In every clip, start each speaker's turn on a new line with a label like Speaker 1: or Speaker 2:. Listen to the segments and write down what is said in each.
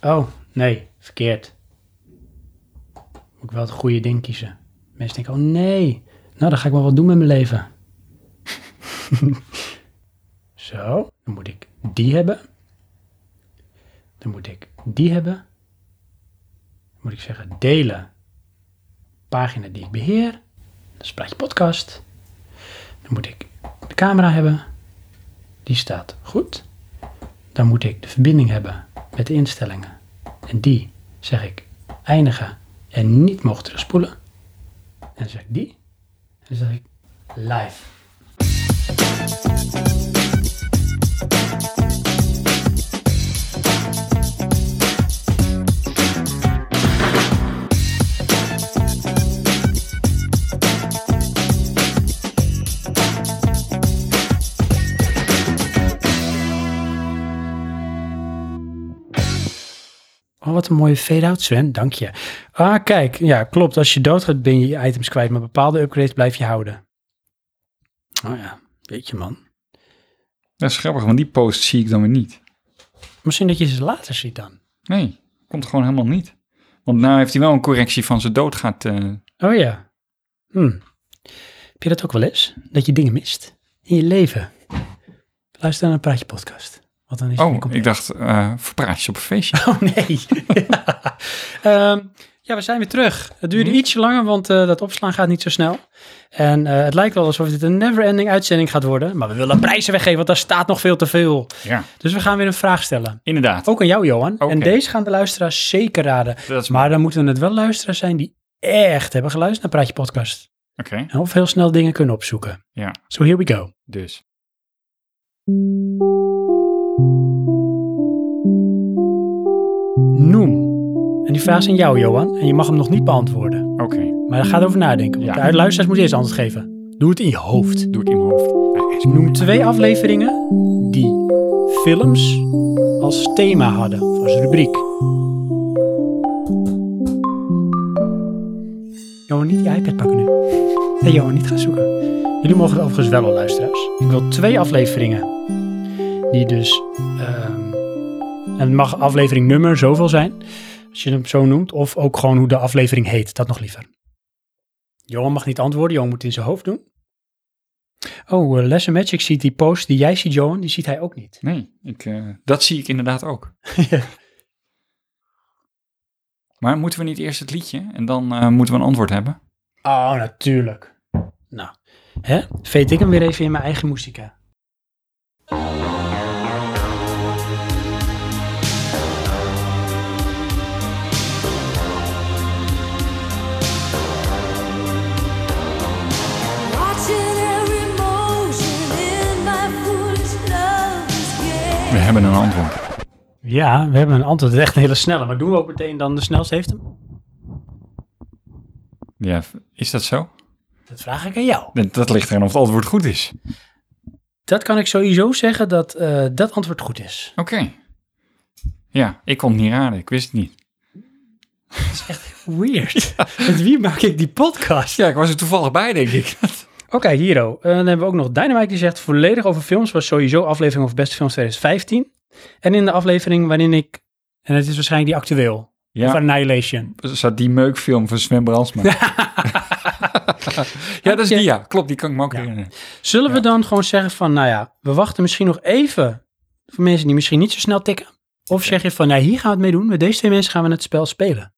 Speaker 1: Oh, nee, verkeerd. Moet ik wel het goede ding kiezen. Mensen denken, oh nee, nou dan ga ik wel wat doen met mijn leven. Zo, dan moet ik die hebben. Dan moet ik die hebben. Dan moet ik zeggen delen. Pagina die ik beheer. Dat is Plaatje Podcast. Dan moet ik de camera hebben. Die staat goed. Dan moet ik de verbinding hebben met de instellingen. En die zeg ik eindigen en niet mogen terugspoelen. En dan zeg ik die. En dan zeg ik live. Oh, wat een mooie fade-out, Sven. Dank je. Ah, kijk. Ja, klopt. Als je doodgaat ben je je items kwijt, maar bepaalde upgrades blijf je houden. Oh ja, weet je man.
Speaker 2: Dat is grappig, want die post zie ik dan weer niet.
Speaker 1: Misschien dat je ze later ziet dan.
Speaker 2: Nee, komt gewoon helemaal niet. Want nou heeft hij wel een correctie van zijn dood gaat. eh,
Speaker 1: Oh ja. Hm. Heb je dat ook wel eens? Dat je dingen mist in je leven? Luister naar een praatje podcast. Want dan is het
Speaker 2: Oh,
Speaker 1: weer compleet.
Speaker 2: ik dacht, eh verpraatjes op een feestje.
Speaker 1: Oh nee. ja. Ehm, ja, we zijn weer terug. Het duurde
Speaker 2: Hm.
Speaker 1: ietsje langer, want eh, dat opslaan gaat niet zo snel. En eh, het lijkt wel alsof dit een never-ending uitzending gaat worden. Maar we willen prijzen weggeven, want daar staat nog veel te veel.
Speaker 2: Ja,
Speaker 1: Dus we gaan weer een vraag stellen.
Speaker 2: inderdaad.
Speaker 1: Ook aan jou, Johan.
Speaker 2: Oké.
Speaker 1: En deze gaan de luisteraars zeker raden.
Speaker 2: Dat is
Speaker 1: Maar dan moeten het wel luisteraars zijn die echt hebben geluisterd naar Praatje Podcast.
Speaker 2: Oké,
Speaker 1: En of heel snel dingen kunnen opzoeken.
Speaker 2: Ja.
Speaker 1: So here we go.
Speaker 2: dus.
Speaker 1: Noem. En die vraag is aan jou, Johan. En je mag hem nog niet beantwoorden.
Speaker 2: Oké,
Speaker 1: Maar daar gaat over nadenken. Want
Speaker 2: Ja.
Speaker 1: de luisteraars moeten eerst antwoord geven. Doe het in je hoofd.
Speaker 2: doe ik in mijn hoofd. Ah, is-
Speaker 1: Noem twee afleveringen die films als thema hadden. Of als rubriek. Johan, niet je iPad pakken nu. Nee, Johan, niet gaan zoeken. Jullie mogen het overigens wel al, luisteraars. Ik wil twee afleveringen. Die dus... ehm, en het mag aflevering nummer zoveel zijn. Als je hem zo noemt. Of ook gewoon hoe de aflevering heet. Dat nog liever. Johan mag niet antwoorden. Johan moet het in zijn hoofd doen. Oh, eh, Les Magic ziet die post die jij ziet, Johan. Die ziet hij ook niet.
Speaker 2: Nee, ik, eh, dat zie ik inderdaad ook.
Speaker 1: Ja.
Speaker 2: Maar moeten we niet eerst het liedje en dan eh, moeten we een antwoord hebben?
Speaker 1: Oh, natuurlijk. Nou, hè? Veet ik hem weer even in mijn eigen muzika.
Speaker 3: Watching every motion in my foolish lover's game.
Speaker 2: We hebben een antwoord.
Speaker 1: Ja, we hebben een antwoord. Het is echt een hele snelle. Maar doen we ook meteen dan de snelste heeft hem?
Speaker 2: Ja, is dat zo?
Speaker 1: Dat vraag ik aan jou.
Speaker 2: Dat, dat ligt eraan of het antwoord goed is.
Speaker 1: Dat kan ik sowieso zeggen dat eh, dat antwoord goed is.
Speaker 2: Oké. Ja, ik kon het niet raden. Ik wist het niet.
Speaker 1: Weird. Met wie maak ik die podcast?
Speaker 2: Ja, ik was er toevallig bij, denk ik.
Speaker 1: Oké, Hiro. Eh, dan hebben we ook nog Dynamite die zegt volledig over films. Was sowieso aflevering over beste films 2015. En in de aflevering waarin ik... En het is waarschijnlijk die actueel. Of
Speaker 2: ja,
Speaker 1: Annihilation.
Speaker 2: zat die meukfilm van Sven Brandsma. ja, dat is die, ja. Klopt, die kan ik me ook
Speaker 1: Ja.
Speaker 2: herinneren.
Speaker 1: Zullen we dan gewoon zeggen van, nou ja, we wachten misschien nog even voor mensen die misschien niet zo snel tikken? Of zeg je van, nou hier gaan we het mee doen, met deze twee mensen gaan we het spel spelen.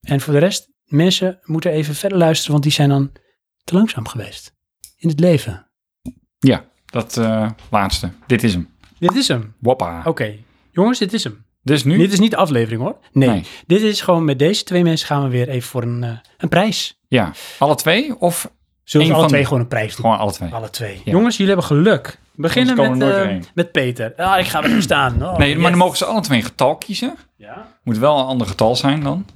Speaker 1: En voor de rest, mensen moeten even verder luisteren, want die zijn dan te langzaam geweest in het leven.
Speaker 2: Ja, dat eh, laatste. Dit is hem.
Speaker 1: Dit is hem.
Speaker 2: Woppa.
Speaker 1: Oké, jongens, dit is hem.
Speaker 2: Dus nu?
Speaker 1: Dit is niet de aflevering hoor. Nee,
Speaker 2: Nee.
Speaker 1: dit is gewoon met deze twee mensen gaan we weer even voor een, eh, een prijs.
Speaker 2: Ja, alle twee of
Speaker 1: Zullen
Speaker 2: Eén
Speaker 1: we alle
Speaker 2: van
Speaker 1: twee
Speaker 2: de-
Speaker 1: gewoon een prijs doen?
Speaker 2: gewoon alle twee?
Speaker 1: Alle twee.
Speaker 2: Ja.
Speaker 1: Jongens, jullie hebben geluk. We beginnen
Speaker 2: Anders
Speaker 1: met,
Speaker 2: komen we nooit
Speaker 1: eh,
Speaker 2: erheen.
Speaker 1: met Peter. Ah, ik ga weer staan. Oh,
Speaker 2: nee, maar
Speaker 1: yes.
Speaker 2: dan mogen ze alle twee een getal kiezen.
Speaker 1: Ja?
Speaker 2: Moet wel een ander getal zijn dan.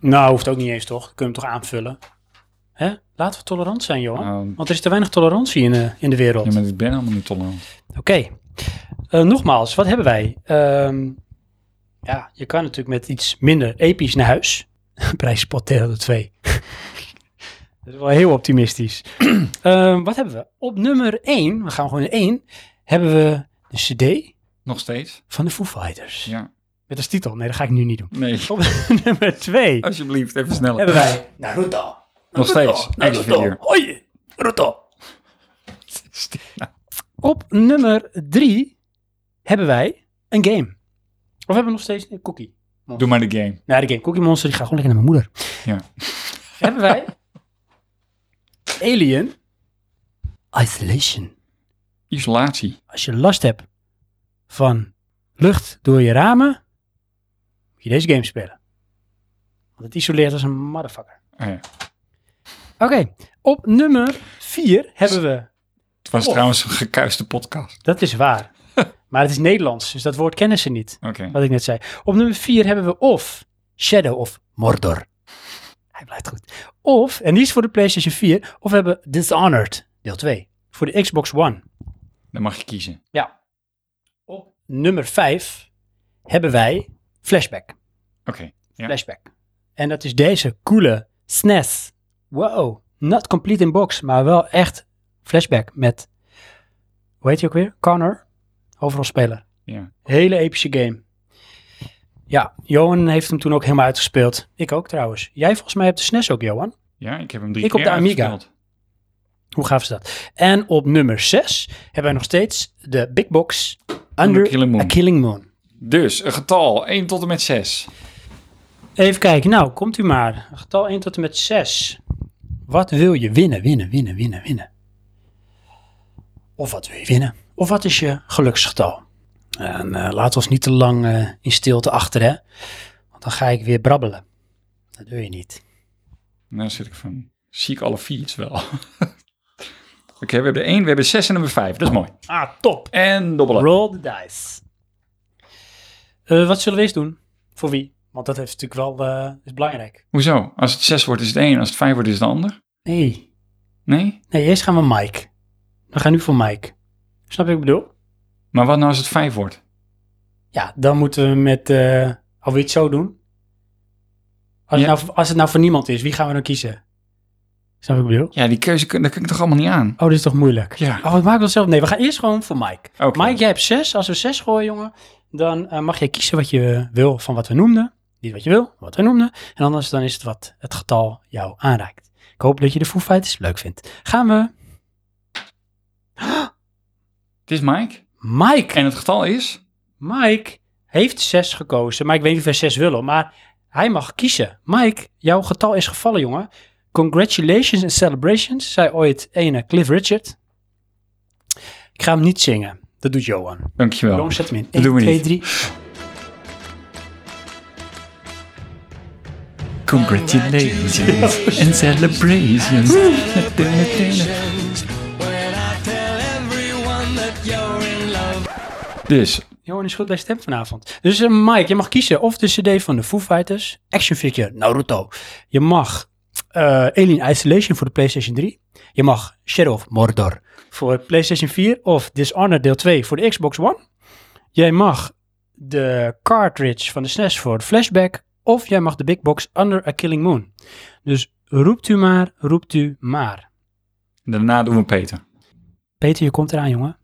Speaker 1: Nou, hoeft ook niet eens toch? Kunnen we hem toch aanvullen? Hè? Laten we tolerant zijn, Johan.
Speaker 2: Ehm,
Speaker 1: Want er is te weinig tolerantie in, eh, in de wereld.
Speaker 2: ja, maar ik ben helemaal niet tolerant.
Speaker 1: Oké. Eh, nogmaals, wat hebben wij? Ehm, ja, je kan natuurlijk met iets minder episch naar huis. Prijspot tegen de 2. Dat is wel heel optimistisch. Ehm, wat hebben we? Op nummer 1, we gaan gewoon in 1, hebben we de CD
Speaker 2: Nog steeds?
Speaker 1: van de Foo Fighters.
Speaker 2: Ja.
Speaker 1: Met als titel. Nee, dat ga ik nu niet doen.
Speaker 2: Nee,
Speaker 1: Op nummer 2
Speaker 2: alsjeblieft, even
Speaker 1: hebben
Speaker 2: sneller.
Speaker 1: wij Naruto.
Speaker 2: Oh, Nog steeds, action figure.
Speaker 1: Hoi, Naruto. Op nummer 3 hebben wij een game. Of hebben we nog steeds een cookie?
Speaker 2: Doe maar de game.
Speaker 1: Nou, de game Cookie Monster, die gaat gewoon lekker naar mijn moeder.
Speaker 2: Ja.
Speaker 1: hebben wij Alien Isolation.
Speaker 2: Isolatie.
Speaker 1: als je last hebt van lucht door je ramen, moet je deze game spelen. Want het isoleert als een motherfucker.
Speaker 2: Ah ja.
Speaker 1: Oké, op nummer 4 hebben we,
Speaker 2: Het was
Speaker 1: Oh.
Speaker 2: trouwens een gekuiste podcast.
Speaker 1: dat is waar, maar het is Nederlands, dus dat woord kennen ze niet,
Speaker 2: Oké.
Speaker 1: wat ik net zei. Op nummer 4 hebben we of Shadow of Mordor. Hij blijft goed. Of, en die is voor de PlayStation 4, of we hebben Dishonored, deel 2, voor de Xbox One.
Speaker 2: Dan mag je kiezen.
Speaker 1: Ja. Op nummer 5 hebben wij Flashback.
Speaker 2: Oké. Ja.
Speaker 1: Flashback. En dat is deze coole SNES. Wow, not complete in box, maar wel echt Flashback met, hoe heet hij ook weer? Connor, overal speler.
Speaker 2: Ja.
Speaker 1: Hele epische game. Ja, Johan heeft hem toen ook helemaal uitgespeeld. Ik ook trouwens. Jij volgens mij hebt de SNES ook, Johan.
Speaker 2: ja, ik heb hem drie
Speaker 1: Ik op
Speaker 2: keer
Speaker 1: de Amiga.
Speaker 2: uitgespeeld.
Speaker 1: Hoe gaaf is dat? En op nummer 6 hebben wij nog steeds de Big Box Under,
Speaker 2: Under Killing Moon.
Speaker 1: a Killing Moon.
Speaker 2: Dus, een getal. 1 tot en met 6.
Speaker 1: Even kijken, nou, komt u maar. Getal 1 tot en met 6. Wat wil je winnen, winnen, winnen, winnen, winnen? Of wat wil je winnen? Of wat is je geluksgetal? En eh, laten we ons niet te lang eh, in stilte achter, hè? Want dan ga ik weer brabbelen. Dat wil je niet.
Speaker 2: Nou zit ik van, zie ik alle fiets wel. Oké, we hebben 1, we hebben 6 en nummer 5. Dat is mooi.
Speaker 1: Ah, top.
Speaker 2: En dobbelen.
Speaker 1: Roll the dice. Eh, wat zullen we eens doen? Voor wie? Want dat heeft natuurlijk wel, eh, is belangrijk.
Speaker 2: Hoezo? Als het 6 wordt is het 1, als het 5 wordt is het de ander?
Speaker 1: Nee,
Speaker 2: Nee?
Speaker 1: nee, eerst gaan we Mike. We gaan nu voor Mike. Snap je wat ik bedoel?
Speaker 2: Maar wat nou als het 5 wordt?
Speaker 1: Ja, dan moeten we met eh alweer iets zo doen. Als,
Speaker 2: Ja.
Speaker 1: het nou, als het nou voor niemand is, wie gaan we dan kiezen? Snap je wat ik bedoel?
Speaker 2: Ja, die keuze kun, daar kun ik toch allemaal niet aan?
Speaker 1: Oh, dit is toch moeilijk?
Speaker 2: Ja.
Speaker 1: Oh, het maakt wel zelf. Nee, we gaan eerst gewoon voor Mike.
Speaker 2: Oké.
Speaker 1: Mike, jij hebt zes. Als we zes gooien, jongen, dan eh, mag jij kiezen wat je wil van wat we noemden. Niet wat je wil, wat we noemden. En anders dan is het wat het getal jou aanreikt. Ik hoop dat je de Foo Fighters leuk vindt. Gaan we
Speaker 2: Het is Mike.
Speaker 1: Mike.
Speaker 2: En het getal is?
Speaker 1: Mike heeft 6 gekozen, maar ik weet niet of wij 6 willen, maar hij mag kiezen. Mike, jouw getal is gevallen, jongen. Congratulations and celebrations, zei ooit ene Cliff Richard. Ik ga hem niet zingen. Dat doet Johan.
Speaker 2: Dankjewel.
Speaker 1: Johan zet hem in.
Speaker 2: Oh.
Speaker 1: 1,
Speaker 2: Dat doen we
Speaker 1: 2,
Speaker 2: niet.
Speaker 1: 3.
Speaker 2: Congratulations and celebrations. Dus,
Speaker 1: Johan is goed bij stem vanavond. Dus eh, Mike, je mag kiezen of de cd van de Foo Fighters, Action Figure, Naruto. Je mag eh, Alien Isolation voor de PlayStation 3. Je mag Shadow of Mordor voor PlayStation 4 of Dishonored deel 2 voor de Xbox One. Jij mag de cartridge van de SNES voor de flashback of jij mag de big box Under a Killing Moon. Dus roept u maar, roept u maar.
Speaker 2: daarna doen we Peter.
Speaker 1: Peter, je komt eraan, jongen.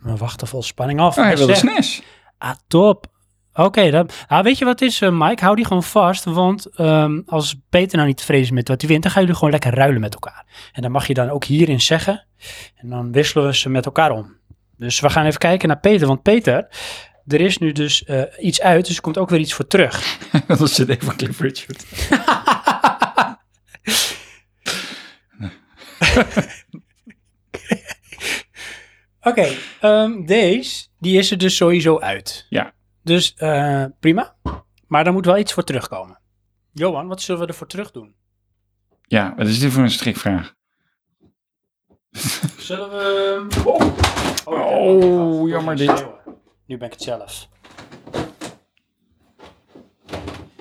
Speaker 1: We wachten vol spanning af.
Speaker 2: Oh, hij
Speaker 1: Hij
Speaker 2: wil de
Speaker 1: zegt-
Speaker 2: SNES.
Speaker 1: Ah, top. Oké, dan. Ah, weet je wat het is, eh, Mike? Hou die gewoon vast. Want ehm, als Peter nou niet tevreden is met wat hij wint, dan gaan jullie gewoon lekker ruilen met elkaar. En dan mag je dan ook hierin zeggen. En dan wisselen we ze met elkaar om. Dus we gaan even kijken naar Peter. Want Peter, er is nu dus eh, iets uit, dus er komt ook weer iets voor terug.
Speaker 2: Dat is de CD van Cliff Richard.
Speaker 1: Oké, ehm, deze, die is er dus sowieso uit.
Speaker 2: Ja.
Speaker 1: Dus eh, prima. Maar daar moet wel iets voor terugkomen. Johan, wat zullen we ervoor terug doen?
Speaker 2: Ja, wat is dit voor een strikvraag?
Speaker 1: Zullen we... Oh,
Speaker 2: Oh, jammer dit.
Speaker 1: Nu ben ik het zelf.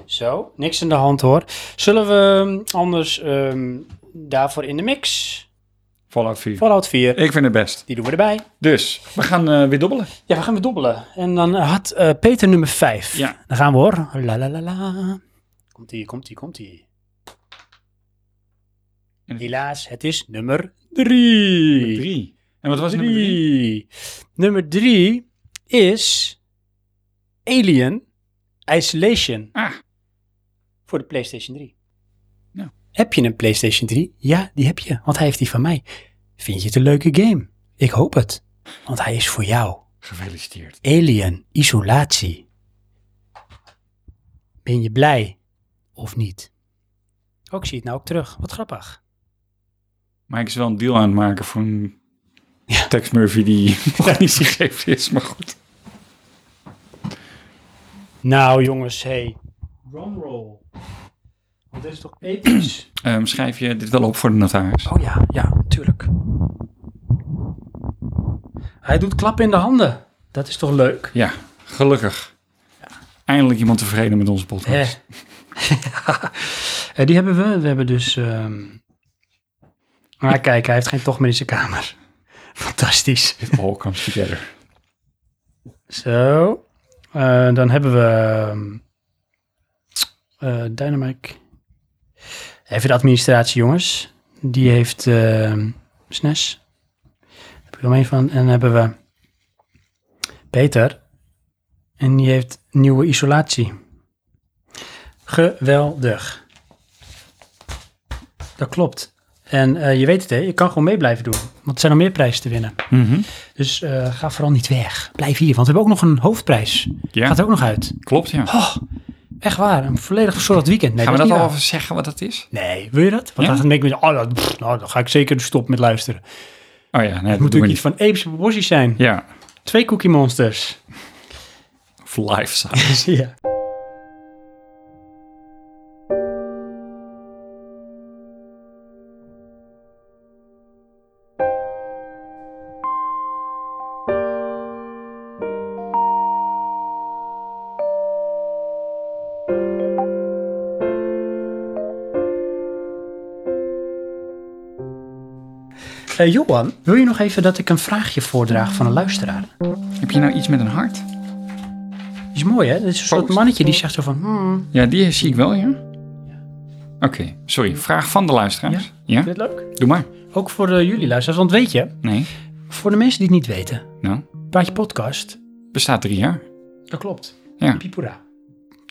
Speaker 1: Zo, niks in de hand hoor. Zullen we ehm, anders ehm, daarvoor in de mix?
Speaker 2: Fallout 4.
Speaker 1: Fallout 4,
Speaker 2: Ik vind het best.
Speaker 1: die doen we erbij.
Speaker 2: Dus, we gaan eh, weer dobbelen.
Speaker 1: Ja, we gaan weer dobbelen. En dan had eh, Peter nummer 5.
Speaker 2: Ja.
Speaker 1: Dan gaan we hoor. La la la la. Komt ie, komt ie, komt ie.
Speaker 2: En-
Speaker 1: Helaas, het is nummer 3.
Speaker 2: Drie. En wat was het nummer
Speaker 1: Drie.
Speaker 2: drie?
Speaker 1: Nummer drie is Alien Isolation.
Speaker 2: Ah.
Speaker 1: Voor de PlayStation 3.
Speaker 2: Ja.
Speaker 1: Heb je een PlayStation 3? Ja, die heb je, want hij heeft die van mij. Vind je het een leuke game? Ik hoop het, want hij is voor jou.
Speaker 2: Gefeliciteerd.
Speaker 1: Alien, isolatie. Ben je blij of niet? Ook zie je het nou ook terug. Wat grappig.
Speaker 2: Mike is wel een deal aan het maken voor een Tex Murphy die nog niet gegeven is, maar goed.
Speaker 1: Nou jongens, hey. Drumroll. Want dit is toch episch?
Speaker 2: Ehm, schrijf je dit wel op voor de notaris?
Speaker 1: oh ja, ja, tuurlijk. Hij doet klappen in de handen. Dat is toch leuk?
Speaker 2: Ja, gelukkig. Eindelijk iemand tevreden met onze
Speaker 1: Hè.
Speaker 2: podcast.
Speaker 1: Eh, die hebben we. We hebben dus... ehm, Maar kijk, hij heeft geen tocht meer in zijn kamer. Fantastisch.
Speaker 2: It all comes together.
Speaker 1: Zo. Eh, dan hebben we ehm, eh Dynamic. Even de administratie, jongens. Die heeft ehm SNES. Daar heb ik er omheen van. En dan hebben we Peter. En die heeft nieuwe isolatie. Geweldig. Dat klopt. En eh, je weet het, hè? je kan gewoon mee blijven doen. Want er zijn nog meer prijzen te winnen.
Speaker 2: Mhm.
Speaker 1: Dus eh, ga vooral niet weg. Blijf hier, want we hebben ook nog een hoofdprijs.
Speaker 2: Ja.
Speaker 1: Gaat er ook nog uit.
Speaker 2: Klopt, ja.
Speaker 1: Oh, echt waar. Een volledig verzorgd weekend. Nee,
Speaker 2: Gaan we dat
Speaker 1: is
Speaker 2: al
Speaker 1: niet
Speaker 2: even zeggen wat dat is?
Speaker 1: waar. Nee, wil je dat? Want
Speaker 2: Ja?
Speaker 1: dan dan denk ik, oh, dat, pff, nou, dan ga ik zeker stoppen met luisteren. Het
Speaker 2: Oh ja, nee, dat
Speaker 1: moet
Speaker 2: doen we
Speaker 1: natuurlijk
Speaker 2: niet.
Speaker 1: iets van epische proporties zijn.
Speaker 2: Ja,
Speaker 1: Twee Cookie Monsters.
Speaker 2: for life size.
Speaker 1: ja. Eh, Johan, wil je nog even dat ik een vraagje voordraag van een luisteraar?
Speaker 2: Heb je nou iets met een hart?
Speaker 1: Die is mooi, hè? Dit is een soort
Speaker 2: Post.
Speaker 1: mannetje die zegt zo van... Hmm,
Speaker 2: Ja, die zie ik wel, ja. Oké, sorry. Vraag van de luisteraars. Ja,
Speaker 1: vind je dit leuk?
Speaker 2: doe maar.
Speaker 1: Ook voor eh, jullie luisteraars. Want weet je,
Speaker 2: Nee,
Speaker 1: voor de mensen die het niet weten...
Speaker 2: nou,
Speaker 1: Praat je podcast,
Speaker 2: bestaat drie jaar.
Speaker 1: dat klopt.
Speaker 2: Ja.
Speaker 1: Pipura.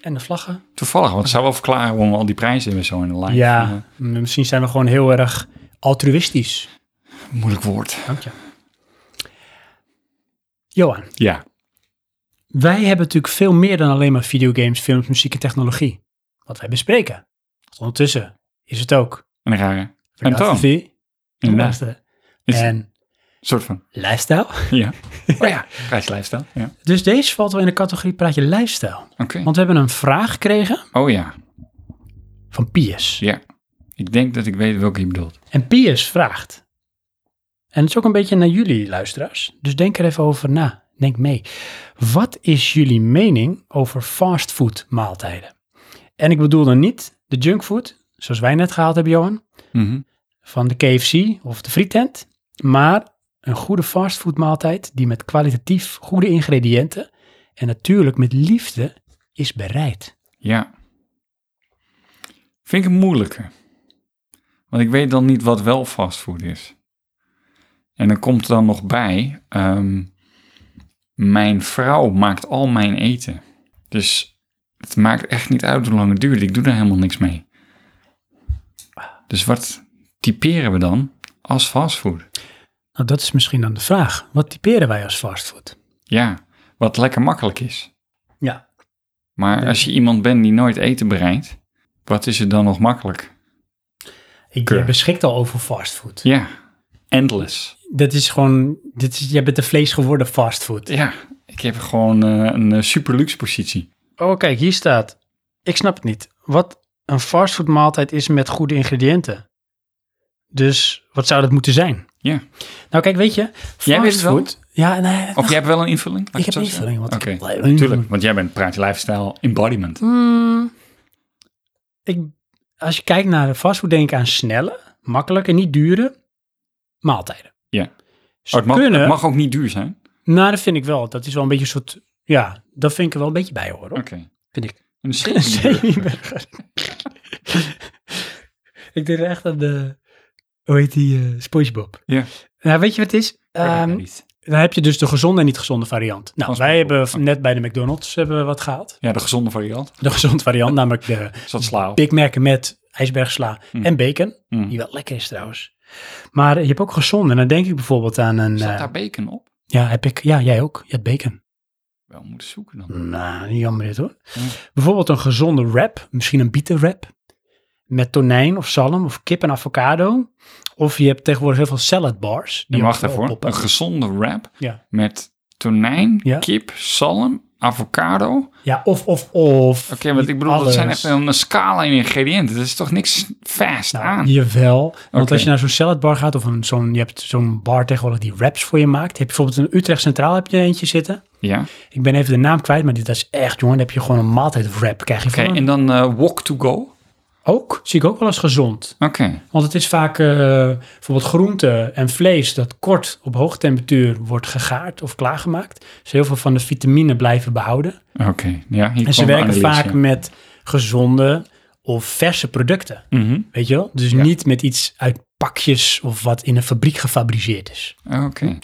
Speaker 1: En de vlaggen.
Speaker 2: Toevallig, want het zou wel verklaren waarom we al die prijzen hebben zo in de live. Eh,
Speaker 1: Ja, m- misschien zijn we gewoon heel erg altruïstisch.
Speaker 2: Eh, moeilijk woord.
Speaker 1: Dank je. Johan,
Speaker 2: Ja.
Speaker 1: wij hebben natuurlijk veel meer dan alleen maar videogames, films, muziek en technologie. Wat wij bespreken. Want ondertussen is het ook.
Speaker 2: En een rare. En toon.
Speaker 1: Vergaat
Speaker 2: Inderdaad.
Speaker 1: luisteren.
Speaker 2: Is-
Speaker 1: En
Speaker 2: soort van.
Speaker 1: lifestyle.
Speaker 2: Ja. Oh ja, prijslijfstijl. Ja.
Speaker 1: Dus deze valt wel in de categorie praat je lifestyle.
Speaker 2: Oké.
Speaker 1: Want we hebben een vraag gekregen
Speaker 2: Oh ja.
Speaker 1: van Piers.
Speaker 2: Ja. Ik denk dat ik weet welke je bedoelt.
Speaker 1: En Piers vraagt. En het is ook een beetje naar jullie luisteraars. Dus denk er even over na. Denk mee. Wat is jullie mening over fastfood maaltijden? En ik bedoel dan niet de junkfood, zoals wij net gehaald hebben, Johan,
Speaker 2: Mhm.
Speaker 1: van de KFC of de frietent. Maar een goede fastfood maaltijd die met kwalitatief goede ingrediënten en natuurlijk met liefde is bereid.
Speaker 2: Ja. Vind ik het moeilijker. Want ik weet dan niet wat wel fastfood is. En dan komt er dan nog bij, ehm, mijn vrouw maakt al mijn eten. Dus het maakt echt niet uit hoe lang het duurt. Ik doe daar helemaal niks mee. Dus wat typeren we dan als fastfood?
Speaker 1: Nou, dat is misschien dan de vraag. Wat typeren wij als fastfood?
Speaker 2: Ja, wat lekker makkelijk is.
Speaker 1: Ja,
Speaker 2: Maar als je iemand bent die nooit eten bereidt, wat is het dan nog makkelijk?
Speaker 1: ik
Speaker 2: Keur.
Speaker 1: beschikt al over fastfood.
Speaker 2: Ja, endless.
Speaker 1: Dat is gewoon, dit is, jij bent de vlees geworden fastfood.
Speaker 2: Ja, ik heb gewoon eh, een eh, super luxe positie.
Speaker 1: Oh, kijk, hier staat. Ik snap het niet. Wat een fastfood maaltijd is met goede ingrediënten. Dus wat zou dat moeten zijn?
Speaker 2: Ja.
Speaker 1: Nou, kijk, weet je,
Speaker 2: Jij weet het wel?
Speaker 1: fastfood. Ja, nee,
Speaker 2: Of jij hebt wel een invulling? Laat
Speaker 1: ik
Speaker 2: het
Speaker 1: heb
Speaker 2: zo zeggen.
Speaker 1: invulling. want ik
Speaker 2: Oké,
Speaker 1: heb-
Speaker 2: tuurlijk. Want jij bent Praatje Lifestyle Embodiment.
Speaker 1: Hmm, ik, als je kijkt naar de fastfood, denk ik aan snelle, makkelijke, niet dure maaltijden.
Speaker 2: Ja.
Speaker 1: Ze
Speaker 2: Oh, het, mag,
Speaker 1: kunnen,
Speaker 2: het mag ook niet duur zijn.
Speaker 1: nou, dat vind ik wel. Dat is wel een beetje een soort, ja, dat vind ik er wel een beetje bij horen. hoor.
Speaker 2: Oké.
Speaker 1: Vind ik.
Speaker 2: Een semi
Speaker 1: Zeeburger. ik denk echt aan de, hoe heet die, eh SpongeBob.
Speaker 2: Ja.
Speaker 1: Nou, weet je wat het is? Ehm,
Speaker 2: Ehm,
Speaker 1: Dan heb je dus de gezonde en niet gezonde variant. Nou,
Speaker 2: Als
Speaker 1: wij hebben
Speaker 2: bijvoorbeeld.
Speaker 1: net bij de McDonald's hebben we wat gehaald.
Speaker 2: Ja, de gezonde variant.
Speaker 1: De gezonde variant, namelijk de
Speaker 2: Is dat sla?
Speaker 1: Big Mac met ijsbergsla
Speaker 2: Mm.
Speaker 1: en bacon.
Speaker 2: Mm.
Speaker 1: Die wel lekker is trouwens. Maar je hebt ook gezonde. En dan denk ik bijvoorbeeld aan een...
Speaker 2: Zat
Speaker 1: eh,
Speaker 2: daar bacon op?
Speaker 1: ja, heb ik, ja, jij ook. Je hebt bacon.
Speaker 2: Wel moeten zoeken dan.
Speaker 1: Nou, niet jammer dit hoor.
Speaker 2: Mm.
Speaker 1: Bijvoorbeeld een gezonde wrap, misschien een bietenwrap. Met tonijn of zalm of kip en avocado. Of je hebt tegenwoordig heel veel salad bars.
Speaker 2: En
Speaker 1: Die
Speaker 2: wacht
Speaker 1: ook
Speaker 2: even hoor.
Speaker 1: oppoppen.
Speaker 2: Een gezonde wrap
Speaker 1: Ja.
Speaker 2: met tonijn,
Speaker 1: Ja.
Speaker 2: kip, zalm, avocado. Oké,
Speaker 1: Ja, of, of, of.
Speaker 2: want
Speaker 1: Niet
Speaker 2: ik bedoel, dat zijn
Speaker 1: alles.
Speaker 2: echt een, een scala in ingrediënten. Dat is toch niks vast
Speaker 1: Nou,
Speaker 2: aan?
Speaker 1: Jawel, want
Speaker 2: Oké.
Speaker 1: als je naar zo'n salad bar gaat of een, zo'n, je hebt zo'n bar tegenwoordig die wraps voor je maakt. Heb je bijvoorbeeld in Utrecht Centraal heb je eentje zitten.
Speaker 2: Ja.
Speaker 1: Ik ben even de naam kwijt, maar dit dat is echt, jongen. Dan heb je gewoon een maaltijd wrap. Krijg je
Speaker 2: Oké,
Speaker 1: van
Speaker 2: en dan eh, walk to go? Oké.
Speaker 1: Ook, zie ik ook wel eens gezond. Want het is vaak eh, bijvoorbeeld groente en vlees dat kort op hoge temperatuur wordt gegaard of klaargemaakt. Dus heel veel van de vitamine blijven behouden.
Speaker 2: Oké, ja. Hier
Speaker 1: En ze
Speaker 2: kwam de
Speaker 1: werken
Speaker 2: analyse.
Speaker 1: vaak met gezonde of verse producten.
Speaker 2: Mhm.
Speaker 1: Weet je wel? Dus
Speaker 2: Ja.
Speaker 1: niet met iets uit pakjes of wat in een fabriek gefabriceerd is.
Speaker 2: Oké.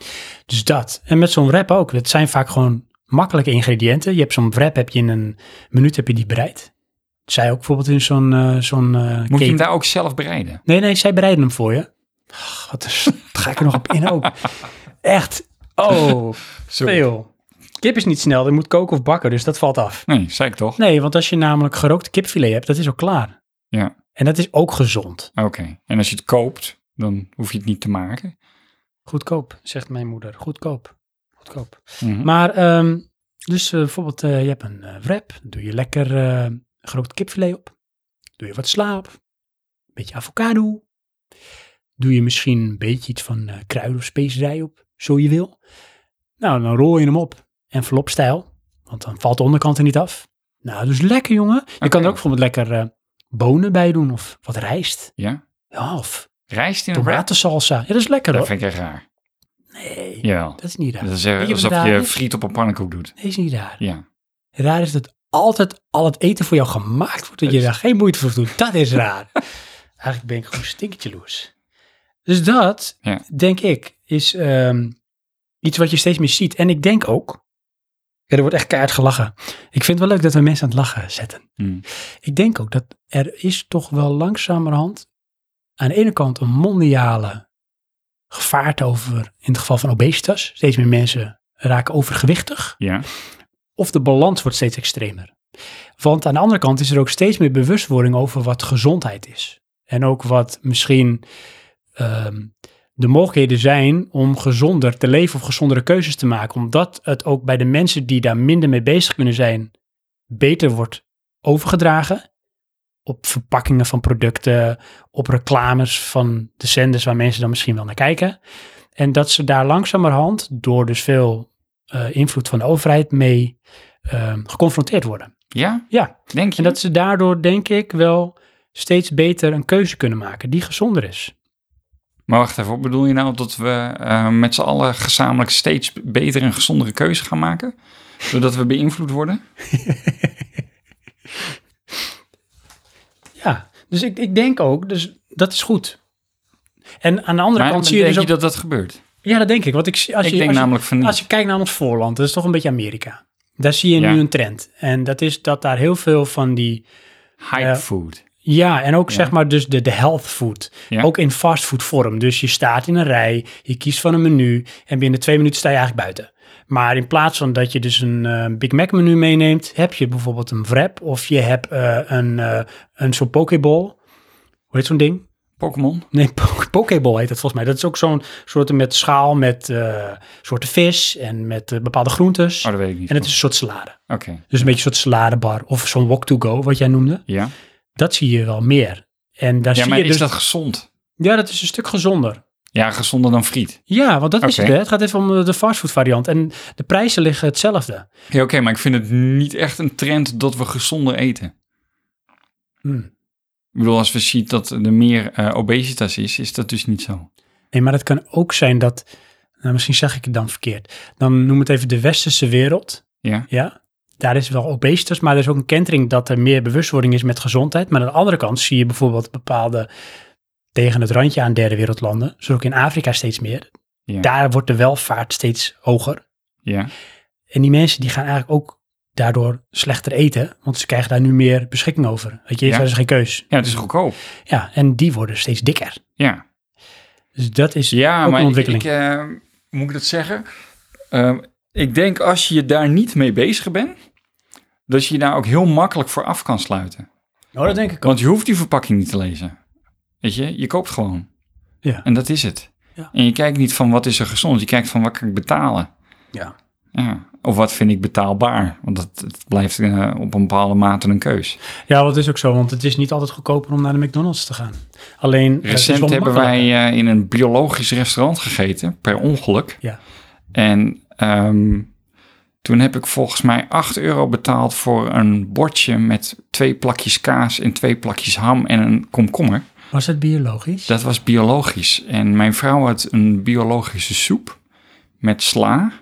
Speaker 1: Dus dat. En met zo'n wrap ook. Dat zijn vaak gewoon makkelijke ingrediënten. Je hebt zo'n wrap, heb je in een minuut heb je die bereid. Zij ook bijvoorbeeld in zo'n eh zo'n eh,
Speaker 2: Moet je
Speaker 1: cake.
Speaker 2: hem daar ook zelf bereiden?
Speaker 1: Nee, nee, zij bereiden hem voor je. Ach, wat is, ga ik er nog op in ook. Echt. Oh, veel. Kip is niet snel. Je moet koken of bakken, dus dat valt af.
Speaker 2: Nee, zei ik toch?
Speaker 1: Nee, want als je namelijk gerookt kipfilet hebt, dat is al klaar.
Speaker 2: Ja.
Speaker 1: En dat is ook gezond.
Speaker 2: Oké. En als je het koopt, dan hoef je het niet te maken.
Speaker 1: Goedkoop, zegt mijn moeder. Goedkoop. Goedkoop.
Speaker 2: Mhm.
Speaker 1: Maar, ehm, dus eh, bijvoorbeeld, eh, je hebt een eh, wrap. Dan doe je lekker eh, gerookt kipfilet op. Doe je wat sla op. Een beetje avocado. Doe je misschien een beetje iets van eh kruiden of specerij op, zo je wil. Nou, dan rol je hem op. En stijl, want dan valt de onderkant er niet af. Nou, dus lekker jongen. Je
Speaker 2: Oké.
Speaker 1: kan er ook bijvoorbeeld lekker eh, bonen bij doen of wat rijst.
Speaker 2: Ja?
Speaker 1: Ja, of
Speaker 2: Rijst in een wrap?
Speaker 1: tomatensalsa. Ja, dat is lekker
Speaker 2: Dat
Speaker 1: hoor.
Speaker 2: vind ik echt raar.
Speaker 1: Nee,
Speaker 2: Jawel.
Speaker 1: dat is niet raar.
Speaker 2: Dat is
Speaker 1: Weet
Speaker 2: eh,
Speaker 1: je wat
Speaker 2: alsof
Speaker 1: raar
Speaker 2: je
Speaker 1: is?
Speaker 2: friet op een pannenkoek doet.
Speaker 1: Nee, is niet raar.
Speaker 2: Ja.
Speaker 1: Raar is dat altijd al het eten voor jou gemaakt wordt. Dat je
Speaker 2: Dus-
Speaker 1: daar geen moeite voor doet. Dat is raar. Eigenlijk ben ik gewoon stinkertje loes. Dus dat,
Speaker 2: Ja.
Speaker 1: denk ik, is ehm, iets wat je steeds meer ziet. En ik denk ook, ja, er wordt echt keihard gelachen. Ik vind het wel leuk dat we mensen aan het lachen zetten.
Speaker 2: Mm.
Speaker 1: Ik denk ook dat er is toch wel langzamerhand aan de ene kant een mondiale gevaarte over, in het geval van obesitas. Steeds meer mensen raken overgewichtig
Speaker 2: Ja.
Speaker 1: of de balans wordt steeds extremer. Want aan de andere kant is er ook steeds meer bewustwording over wat gezondheid is. En ook wat misschien ehm, de mogelijkheden zijn om gezonder te leven of gezondere keuzes te maken. Omdat het ook bij de mensen die daar minder mee bezig kunnen zijn, beter wordt overgedragen. Op verpakkingen van producten, op reclames van de zenders waar mensen dan misschien wel naar kijken. En dat ze daar langzamerhand, door dus veel eh, invloed van de overheid, mee ehm, geconfronteerd worden.
Speaker 2: Ja?
Speaker 1: Ja,
Speaker 2: Denk je?
Speaker 1: en dat ze daardoor denk ik wel steeds beter een keuze kunnen maken die gezonder is.
Speaker 2: Maar wacht even, wat bedoel je nou dat we eh, met z'n allen gezamenlijk steeds beter en gezondere keuzes gaan maken? Doordat we beïnvloed worden?
Speaker 1: Ja, dus ik, ik denk ook, dus dat is goed. En aan de andere
Speaker 2: Maar
Speaker 1: kant zie je
Speaker 2: denk
Speaker 1: dus ook...
Speaker 2: je dat dat gebeurt?
Speaker 1: Ja, dat denk ik. Want ik, zie- als
Speaker 2: Ik
Speaker 1: je,
Speaker 2: denk
Speaker 1: als je-
Speaker 2: namelijk van niet.
Speaker 1: Als je kijkt naar ons voorland, dat is toch een beetje Amerika. Daar zie je
Speaker 2: Ja.
Speaker 1: nu een trend. En dat is dat daar heel veel van die...
Speaker 2: Hype
Speaker 1: Ja.
Speaker 2: food.
Speaker 1: Ja, en ook zeg maar dus de, de health food.
Speaker 2: Ja.
Speaker 1: Ook in fastfood vorm. Dus je staat in een rij, je kiest van een menu en binnen twee minuten sta je eigenlijk buiten. Maar in plaats van dat je dus een eh, Big Mac menu meeneemt, heb je bijvoorbeeld een wrap of je hebt eh, een, eh, een zo'n pokeball. Hoe heet zo'n ding?
Speaker 2: Pokémon? Oh,
Speaker 1: Nee, po- Pokeball heet dat volgens mij. Dat is ook zo'n soort met schaal met eh, soorten vis en met eh, bepaalde groentes.
Speaker 2: Oh, dat weet ik niet.
Speaker 1: en het is een soort salade.
Speaker 2: Oké.
Speaker 1: Dus een beetje een soort saladebar of zo'n walk-to-go, wat jij noemde.
Speaker 2: Ja.
Speaker 1: Dat zie je wel meer. En daar
Speaker 2: Ja,
Speaker 1: zie
Speaker 2: maar
Speaker 1: je
Speaker 2: is
Speaker 1: dus...
Speaker 2: dat gezond?
Speaker 1: Ja, dat is een stuk gezonder.
Speaker 2: Ja, gezonder dan friet.
Speaker 1: Ja, want dat is
Speaker 2: Oké.
Speaker 1: het. Hè? Het gaat even om eh, de fastfood variant. En de prijzen liggen hetzelfde.
Speaker 2: Ja, oké, maar ik vind het niet echt een trend dat we gezonder eten.
Speaker 1: Hmm.
Speaker 2: Ik bedoel, als we zien dat er meer eh, obesitas is, is dat dus niet zo.
Speaker 1: Nee, maar het kan ook zijn dat... Nou, misschien zeg ik het dan verkeerd. Dan noem het even de westerse wereld.
Speaker 2: Ja?
Speaker 1: Ja, daar is wel obesitas, maar er is ook een kentering dat er meer bewustwording is met gezondheid. Maar aan de andere kant zie je bijvoorbeeld bepaalde tegen het randje aan derde wereldlanden, zo ook in Dus Afrika steeds meer,
Speaker 2: Ja.
Speaker 1: Daar wordt de welvaart steeds hoger.
Speaker 2: Ja.
Speaker 1: En die mensen die gaan eigenlijk ook daardoor slechter eten, want ze krijgen daar nu meer beschikking over. Weet je,
Speaker 2: Ja.
Speaker 1: ze hebben dus geen keus.
Speaker 2: ja, het is goedkoop.
Speaker 1: Ja, en die worden steeds dikker.
Speaker 2: Ja.
Speaker 1: Dus dat is
Speaker 2: Ja,
Speaker 1: ook
Speaker 2: maar
Speaker 1: een
Speaker 2: ik,
Speaker 1: ontwikkeling.
Speaker 2: ik, eh, moet ik dat zeggen? Ehm, ik denk als je je daar niet mee bezig bent, dat je je daar ook heel makkelijk voor af kan sluiten.
Speaker 1: oh, dat denk ik ook.
Speaker 2: Want je hoeft die verpakking niet te lezen. Weet je, je koopt gewoon.
Speaker 1: Ja.
Speaker 2: En dat is het.
Speaker 1: Ja.
Speaker 2: En je kijkt niet van wat is er gezond, je kijkt van wat kan ik betalen.
Speaker 1: Ja.
Speaker 2: Ja. Of wat vind ik betaalbaar? Want dat, het blijft eh, op een bepaalde mate een keus.
Speaker 1: Ja, dat is ook zo, want het is niet altijd goedkoper om naar de McDonald's te gaan. Alleen, eh, het is wel
Speaker 2: Recent hebben wij
Speaker 1: makkelijker.
Speaker 2: eh, in een biologisch restaurant gegeten, per ongeluk.
Speaker 1: Ja.
Speaker 2: En ehm, toen heb ik volgens mij 8 euro betaald voor een bordje met twee plakjes kaas en twee plakjes ham en een komkommer.
Speaker 1: Was het biologisch?
Speaker 2: Dat was biologisch. En mijn vrouw had een biologische soep met sla.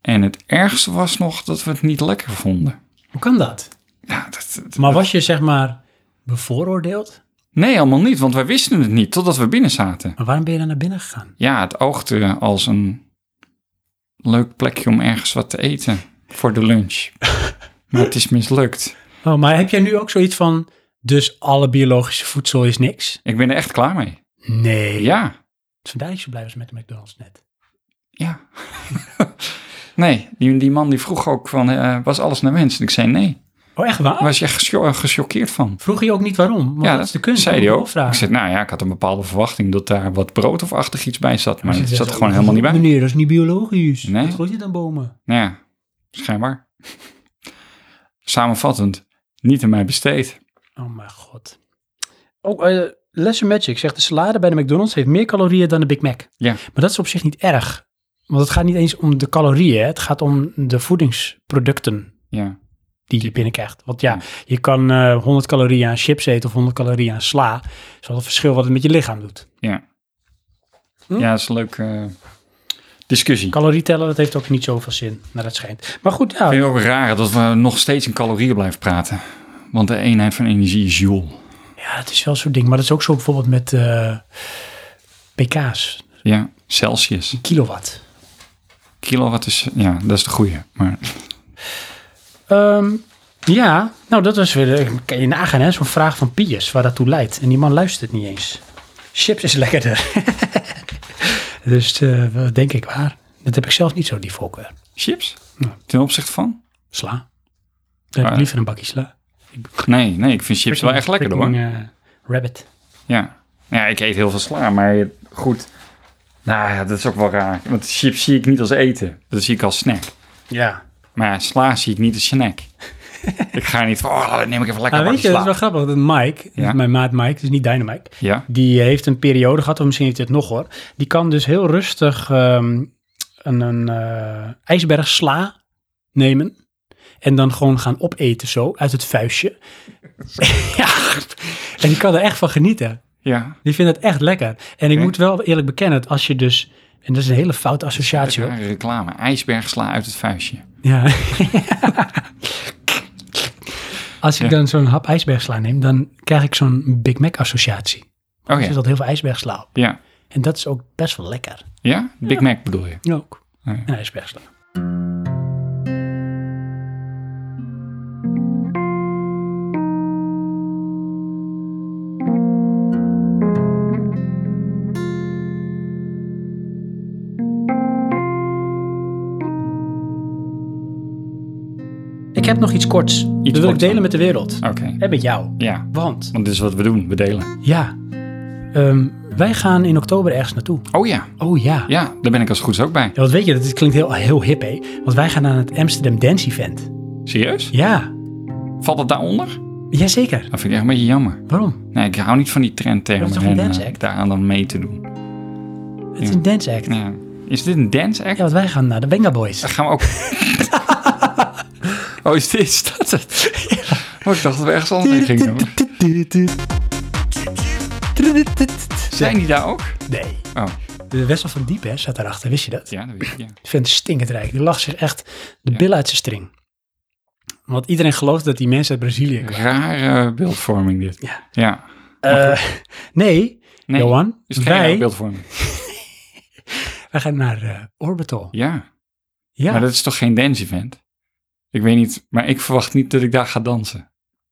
Speaker 2: En het ergste was nog dat we het niet lekker vonden.
Speaker 1: Hoe kan dat?
Speaker 2: Ja, dat, dat-
Speaker 1: Maar was je zeg maar bevooroordeeld?
Speaker 2: nee, helemaal niet, want wij wisten het niet totdat we binnen zaten.
Speaker 1: Maar waarom ben je dan naar binnen gegaan?
Speaker 2: Ja, het oogde als een leuk plekje om ergens wat te eten voor de lunch. Maar het is mislukt.
Speaker 1: Oh, maar heb jij nu ook zoiets van, dus alle biologische voedsel is niks?
Speaker 2: Ik ben er echt klaar mee.
Speaker 1: Nee.
Speaker 2: Ja,
Speaker 1: Vandaar is je blij was met de McDonald's net.
Speaker 2: ja. nee, die, die man die vroeg ook van, eh, was alles naar wens? En ik zei nee.
Speaker 1: Oh, echt waar?
Speaker 2: Daar was je echt gescho- eh, gechoqueerd van.
Speaker 1: Vroeg je ook niet waarom? Want dat is de kunst.
Speaker 2: zei
Speaker 1: om
Speaker 2: hij
Speaker 1: te
Speaker 2: ook. Ik
Speaker 1: doorvragen.
Speaker 2: zei, nou ja, ik had een bepaalde verwachting dat daar wat brood of achtig iets bij zat. Maar
Speaker 1: Ze
Speaker 2: het
Speaker 1: zeggen,
Speaker 2: zat er gewoon
Speaker 1: "Oh,
Speaker 2: helemaal niet bij.
Speaker 1: Meneer, dat is niet biologisch.
Speaker 2: Nee.
Speaker 1: Wat groeit dit aan bomen?
Speaker 2: Nou ja, schijnbaar. Samenvattend, niet aan mij besteed.
Speaker 1: Oh mijn god. Ook eh, Lesser Magic zegt, de salade bij de McDonald's heeft meer calorieën dan de Big Mac.
Speaker 2: Ja.
Speaker 1: Maar dat is op zich niet erg. Want het gaat niet eens om de calorieën. hè. Het gaat om de voedingsproducten
Speaker 2: Ja,
Speaker 1: die je binnenkrijgt. Want ja,
Speaker 2: Ja.
Speaker 1: je kan eh, 100 calorieën aan chips eten of 100 calorieën aan sla. Dat is wel het verschil wat het met je lichaam doet.
Speaker 2: ja.
Speaker 1: Hm?
Speaker 2: Ja, dat is een leuke eh, discussie.
Speaker 1: Calorie tellen, dat heeft ook niet zoveel zin, naar het schijnt. Maar goed, ja,
Speaker 2: Ik vind het ook raar dat we nog steeds in calorieën blijven praten. Want de eenheid van energie is joule.
Speaker 1: ja het is wel zo'n ding. Maar dat is ook zo bijvoorbeeld met eh, pk's,
Speaker 2: Ja, Celsius.
Speaker 1: kilowatt.
Speaker 2: Kilowatt is, ja, dat is de goede. Maar
Speaker 1: Ehm, ja, nou dat was weer, eh, kan je nagaan hè, zo'n vraag van Piers, waar dat toe leidt. En die man luistert niet eens. Chips is lekkerder. dus eh, wat denk ik waar. Dat heb ik zelf niet zo, die voorkeur.
Speaker 2: chips?
Speaker 1: Ja.
Speaker 2: Ten opzichte van?
Speaker 1: Sla. Dan heb ik
Speaker 2: Ah.
Speaker 1: liever een bakje sla.
Speaker 2: Nee, nee, ik vind chips wel echt lekker hoor.
Speaker 1: Freaking, eh, rabbit.
Speaker 2: Ja. ja, ik eet heel veel sla, maar goed. Nou ja, dat is ook wel raar. Want chips zie ik niet als eten. Dat zie ik als snack.
Speaker 1: Ja.
Speaker 2: Maar ja, sla zie ik niet als snack. ik ga niet van, oh, dan neem ik even lekker
Speaker 1: Nou,
Speaker 2: wat
Speaker 1: weet je, dat
Speaker 2: sla.
Speaker 1: is wel grappig. Dat Mike,
Speaker 2: Ja.
Speaker 1: mijn maat Mike, dus niet Dynamite.
Speaker 2: Ja,
Speaker 1: Die heeft een periode gehad, of misschien heeft hij het nog hoor. Die kan dus heel rustig ehm, een, een eh, ijsberg sla nemen. En dan gewoon gaan opeten zo, uit het vuistje. ja, en die kan er echt van genieten.
Speaker 2: ja.
Speaker 1: Die vindt het echt lekker. En ik
Speaker 2: Oké.
Speaker 1: moet wel eerlijk bekennen, dat als je dus... En dat is een hele foute associatie hoor.
Speaker 2: Rare reclame. IJsberg sla uit het vuistje.
Speaker 1: Ja. als ik
Speaker 2: Ja.
Speaker 1: dan zo'n hap ijsbergsla neem, dan krijg ik zo'n Big Mac associatie. Dus
Speaker 2: Oh
Speaker 1: Er zit
Speaker 2: ja,
Speaker 1: altijd heel veel ijsbergsla op.
Speaker 2: ja.
Speaker 1: En dat is ook best wel lekker.
Speaker 2: Ja? Big Mac bedoel je?
Speaker 1: Ook.
Speaker 2: Ja.
Speaker 1: En hij is wegslaan. Ik heb nog iets korts. Ah. dat wil ik
Speaker 2: korts
Speaker 1: delen
Speaker 2: dan.
Speaker 1: met de wereld.
Speaker 2: Oké.
Speaker 1: En met jou.
Speaker 2: Ja,
Speaker 1: Want,
Speaker 2: want dit is wat we doen. We delen.
Speaker 1: ja, ehm, wij gaan in oktober ergens naartoe.
Speaker 2: Oh ja.
Speaker 1: Oh ja.
Speaker 2: Ja, daar ben ik als het goed is ook bij.
Speaker 1: Ja, want weet je, dat dit klinkt heel, heel hip, hè? Want wij gaan aan het Amsterdam Dance Event.
Speaker 2: Serieus?
Speaker 1: Ja,
Speaker 2: Valt het daaronder?
Speaker 1: jazeker.
Speaker 2: Dat vind ik echt een beetje jammer.
Speaker 1: Waarom?
Speaker 2: Nee, ik hou niet van die trendtermen
Speaker 1: Maar het is toch een
Speaker 2: en,
Speaker 1: dance
Speaker 2: eh,
Speaker 1: act?
Speaker 2: daaraan dan mee te doen.
Speaker 1: Het is een dance act. Ja,
Speaker 2: Ja. Is dit een dance act?
Speaker 1: want wij gaan naar de Benga Boys.
Speaker 2: Dan gaan we ook... oh, is dit is dat het? Oh, ik dacht dat we ergens anders heen gingen. hoor. Zijn die daar ook?
Speaker 1: Nee.
Speaker 2: Oh,
Speaker 1: De Wessel van Diep, hè, zat daarachter, wist je dat?
Speaker 2: ja, dat weet ik. Ja.
Speaker 1: Ik vind het stinkend rijk. Die lag zich echt de billen uit zijn string. Want iedereen gelooft dat die mensen uit Brazilië kwamen.
Speaker 2: Rare beeldvorming dit.
Speaker 1: Ja.
Speaker 2: Ja.
Speaker 1: Eh, nee,
Speaker 2: Nee,
Speaker 1: Johan,
Speaker 2: is het geen rare
Speaker 1: wij,
Speaker 2: beeldvorming?
Speaker 1: We gaan naar eh, Orbital.
Speaker 2: Ja,
Speaker 1: Ja.
Speaker 2: maar dat is toch geen dance event? Ik weet niet, maar ik verwacht niet dat ik daar ga dansen.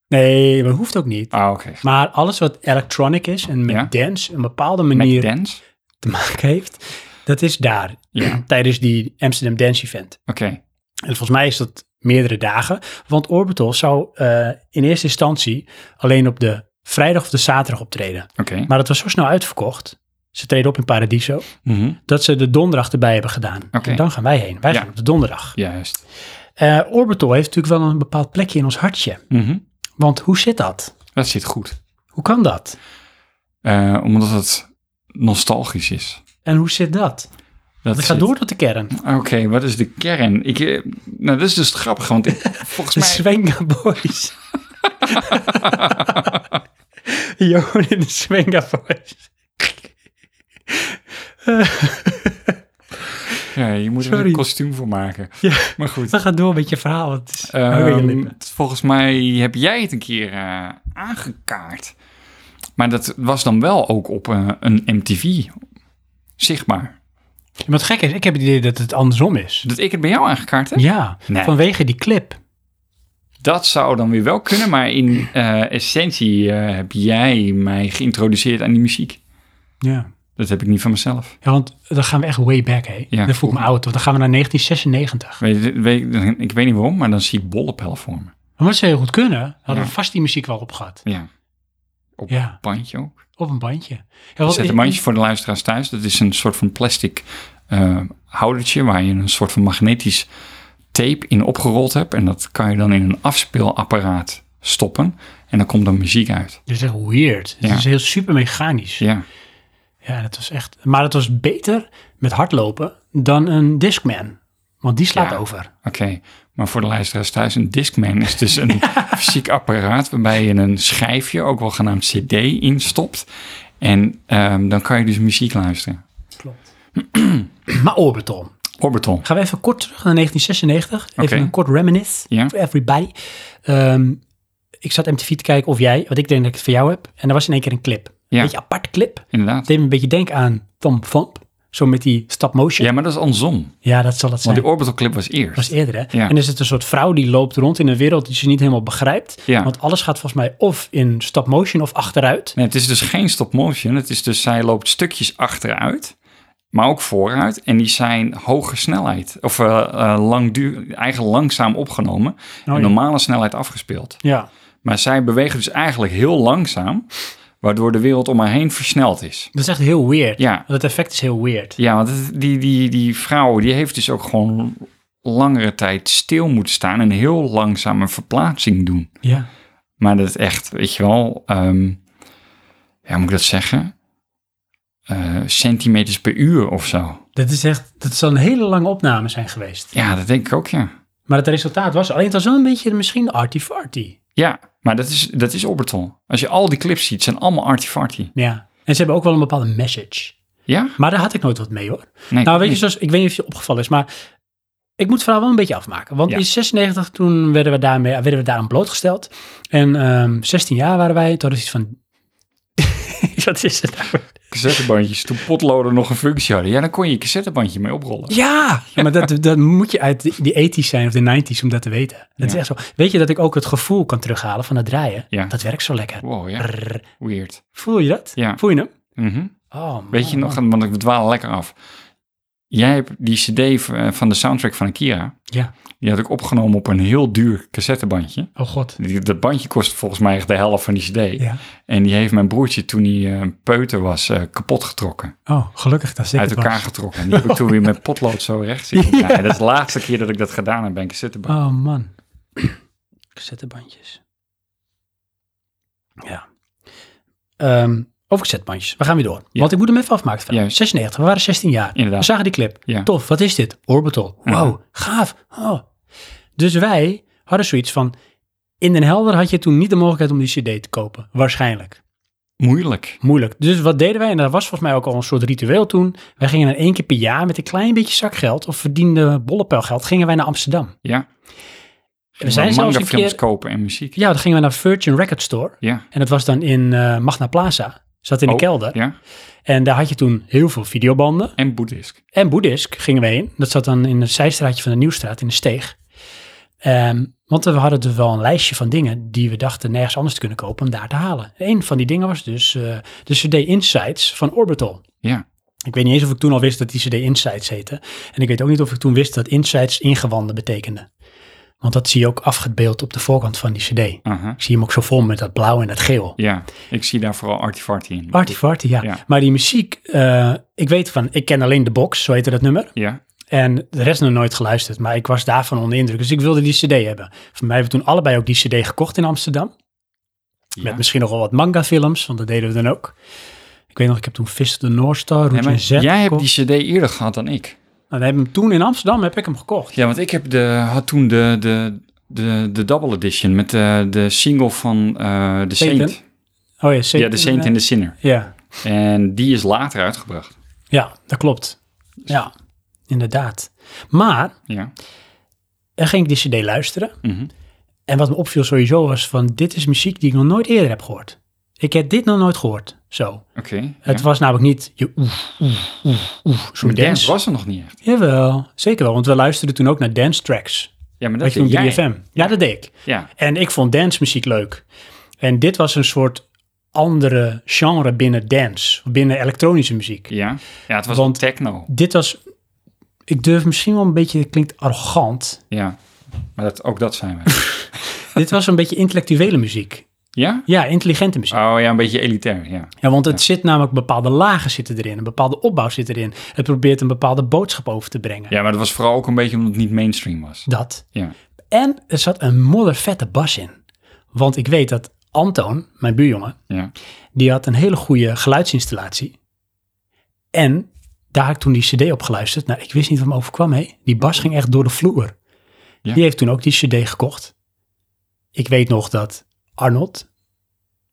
Speaker 1: Nee, maar hoeft ook niet.
Speaker 2: Ah, oké.
Speaker 1: Maar alles wat electronic is en met
Speaker 2: Ja.
Speaker 1: dance een bepaalde
Speaker 2: Met
Speaker 1: manier
Speaker 2: dance?
Speaker 1: te maken heeft, dat is daar.
Speaker 2: Ja.
Speaker 1: Tijdens die Amsterdam Dance Event.
Speaker 2: Oké,
Speaker 1: En volgens mij is dat meerdere dagen. Want Orbital zou eh, in eerste instantie alleen op de vrijdag of de zaterdag optreden.
Speaker 2: oké.
Speaker 1: Maar het was zo snel uitverkocht. Ze treden op in Paradiso.
Speaker 2: Mhm.
Speaker 1: Dat ze de donderdag erbij hebben gedaan.
Speaker 2: Oké.
Speaker 1: En dan gaan wij heen. Wij
Speaker 2: Ja.
Speaker 1: gaan op de donderdag.
Speaker 2: Juist.
Speaker 1: Eh, Orbital heeft natuurlijk wel een bepaald plekje in ons hartje.
Speaker 2: Mhm.
Speaker 1: Want hoe zit dat?
Speaker 2: Dat zit goed.
Speaker 1: Hoe kan dat?
Speaker 2: Eh, omdat het nostalgisch is.
Speaker 1: En hoe zit dat? Het
Speaker 2: Dat
Speaker 1: gaat
Speaker 2: zit- Ah,
Speaker 1: door tot de kern.
Speaker 2: Oké, wat is de kern? Ik, eh, nou, dat is dus grappig, want ik, volgens
Speaker 1: De
Speaker 2: mij...
Speaker 1: Swenga Boys. Johan in de Swenga Boys.
Speaker 2: Ja, je moet er
Speaker 1: Sorry.
Speaker 2: een kostuum voor maken.
Speaker 1: Ja.
Speaker 2: Maar goed.
Speaker 1: We gaan door met je verhaal. want Het is
Speaker 2: Ehm,
Speaker 1: hang aan je lippen.
Speaker 2: volgens mij heb jij het een keer eh, aangekaart. Maar dat was dan wel ook op eh, een MTV zichtbaar.
Speaker 1: Ja, maar het gekke is, ik heb het idee dat het andersom is.
Speaker 2: Dat ik het bij jou aangekaart heb?
Speaker 1: Ja,
Speaker 2: Nee.
Speaker 1: vanwege die clip.
Speaker 2: Dat zou dan weer wel kunnen, maar in eh, essentie eh, heb jij mij geïntroduceerd aan die muziek.
Speaker 1: Ja.
Speaker 2: Dat heb ik niet van mezelf.
Speaker 1: ja, want dan gaan we echt way back, hè.
Speaker 2: Ja,
Speaker 1: dat voelt me oud, want dan gaan we naar 1996.
Speaker 2: Weet, je- weet, ik weet niet waarom, maar dan zie ik bollepel voor me.
Speaker 1: Maar dat zou heel goed kunnen. Hadden
Speaker 2: Ja.
Speaker 1: we vast die muziek wel op gehad.
Speaker 2: Ja. Op
Speaker 1: Ja.
Speaker 2: bandje ook.
Speaker 1: Op een bandje. Ja, want
Speaker 2: Zet
Speaker 1: ik-
Speaker 2: een bandje voor de luisteraars thuis. Dat is een soort van plastic eh, houdertje waar je een soort van magnetisch tape in opgerold hebt. En dat kan je dan in een afspeelapparaat stoppen. En dan komt dan muziek uit.
Speaker 1: Dit is echt weird. Het
Speaker 2: Ja.
Speaker 1: is heel super mechanisch.
Speaker 2: Ja,
Speaker 1: Ja, dat was echt. Maar het was beter met hardlopen dan een Discman. Want die slaat
Speaker 2: Ja.
Speaker 1: over.
Speaker 2: oké. Maar voor de luisteraars thuis, een Discman is dus een fysiek apparaat waarbij je een schijfje, ook wel genaamd CD, instopt. En ehm, dan kan je dus muziek luisteren.
Speaker 1: Klopt. maar Orbital.
Speaker 2: Orbital.
Speaker 1: Gaan we even kort terug naar 1996. Even
Speaker 2: Oké.
Speaker 1: een kort reminis
Speaker 2: Ja.
Speaker 1: for everybody. Ehm, ik zat MTV te kijken of jij, want ik denk dat ik het voor jou heb. En er was in één keer een clip.
Speaker 2: Ja.
Speaker 1: Een beetje een aparte clip. Het
Speaker 2: Inderdaad.
Speaker 1: deed me een beetje denken aan Thumb Thump. Zo met die stop motion.
Speaker 2: Ja, maar dat is andersom.
Speaker 1: Ja, dat zal het
Speaker 2: Want
Speaker 1: zijn.
Speaker 2: die Orbital clip was eerst.
Speaker 1: Dat was eerder, hè?
Speaker 2: Ja.
Speaker 1: En er zit een soort vrouw die loopt rond in een wereld die ze niet helemaal begrijpt.
Speaker 2: Ja.
Speaker 1: Want alles gaat volgens mij of in stop motion of achteruit.
Speaker 2: Nee, het is dus geen stop motion. Het is dus zij loopt stukjes achteruit, maar ook vooruit. En die zijn hoge snelheid, of eh eh, langdu- eigenlijk langzaam opgenomen.
Speaker 1: ja.
Speaker 2: en normale snelheid afgespeeld.
Speaker 1: Oh, Ja.
Speaker 2: Maar zij bewegen dus eigenlijk heel langzaam, waardoor de wereld om haar heen versneld is.
Speaker 1: Dat is echt heel weird.
Speaker 2: Ja.
Speaker 1: Dat effect is heel weird.
Speaker 2: Ja, want het- die, die, die vrouw die heeft dus ook gewoon langere tijd stil moeten staan en heel langzaam een verplaatsing doen.
Speaker 1: Ja.
Speaker 2: Maar dat is echt, weet je wel, ehm, ja, hoe moet ik dat zeggen? Eh, centimeters per uur of zo.
Speaker 1: Dat is echt, dat zal een hele lange opname zijn geweest.
Speaker 2: Ja, dat denk ik ook, ja.
Speaker 1: Maar het resultaat was, alleen het was wel een beetje misschien arty-farty.
Speaker 2: Ja, maar dat is, dat is orbital. Als je al die clips ziet, zijn allemaal artifarty.
Speaker 1: Ja. En ze hebben ook wel een bepaalde message.
Speaker 2: Ja?
Speaker 1: Maar daar had ik nooit wat mee hoor.
Speaker 2: Nee,
Speaker 1: nou, weet je,
Speaker 2: nee.
Speaker 1: zoals, ik weet niet of je opgevallen is, maar ik moet het verhaal wel een beetje afmaken. Want
Speaker 2: Ja.
Speaker 1: in 96, toen werden we, daarmee, werden we daaraan blootgesteld. En ehm, 16 jaar waren wij, toen hadden we iets van... wat is het nou?
Speaker 2: Cassettebandjes, toen potloden nog een functie hadden. Ja, dan kon je je cassettebandje mee oprollen.
Speaker 1: Ja, maar dat, dat moet je uit die- die 80s zijn of de 90s om dat te weten. Dat
Speaker 2: Ja.
Speaker 1: is echt zo. Weet je dat ik ook het gevoel kan terughalen van het draaien?
Speaker 2: Ja.
Speaker 1: Dat werkt zo lekker.
Speaker 2: Wow, ja.
Speaker 1: Brrr.
Speaker 2: Weird.
Speaker 1: Voel je dat?
Speaker 2: Ja.
Speaker 1: Voel je hem?
Speaker 2: Mhm.
Speaker 1: Oh, man,
Speaker 2: Weet je nog,
Speaker 1: man.
Speaker 2: want ik dwaal lekker af. Jij hebt die cd eh, van- van de soundtrack van Akira.
Speaker 1: Ja.
Speaker 2: Die had ik opgenomen op een heel duur cassettebandje.
Speaker 1: Oh god.
Speaker 2: Die- Dat bandje kost volgens mij echt de helft van die cd.
Speaker 1: Ja.
Speaker 2: En die heeft mijn broertje toen hij eh, een peuter was eh, kapot getrokken.
Speaker 1: Oh, gelukkig dat zeker
Speaker 2: uit elkaar getrokken. En die heb ik toen weer met potlood zo recht zitten. Ja. dat is de laatste keer dat ik dat gedaan heb bij een cassetteband.
Speaker 1: Oh man. Cassettebandjes. Ja. Ehm over cassettebandjes. We gaan weer door. Want ik moet hem even afmaken. verder.
Speaker 2: Juist.
Speaker 1: 96. We waren 16 jaar.
Speaker 2: Inderdaad.
Speaker 1: We zagen die clip.
Speaker 2: Ja.
Speaker 1: Tof. Wat is dit? Orbital. Wow. Gaaf. Oh. Dus wij hadden zoiets van... In Den Helder had je toen niet de mogelijkheid om die cd te kopen. Waarschijnlijk.
Speaker 2: Moeilijk.
Speaker 1: Moeilijk. Dus wat deden wij? En dat was volgens mij ook al een soort ritueel toen. Wij gingen dan één keer per jaar met een klein beetje zakgeld... of verdiende bollepelgeld, gingen wij naar Amsterdam.
Speaker 2: Ja.
Speaker 1: We zijn zelfs een
Speaker 2: films
Speaker 1: keer...
Speaker 2: kopen en muziek.
Speaker 1: Ja, dan gingen we naar Virgin Record Store.
Speaker 2: Ja.
Speaker 1: En dat was dan in eh, Magna Plaza. Zat in de
Speaker 2: Oh,
Speaker 1: kelder.
Speaker 2: Ja,
Speaker 1: En daar had je toen heel veel videobanden.
Speaker 2: en boeddhisk.
Speaker 1: En boeddhisk gingen we heen. Dat zat dan in het zijstraatje van de Nieuwstraat in de steeg. Ehm, want we hadden dus wel een lijstje van dingen die we dachten nergens anders te kunnen kopen om daar te halen. Een van die dingen was dus eh, de CD Insights van Orbital.
Speaker 2: Ja.
Speaker 1: Ik weet niet eens of ik toen al wist dat die CD Insights heette. En ik weet ook niet of ik toen wist dat Insights ingewanden betekende. Want dat zie je ook afgebeeld op de voorkant van die CD.
Speaker 2: Aha.
Speaker 1: Ik zie hem ook zo vol met dat blauw en dat geel.
Speaker 2: Ja, ik zie daar vooral artifarty in.
Speaker 1: Party Party, ja.
Speaker 2: Ja.
Speaker 1: Maar die muziek, eh, ik weet van, ik ken alleen de box, zo heette dat nummer.
Speaker 2: Ja,
Speaker 1: En de rest nog nooit geluisterd, maar ik was daarvan onder de indruk. Dus ik wilde die cd hebben. Voor mij hebben we toen allebei ook die cd gekocht in Amsterdam.
Speaker 2: ja.
Speaker 1: Met misschien nog wel wat manga films, want dat deden we dan ook. Ik weet nog, ik heb toen Fist of the North Star,
Speaker 2: Nee,
Speaker 1: Route
Speaker 2: maar
Speaker 1: en Z
Speaker 2: jij hebt
Speaker 1: gekocht.
Speaker 2: die cd eerder gehad dan ik.
Speaker 1: Nou, we hebben hem toen in Amsterdam heb ik hem gekocht.
Speaker 2: Ja, want ik heb de, had toen de, de, de, de double edition met de, de single van eh The
Speaker 1: Satan?
Speaker 2: Saint.
Speaker 1: Oh ja, Satan,
Speaker 2: Ja, The Saint
Speaker 1: eh,
Speaker 2: en The Sinner.
Speaker 1: Ja.
Speaker 2: En die is later uitgebracht.
Speaker 1: ja, dat klopt. Ja, inderdaad. Maar,
Speaker 2: Ja.
Speaker 1: dan ging ik die cd luisteren.
Speaker 2: Mhm.
Speaker 1: En wat me opviel sowieso was van, dit is muziek die ik nog nooit eerder heb gehoord. Ik heb dit nog nooit gehoord, zo.
Speaker 2: Oké.
Speaker 1: Het
Speaker 2: ja.
Speaker 1: was namelijk niet je oef, oef, oef, oef, zo'n
Speaker 2: Maar
Speaker 1: dance.
Speaker 2: dance was er nog niet echt.
Speaker 1: Jawel, zeker wel, want we luisterden toen ook naar dance tracks.
Speaker 2: Ja, maar
Speaker 1: Dat
Speaker 2: dat
Speaker 1: je toen
Speaker 2: deed jij.
Speaker 1: 3FM. Ja, dat deed ik.
Speaker 2: Ja,
Speaker 1: En ik vond dancemuziek leuk. En dit was een soort andere genre binnen dance, binnen elektronische muziek.
Speaker 2: ja. ja, het was
Speaker 1: Want-
Speaker 2: techno.
Speaker 1: Dit was, ik durf misschien wel een beetje, het klinkt arrogant.
Speaker 2: Ja, maar dat, ook dat zijn wij.
Speaker 1: dit was een beetje intellectuele muziek.
Speaker 2: ja?
Speaker 1: Ja, intelligente muziek.
Speaker 2: Oh ja, een beetje elitair, ja.
Speaker 1: Ja, want het zit namelijk bepaalde lagen zitten erin, een bepaalde opbouw zit erin. Het probeert een bepaalde boodschap over te brengen.
Speaker 2: Ja, maar dat was vooral ook een beetje omdat het niet mainstream was.
Speaker 1: Dat.
Speaker 2: Ja,
Speaker 1: En er zat een moddervette bas in. Want ik weet dat Antoon, mijn buurjongen,
Speaker 2: ja.
Speaker 1: die had een hele goede geluidsinstallatie. En daar had ik toen die cd op geluisterd. Nou, ik wist niet wat me overkwam, hé. Die bas ging echt door de vloer.
Speaker 2: Ja.
Speaker 1: Die heeft toen ook die cd gekocht. Ik weet nog dat Arnold,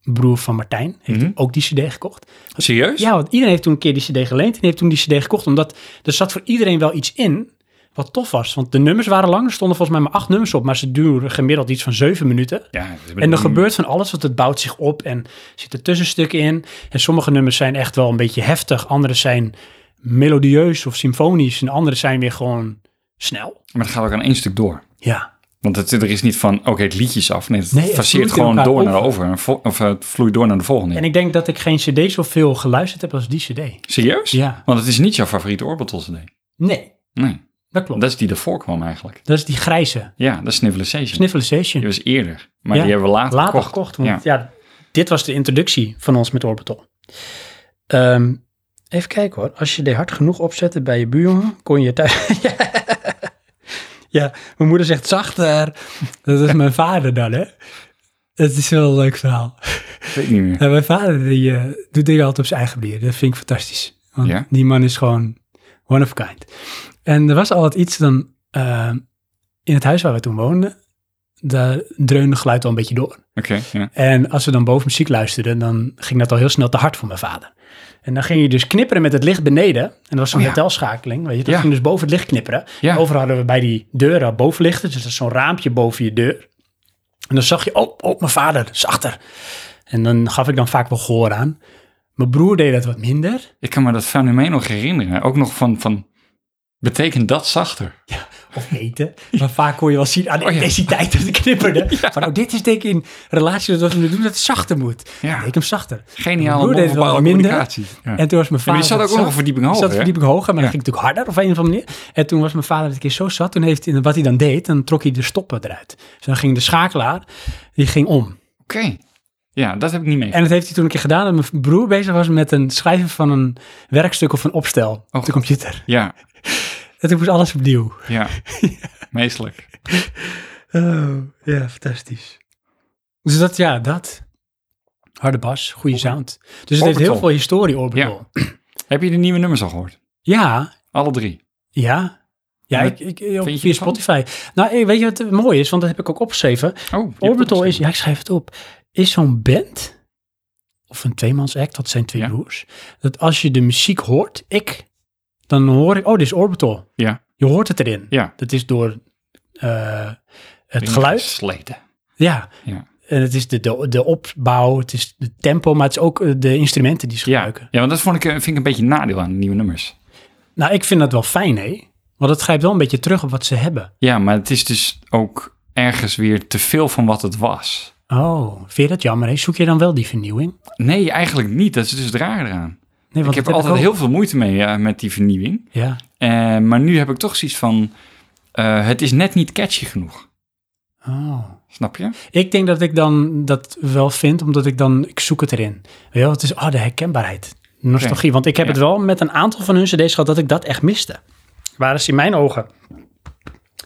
Speaker 1: broer van Martijn, heeft
Speaker 2: Mhm.
Speaker 1: ook die cd gekocht.
Speaker 2: Serieus?
Speaker 1: Ja, want iedereen heeft toen een keer die cd geleend en heeft toen die cd gekocht. Omdat er zat voor iedereen wel iets in wat tof was. Want de nummers waren lang, er stonden volgens mij maar acht nummers op. Maar ze duren gemiddeld iets van zeven minuten.
Speaker 2: Ja, dat is-
Speaker 1: En er gebeurt van alles, want het bouwt zich op en zitten tussenstukken in. En sommige nummers zijn echt wel een beetje heftig. Andere zijn melodieus of symfonisch. En andere zijn weer gewoon snel.
Speaker 2: Maar het gaat ook aan één stuk door.
Speaker 1: Ja,
Speaker 2: Want het, er is niet van, oké, het liedje is af. Nee, het
Speaker 1: Nee, het
Speaker 2: faceert
Speaker 1: vloeit in
Speaker 2: gewoon
Speaker 1: elkaar
Speaker 2: door naar de over. en vo- Of eh, het vloeit door naar de volgende.
Speaker 1: en ik denk dat ik geen cd zoveel geluisterd heb als die cd.
Speaker 2: Serieus?
Speaker 1: Ja.
Speaker 2: Want het is niet jouw favoriete Orbital CD.
Speaker 1: Nee,
Speaker 2: Nee,
Speaker 1: dat klopt.
Speaker 2: dat
Speaker 1: Dat,
Speaker 2: is die ervoor kwam eigenlijk.
Speaker 1: is die grijze
Speaker 2: Ja, dat is Snivelisation.
Speaker 1: Sniffelization.
Speaker 2: Die was eerder, maar
Speaker 1: Ja.
Speaker 2: die hebben we later,
Speaker 1: later
Speaker 2: gekocht.
Speaker 1: gekocht.
Speaker 2: Ja.
Speaker 1: want ja. dit was de introductie van ons met Orbital. Ehm, even kijken hoor. Als je die hard genoeg opzette bij je buurjongen, kon je thuis... ja. mijn moeder zegt zachter. Dat is mijn vader dan, hè? Dat is wel een leuk verhaal.
Speaker 2: Ik weet niet meer.
Speaker 1: Ja, mijn vader die, eh, doet dingen altijd op zijn eigen manier. Dat vind ik fantastisch. Want
Speaker 2: Ja.
Speaker 1: die man is gewoon one of a kind. En er was altijd iets dan... eh, in het huis waar we toen woonden, daar dreunde geluid al een beetje door.
Speaker 2: Oké, ja.
Speaker 1: En als we dan boven muziek luisterden, dan ging dat al heel snel te hard voor mijn vader. En dan ging je dus knipperen met het licht beneden. En dat was zo'n
Speaker 2: Oh ja.
Speaker 1: hotelschakeling, weet je. Dat
Speaker 2: Ja.
Speaker 1: ging dus boven het licht knipperen.
Speaker 2: Ja.
Speaker 1: En Overal hadden we bij die deuren bovenlichten. Dus dat is zo'n raampje boven je deur. En dan zag je, oh, oh, mijn vader, zachter. En dan gaf ik dan vaak wel gehoor aan. Mijn broer deed dat wat minder.
Speaker 2: Ik kan me dat fenomeen nog herinneren. Ook nog van, van betekent dat zachter?
Speaker 1: Of eten. Maar vaak kon je wel zien aan de
Speaker 2: Oh ja.
Speaker 1: intensiteit dat ik knipperde. Van, oh, dit is denk ik in relatie met wat we nu doen, dat het zachter moet.
Speaker 2: Ja.
Speaker 1: Dan deed ik hem zachter. Mijn
Speaker 2: Geniale
Speaker 1: broer deed het
Speaker 2: non-verbale
Speaker 1: wel minder.
Speaker 2: communicatie. Ja.
Speaker 1: En toen was mijn
Speaker 2: Ja,
Speaker 1: vader...
Speaker 2: maar die zat ook nog een verdieping
Speaker 1: Die
Speaker 2: hoger,
Speaker 1: zat
Speaker 2: hè?
Speaker 1: een verdieping hoger, maar dat
Speaker 2: Ja.
Speaker 1: ging natuurlijk harder op een of andere manier. En toen was mijn vader een keer zo zat, toen heeft hij, wat hij dan deed, dan trok hij de stoppen eruit. Dus dan ging de schakelaar, die ging om.
Speaker 2: Oké. Ja, dat heb ik niet mee.
Speaker 1: En dat heeft hij toen een keer gedaan, dat mijn broer bezig was met een schrijven van een werkstuk of een opstel
Speaker 2: Oh.
Speaker 1: op de computer.
Speaker 2: Ja,
Speaker 1: En toen moest alles opnieuw.
Speaker 2: ja. Meestelijk.
Speaker 1: Oh, ja, fantastisch. Dus dat, ja, dat. Harde bas, goede sound. Dus het heeft
Speaker 2: Orbital.
Speaker 1: heel veel historie, Orbital. Ja,
Speaker 2: Heb je de nieuwe nummers al gehoord?
Speaker 1: ja
Speaker 2: Alle drie.
Speaker 1: Ja. Ja,
Speaker 2: Maar
Speaker 1: ik, ik, op-
Speaker 2: vind je
Speaker 1: via
Speaker 2: ervan?
Speaker 1: Spotify. Nou, eh, weet je wat mooi is? Want dat heb ik ook opgeschreven.
Speaker 2: Oh,
Speaker 1: Orbital is, ja, ik schrijf het op, is zo'n band, of een tweemans act, dat zijn twee
Speaker 2: Ja.
Speaker 1: broers, dat als je de muziek hoort, ik, dan hoor ik, oh, dit is Orbital.
Speaker 2: Ja.
Speaker 1: Je hoort het erin.
Speaker 2: Ja.
Speaker 1: Dat is door eh, het geluid.
Speaker 2: Sleten.
Speaker 1: Ja.
Speaker 2: Ja.
Speaker 1: En het is de, de, de opbouw, het is het tempo, maar het is ook eh, de instrumenten die ze
Speaker 2: Ja,
Speaker 1: gebruiken.
Speaker 2: ja want dat vond ik, eh, vind ik een beetje een nadeel aan de nieuwe nummers.
Speaker 1: Nou, ik vind dat wel fijn, hè? Want het grijpt wel een beetje terug op wat ze hebben.
Speaker 2: Ja, maar het is dus ook ergens weer te veel van wat het was.
Speaker 1: Oh, vind je dat jammer, hè? Zoek je dan wel die vernieuwing?
Speaker 2: Nee, eigenlijk niet. Dat is dus het raar eraan.
Speaker 1: Nee,
Speaker 2: Ik
Speaker 1: want
Speaker 2: heb
Speaker 1: dat
Speaker 2: altijd
Speaker 1: ook.
Speaker 2: heel veel moeite mee ja, met die vernieuwing.
Speaker 1: Ja,
Speaker 2: Eh, maar nu heb ik toch zoiets van, eh, het is net niet catchy genoeg.
Speaker 1: oh.
Speaker 2: Snap je?
Speaker 1: Ik denk dat ik dan dat wel vind, omdat ik dan, ik zoek het erin. Weet je wel, het is, oh, de herkenbaarheid. Nostalgie. Want ik heb
Speaker 2: Ja.
Speaker 1: het wel met een aantal van hun cd's gehad dat ik dat echt miste. Waren ze in mijn ogen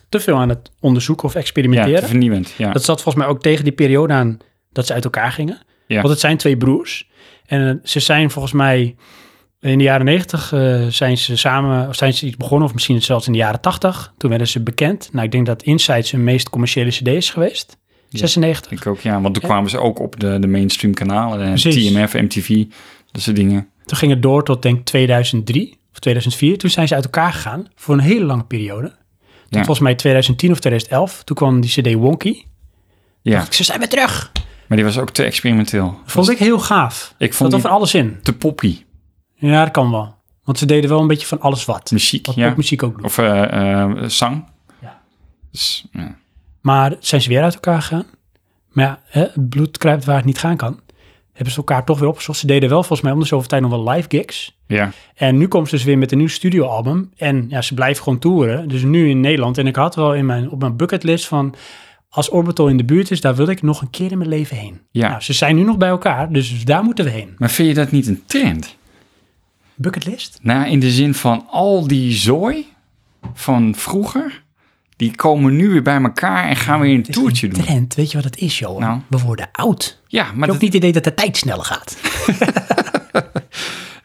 Speaker 1: te veel aan het onderzoeken of
Speaker 2: Ja,
Speaker 1: experimenteren.
Speaker 2: te vernieuwend. Ja.
Speaker 1: Dat zat volgens mij ook tegen die periode aan dat ze uit elkaar gingen.
Speaker 2: Ja.
Speaker 1: Want het zijn twee broers. En eh, ze zijn volgens mij eh, in de jaren negentig eh, zijn ze samen, of zijn ze iets begonnen, of misschien zelfs in de jaren tachtig. Toen werden ze bekend. Nou, ik denk dat Insights hun meest commerciële CD is geweest. 96.
Speaker 2: Ik ook, ja. Want toen kwamen ze ook op de, de mainstream kanalen. eh,
Speaker 1: Precies.
Speaker 2: TMF, MTV, dat soort dingen.
Speaker 1: Toen ging het door tot denk ik 2003 of 2004. Toen zijn ze uit elkaar gegaan voor een hele lange periode. Tot
Speaker 2: Ja.
Speaker 1: volgens mij 2010 of 2011. Toen kwam die CD Wonky.
Speaker 2: Ja,
Speaker 1: Ze zijn weer terug.
Speaker 2: maar die was ook te experimenteel.
Speaker 1: Dat vond ik heel gaaf.
Speaker 2: Dus Ik vond
Speaker 1: dat
Speaker 2: die-
Speaker 1: er van alles in.
Speaker 2: Te poppy,
Speaker 1: Ja, dat kan wel. Want ze deden wel een beetje van alles wat.
Speaker 2: muziek,
Speaker 1: Wat
Speaker 2: ja.
Speaker 1: muziek ook doet.
Speaker 2: Of eh, eh, zang.
Speaker 1: Ja.
Speaker 2: Dus, ja.
Speaker 1: Maar zijn ze weer uit elkaar gegaan? Maar ja, hè, het bloed kruipt waar het niet gaan kan. Hebben ze elkaar toch weer opgezocht. Ze deden wel volgens mij om de zoveel tijd nog wel live gigs.
Speaker 2: ja.
Speaker 1: En nu komen ze dus weer met een nieuw studioalbum. En ja, ze blijven gewoon toeren. Dus nu in Nederland. En ik had wel in mijn, op mijn bucketlist van... Als Orbital in de buurt is, daar wil ik nog een keer in mijn leven heen.
Speaker 2: Ja.
Speaker 1: Nou, ze zijn nu nog bij elkaar, dus daar moeten we heen.
Speaker 2: Maar vind je dat niet een trend?
Speaker 1: Bucketlist?
Speaker 2: Nou, in de zin van al die zooi van vroeger, die komen nu weer bij elkaar en gaan weer een toertje doen.
Speaker 1: Trend, weet je wat het is, Johan?
Speaker 2: Nou.
Speaker 1: We worden oud.
Speaker 2: Ja, maar
Speaker 1: Ik
Speaker 2: dat,
Speaker 1: heb ook niet het idee dat de tijd sneller gaat.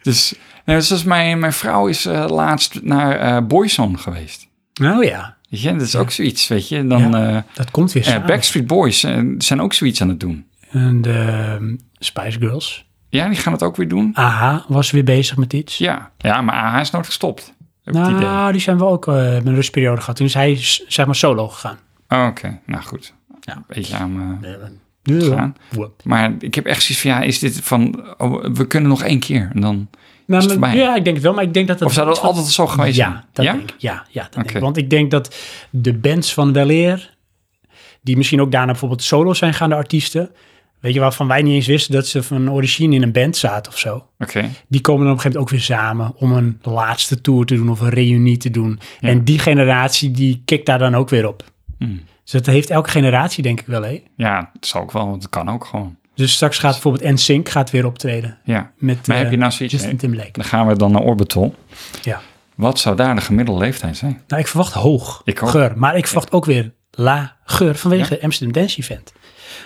Speaker 2: Dus, nou, zoals mijn, mijn vrouw is eh, laatst naar eh Boyzone geweest.
Speaker 1: Nou ja,
Speaker 2: Weet je, dat is ook zoiets, weet je. Dan,
Speaker 1: Ja.
Speaker 2: eh,
Speaker 1: dat komt weer
Speaker 2: eh,
Speaker 1: samen.
Speaker 2: Backstreet Boys eh, zijn ook zoiets aan het doen.
Speaker 1: En de ehm, Spice Girls.
Speaker 2: Ja, die gaan het ook weer doen.
Speaker 1: AHA was weer bezig met iets.
Speaker 2: Ja, ja maar AH is nooit gestopt. Heb ik het idee.
Speaker 1: nou, die zijn we ook eh, met een rustperiode gehad. Toen is hij s- zeg maar solo gegaan.
Speaker 2: Oh, Oké, nou goed.
Speaker 1: Ja.
Speaker 2: Een beetje aan eh, me
Speaker 1: Ja.
Speaker 2: gaan. Maar ik heb echt zoiets van, ja, is dit van, oh, we kunnen nog één keer. En dan,
Speaker 1: Nou,
Speaker 2: het
Speaker 1: maar-
Speaker 2: voorbij?
Speaker 1: ja, ik denk het wel, maar ik denk dat het...
Speaker 2: of zou dat altijd zo geweest zijn?
Speaker 1: Ja, dat
Speaker 2: ja?
Speaker 1: denk ik. Ja, ja, dat denk
Speaker 2: Oké.
Speaker 1: ik. Want ik denk dat de bands van Weleer, die misschien ook daarna bijvoorbeeld solo zijn gaan, de artiesten, weet je, waarvan wij niet eens wisten dat ze van origine in een band zaten of zo.
Speaker 2: Oké,
Speaker 1: die komen dan op een gegeven moment ook weer samen om een laatste tour te doen of een reunie te doen. En die generatie die kikt daar dan ook weer op.
Speaker 2: Hmm.
Speaker 1: Dus dat heeft elke generatie denk ik wel, hè?
Speaker 2: ja, dat zal ook wel, want het kan ook gewoon.
Speaker 1: Dus straks gaat bijvoorbeeld NSYNC gaat weer optreden
Speaker 2: Ja,
Speaker 1: met
Speaker 2: Maar
Speaker 1: eh,
Speaker 2: heb je nou zoiets-
Speaker 1: Justin Timberlake.
Speaker 2: dan gaan we dan naar Orbital.
Speaker 1: Ja.
Speaker 2: Wat zou daar de gemiddelde leeftijd zijn?
Speaker 1: Nou, ik verwacht hoog
Speaker 2: Ik ook.
Speaker 1: geur, maar ik verwacht ook weer la geur vanwege de Amsterdam Dance Event.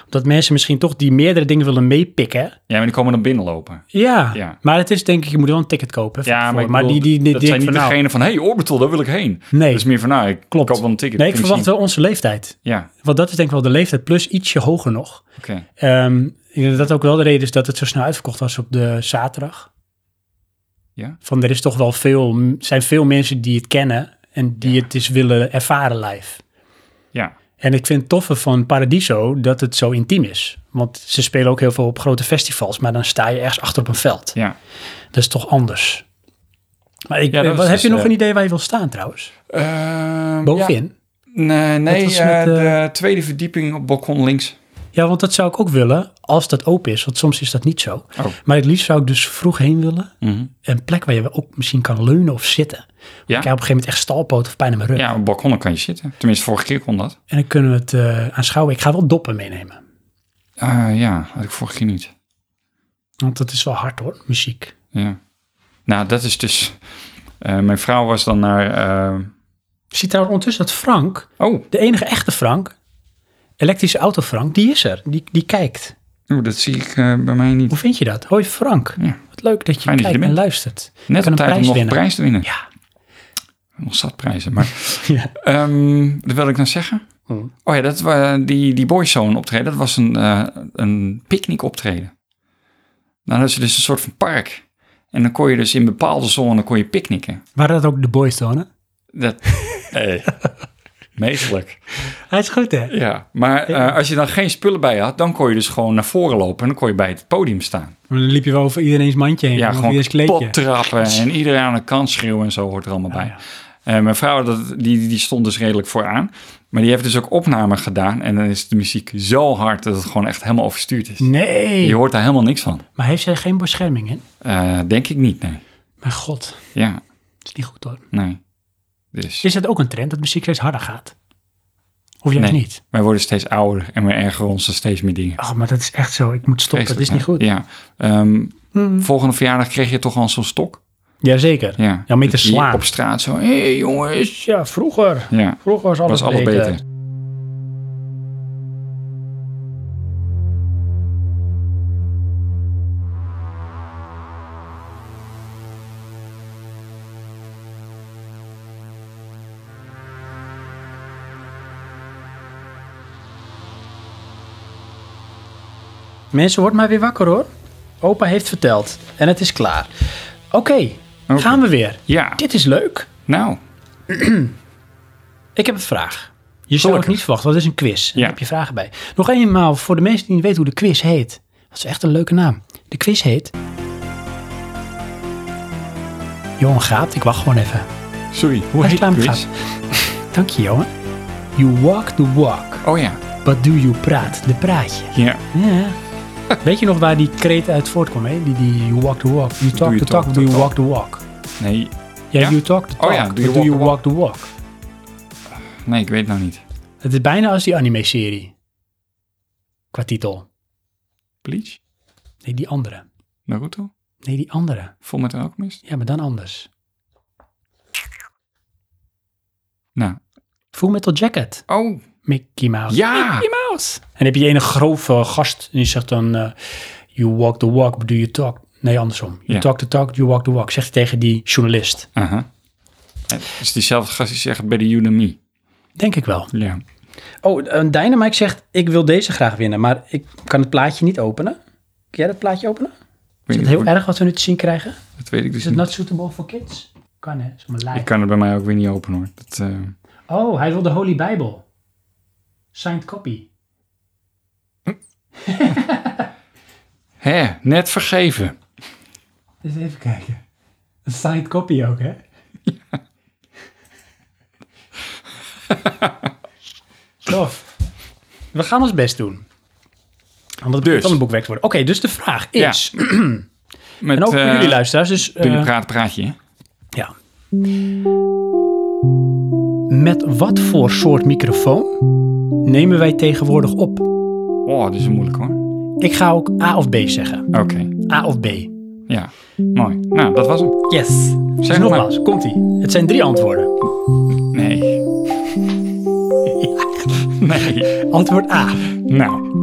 Speaker 1: Omdat mensen misschien toch die meerdere dingen willen meepikken.
Speaker 2: Ja, maar die komen dan binnenlopen.
Speaker 1: Ja,
Speaker 2: Ja.
Speaker 1: maar het is denk ik, je moet wel een ticket kopen. hè, van
Speaker 2: Ja, maar, ik
Speaker 1: tevoren. die,
Speaker 2: bedoel,
Speaker 1: die, die,
Speaker 2: dat
Speaker 1: die
Speaker 2: zijn
Speaker 1: ik
Speaker 2: niet
Speaker 1: van, nou,
Speaker 2: degene van, hey Orbital, daar wil ik heen.
Speaker 1: Nee.
Speaker 2: Dat is meer van, nou, ik
Speaker 1: Klopt.
Speaker 2: koop wel een ticket.
Speaker 1: Nee, ik
Speaker 2: kun je
Speaker 1: verwacht
Speaker 2: zien.
Speaker 1: wel onze leeftijd.
Speaker 2: Ja,
Speaker 1: Want dat is denk ik wel de leeftijd, plus ietsje hoger nog.
Speaker 2: oké.
Speaker 1: Ehm, ik denk dat dat ook wel de reden is dat het zo snel uitverkocht was op de zaterdag.
Speaker 2: Ja.
Speaker 1: Van er is toch wel veel, m- zijn veel mensen die het kennen en die het eens willen ervaren live.
Speaker 2: Ja,
Speaker 1: En ik vind het toffe van Paradiso dat het zo intiem is. Want ze spelen ook heel veel op grote festivals, maar dan sta je ergens achter op een veld.
Speaker 2: ja.
Speaker 1: Dat is toch anders. Maar ik,
Speaker 2: Ja, dat
Speaker 1: eh,
Speaker 2: is
Speaker 1: heb
Speaker 2: dus,
Speaker 1: je nog
Speaker 2: eh,
Speaker 1: een idee waar je wil staan trouwens?
Speaker 2: Ehm,
Speaker 1: Bovenin?
Speaker 2: ja. Nee, nee
Speaker 1: was
Speaker 2: eh,
Speaker 1: met, eh,
Speaker 2: de tweede verdieping op balkon links.
Speaker 1: Ja, want dat zou ik ook willen als dat open is, want soms is dat niet zo.
Speaker 2: Oh.
Speaker 1: Maar het liefst zou ik dus vroeg heen willen.
Speaker 2: Mhm.
Speaker 1: Een plek waar je ook misschien kan leunen of zitten.
Speaker 2: Ja.
Speaker 1: Ik heb op een gegeven moment echt stalpoot of pijn in mijn rug.
Speaker 2: Ja, op balkonnen kan je zitten. Tenminste, vorige keer kon dat.
Speaker 1: En dan kunnen we het eh, aanschouwen. Ik ga wel doppen meenemen.
Speaker 2: Eh, ja, had ik vorige keer niet.
Speaker 1: Want dat is wel hard hoor, muziek.
Speaker 2: Ja. Nou, dat is dus... eh, mijn vrouw was dan naar... eh,
Speaker 1: Ik zie trouwens ondertussen dat Frank,
Speaker 2: Oh,
Speaker 1: de enige echte Frank, elektrische auto Frank, die is er. Die, die kijkt.
Speaker 2: oeh, dat zie ik eh, bij mij niet.
Speaker 1: Hoe vind je dat? Hoi Frank.
Speaker 2: Ja.
Speaker 1: Wat leuk dat je
Speaker 2: Fijn dat je
Speaker 1: kijkt
Speaker 2: er
Speaker 1: en
Speaker 2: bent.
Speaker 1: luistert. Je
Speaker 2: Net
Speaker 1: kan
Speaker 2: op
Speaker 1: een
Speaker 2: tijd
Speaker 1: prijs
Speaker 2: om nog een
Speaker 1: winnen.
Speaker 2: prijs te winnen.
Speaker 1: Ja.
Speaker 2: Nog zat prijzen, maar...
Speaker 1: ja.
Speaker 2: Ehm, wat wil ik nou zeggen?
Speaker 1: Hm.
Speaker 2: Oh ja, dat, wa- die, die Boyzone optreden, dat was een, eh een picknick optreden. Nou, dat is dus een soort van park. En dan kon je dus in bepaalde zone kon je picknicken.
Speaker 1: Waren dat ook de boys dan? hè?
Speaker 2: Dat, hey. Meestelijk.
Speaker 1: Hij is goed, hè?
Speaker 2: Ja, maar eh, als je dan geen spullen bij je had, dan kon je dus gewoon naar voren lopen en dan kon je bij het podium staan.
Speaker 1: Maar dan liep je wel over iedereen's mandje heen.
Speaker 2: Ja,
Speaker 1: of
Speaker 2: gewoon
Speaker 1: iedereen's kleedje.
Speaker 2: pot trappen en iedereen aan de kant schreeuwen en zo hoort er allemaal bij.
Speaker 1: ja.
Speaker 2: Eh, mijn vrouw dat, die, die stond dus redelijk vooraan, maar die heeft dus ook opnamen gedaan en dan is de muziek zo hard dat het gewoon echt helemaal overstuurd is.
Speaker 1: Nee.
Speaker 2: Je hoort daar helemaal niks van.
Speaker 1: Maar heeft zij geen bescherming, hè?
Speaker 2: Eh, denk ik niet, nee.
Speaker 1: Mijn god,
Speaker 2: Ja,
Speaker 1: dat is niet goed, hoor.
Speaker 2: nee. Dus,
Speaker 1: Is dat ook een trend, dat muziek steeds harder gaat? Of juist
Speaker 2: nee.
Speaker 1: niet?
Speaker 2: Wij worden steeds ouder en we ergeren ons aan steeds meer dingen.
Speaker 1: Oh, maar dat is echt zo. Ik moet stoppen, dat is niet goed. Mm-hmm.
Speaker 2: Ja. Ehm, Volgende verjaardag kreeg je toch al zo'n stok?
Speaker 1: Jazeker.
Speaker 2: Ja.
Speaker 1: Ja, om mee te
Speaker 2: Dat je
Speaker 1: slaan.
Speaker 2: Op straat zo, hé hey, jongens.
Speaker 1: Ja, vroeger.
Speaker 2: Ja,
Speaker 1: Vroeger was alles,
Speaker 2: was alles
Speaker 1: beter.
Speaker 2: beter.
Speaker 1: Mensen, word maar weer wakker, hoor. Opa heeft verteld. En het is klaar. Oké,
Speaker 2: Oké.
Speaker 1: gaan we weer.
Speaker 2: Ja,
Speaker 1: Dit is leuk.
Speaker 2: nou,
Speaker 1: Ik heb een vraag. Je zou het
Speaker 2: Gelukkig.
Speaker 1: niet verwachten, want het is een quiz.
Speaker 2: Ja.
Speaker 1: Daar heb je vragen bij. Nog eenmaal, voor de mensen die niet weten hoe de quiz heet. Dat is echt een leuke naam. De quiz heet... Johan gaat, ik wacht gewoon even.
Speaker 2: sorry,
Speaker 1: Hij
Speaker 2: hoe heet
Speaker 1: is
Speaker 2: het
Speaker 1: klaar met
Speaker 2: quiz?
Speaker 1: Dank je, Johan. You walk the walk,
Speaker 2: Oh ja,
Speaker 1: but do you praat de praatje.
Speaker 2: ja,
Speaker 1: Ja. Weet je nog waar die kreet uit voortkwam, hè? Die, die you walk the walk. You talk
Speaker 2: you
Speaker 1: the talk,
Speaker 2: talk
Speaker 1: do
Speaker 2: the
Speaker 1: you
Speaker 2: talk.
Speaker 1: walk the walk.
Speaker 2: nee,
Speaker 1: Ja,
Speaker 2: Ja?
Speaker 1: you talk the talk,
Speaker 2: Oh ja,
Speaker 1: but do you, walk the walk.
Speaker 2: nee, ik weet het nou niet.
Speaker 1: Het is bijna als die anime-serie. Qua titel.
Speaker 2: Bleach?
Speaker 1: Nee, die andere.
Speaker 2: Naruto?
Speaker 1: Nee, die andere.
Speaker 2: Vol met Alchemist?
Speaker 1: Ja, maar dan anders.
Speaker 2: Nou,
Speaker 1: Full Metal Jacket.
Speaker 2: oh,
Speaker 1: Mickey Mouse.
Speaker 2: ja,
Speaker 1: Mickey Mouse. En dan heb je die ene grove eh, gast en die zegt dan... eh, you walk the walk, but do you talk... Nee, andersom. You
Speaker 2: Ja.
Speaker 1: talk the talk, you walk the walk. Zegt hij tegen die journalist.
Speaker 2: aha. Het is diezelfde gast die zegt bij de Unami.
Speaker 1: Denk ik wel.
Speaker 2: Ja,
Speaker 1: Oh, eh, Dynamite zegt... Ik wil deze graag winnen, maar ik kan het plaatje niet openen. Kun jij dat plaatje openen?
Speaker 2: Ik weet
Speaker 1: Is
Speaker 2: niet
Speaker 1: dat heel
Speaker 2: hoe-
Speaker 1: erg wat we nu te zien krijgen?
Speaker 2: Dat weet ik dus
Speaker 1: Is het
Speaker 2: niet.
Speaker 1: not suitable for kids? Kan hè, zo'n
Speaker 2: Ik
Speaker 1: lijf.
Speaker 2: kan het bij mij ook weer niet openen hoor. Dat, eh,
Speaker 1: Oh, hij wil de Holy Bijbel. Signed copy.
Speaker 2: hè, net vergeven.
Speaker 1: Dus even kijken. Een signed copy ook, hè? Tof. We gaan ons best doen. Anders
Speaker 2: Dus.
Speaker 1: dus. kan een boek weg worden. Oké, dus de vraag
Speaker 2: Ja.
Speaker 1: is...
Speaker 2: Met,
Speaker 1: En ook voor
Speaker 2: eh,
Speaker 1: jullie luisteraars, dus... eh,
Speaker 2: Binnen praat praatje, hè?
Speaker 1: ja. Met wat voor soort microfoon nemen wij tegenwoordig op?
Speaker 2: Oh, dit is moeilijk hoor.
Speaker 1: Ik ga ook A of B zeggen.
Speaker 2: Oké,
Speaker 1: A of B.
Speaker 2: ja, mooi. Nou, dat was hem.
Speaker 1: Yes.
Speaker 2: Zeg
Speaker 1: Dus
Speaker 2: maar.
Speaker 1: nogmaals, komt-ie. Het zijn drie antwoorden.
Speaker 2: Nee. Nee.
Speaker 1: Antwoord A.
Speaker 2: Nou,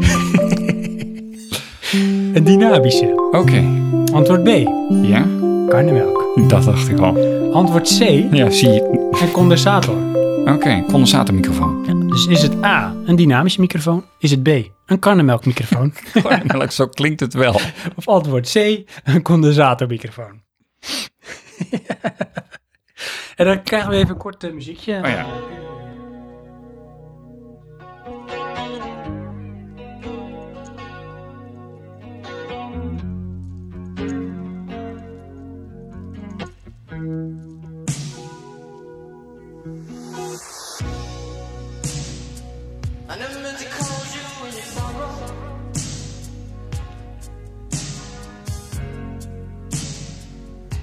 Speaker 1: Een dynamische.
Speaker 2: oké.
Speaker 1: Antwoord B.
Speaker 2: Ja,
Speaker 1: Karnemelk.
Speaker 2: dat dacht ik al.
Speaker 1: Antwoord C.
Speaker 2: Ja, zie je.
Speaker 1: Een condensator.
Speaker 2: Oké, condensatormicrofoon.
Speaker 1: Dus is het A. Een dynamische microfoon? Is het B. Een karnemelkmicrofoon?
Speaker 2: Eigenlijk zo klinkt het wel.
Speaker 1: of antwoord C. Een condensatormicrofoon? en dan krijgen we even een kort eh, muziekje.
Speaker 2: Oh ja.
Speaker 4: I never meant to call you in sorrow.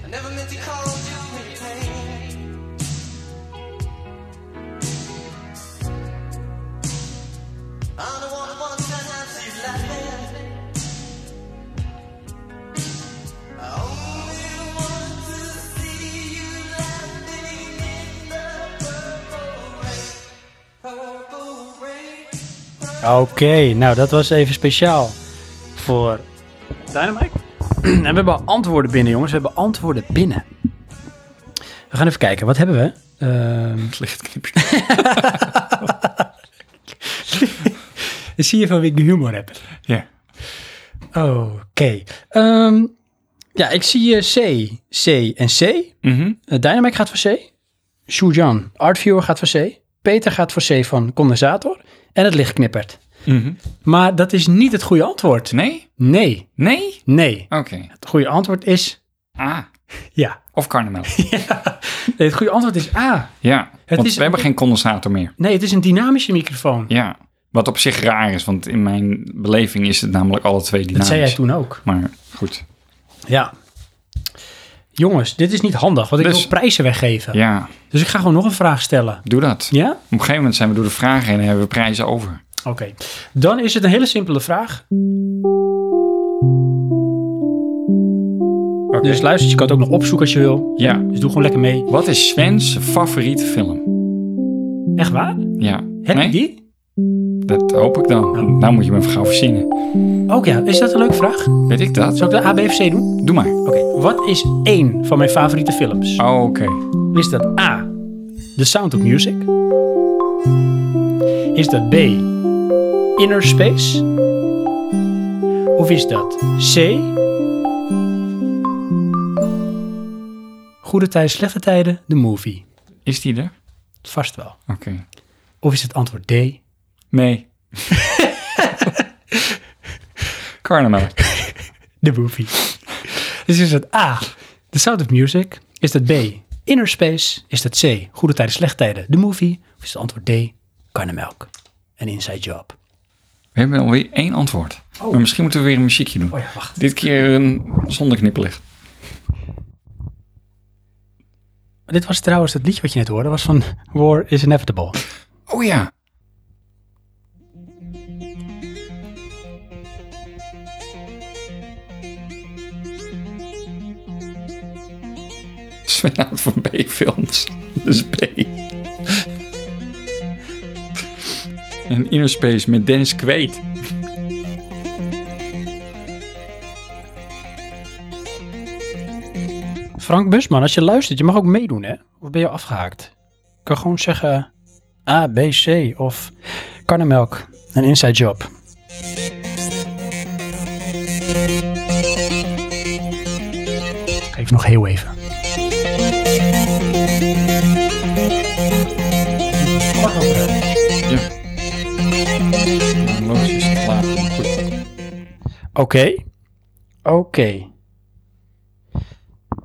Speaker 4: I never meant to call you in pain. I'm the one who wants to have you laughing. I only want to see you laughing in the purple rain.
Speaker 1: Oké, nou dat was even speciaal voor Dynamite. en we hebben antwoorden binnen, jongens. We hebben antwoorden binnen. We gaan even kijken, wat hebben we? Ehm,
Speaker 2: Licht knipje.
Speaker 1: Dan zie je van wie ik de humor heb.
Speaker 2: Ja.
Speaker 1: Oké. Ehm, ja, ik zie eh, C, C en C.
Speaker 2: Mhm.
Speaker 1: Eh, Dynamic gaat voor C. Shujan, Artviewer gaat voor C. Peter gaat voor C van condensator en het licht knippert.
Speaker 2: Mhm.
Speaker 1: Maar dat is niet het goede antwoord.
Speaker 2: Nee?
Speaker 1: Nee,
Speaker 2: Nee?
Speaker 1: nee.
Speaker 2: Oké.
Speaker 1: Het goede antwoord is
Speaker 2: A.
Speaker 1: ja.
Speaker 2: Of karnemelk.
Speaker 1: Nee, het goede antwoord is A.
Speaker 2: Ja, want
Speaker 1: is-
Speaker 2: we hebben geen condensator meer.
Speaker 1: Nee, het is een dynamische microfoon.
Speaker 2: Ja, wat op zich raar is, want in mijn beleving is het namelijk alle twee dynamisch.
Speaker 1: Dat zei jij toen ook.
Speaker 2: Maar goed,
Speaker 1: Ja. Jongens, dit is niet handig, want ik
Speaker 2: Dus-
Speaker 1: wil prijzen weggeven.
Speaker 2: ja,
Speaker 1: Dus ik ga gewoon nog een vraag stellen.
Speaker 2: doe dat.
Speaker 1: Ja?
Speaker 2: Op een gegeven moment zijn we door de vragen heen en hebben we prijzen over.
Speaker 1: Oké. Dan is het een hele simpele vraag. Dus luister, je kan het ook nog opzoeken als je wil.
Speaker 2: Ja,
Speaker 1: Dus doe gewoon lekker mee.
Speaker 2: wat is Sven's favoriete film?
Speaker 1: Echt waar?
Speaker 2: Ja,
Speaker 1: Heb
Speaker 2: nee?
Speaker 1: je die?
Speaker 2: Dat hoop ik dan.
Speaker 1: Nou.
Speaker 2: Nou moet je me even gauw verzinnen.
Speaker 1: Ook ja, is dat een leuke vraag?
Speaker 2: Weet ik dat?
Speaker 1: Zal ik de ABFC doen?
Speaker 2: Doe maar.
Speaker 1: Oké, wat is één van mijn favoriete films?
Speaker 2: Oh, oké.
Speaker 1: Is dat A, The Sound of Music? Is dat B, Inner Space? Of is dat C, Goede Tijden, Slechte Tijden, de movie?
Speaker 2: Is die er?
Speaker 1: Vast wel.
Speaker 2: Oké.
Speaker 1: Of is het antwoord D?
Speaker 2: Nee. Karnemelk.
Speaker 1: De movie. dus is het A, The Sound of Music? Is dat B, Inner Space? Is dat C, Goede Tijden, Slechte Tijden, de movie? Of is het antwoord D, Karnemelk? Een inside job.
Speaker 2: We hebben alweer één antwoord.
Speaker 1: Oh.
Speaker 2: Maar misschien moeten we weer een muziekje doen.
Speaker 1: Oh ja, wacht.
Speaker 2: Dit keer een zonder knipperlicht.
Speaker 1: Dit was trouwens het liedje wat je net hoorde, was van War is Inevitable.
Speaker 2: Oh ja. Sven houdt van B-films. Dus B. En Inner Space met Dennis Kweet.
Speaker 1: Frank Busman, als je luistert, je mag ook meedoen, hè? Of ben je afgehaakt? Ik kan gewoon zeggen A, B, C of karnemelk, een inside job. Geef nog heel even.
Speaker 2: Ja. Loos is het klaar. Goed.
Speaker 1: Oké. Oké.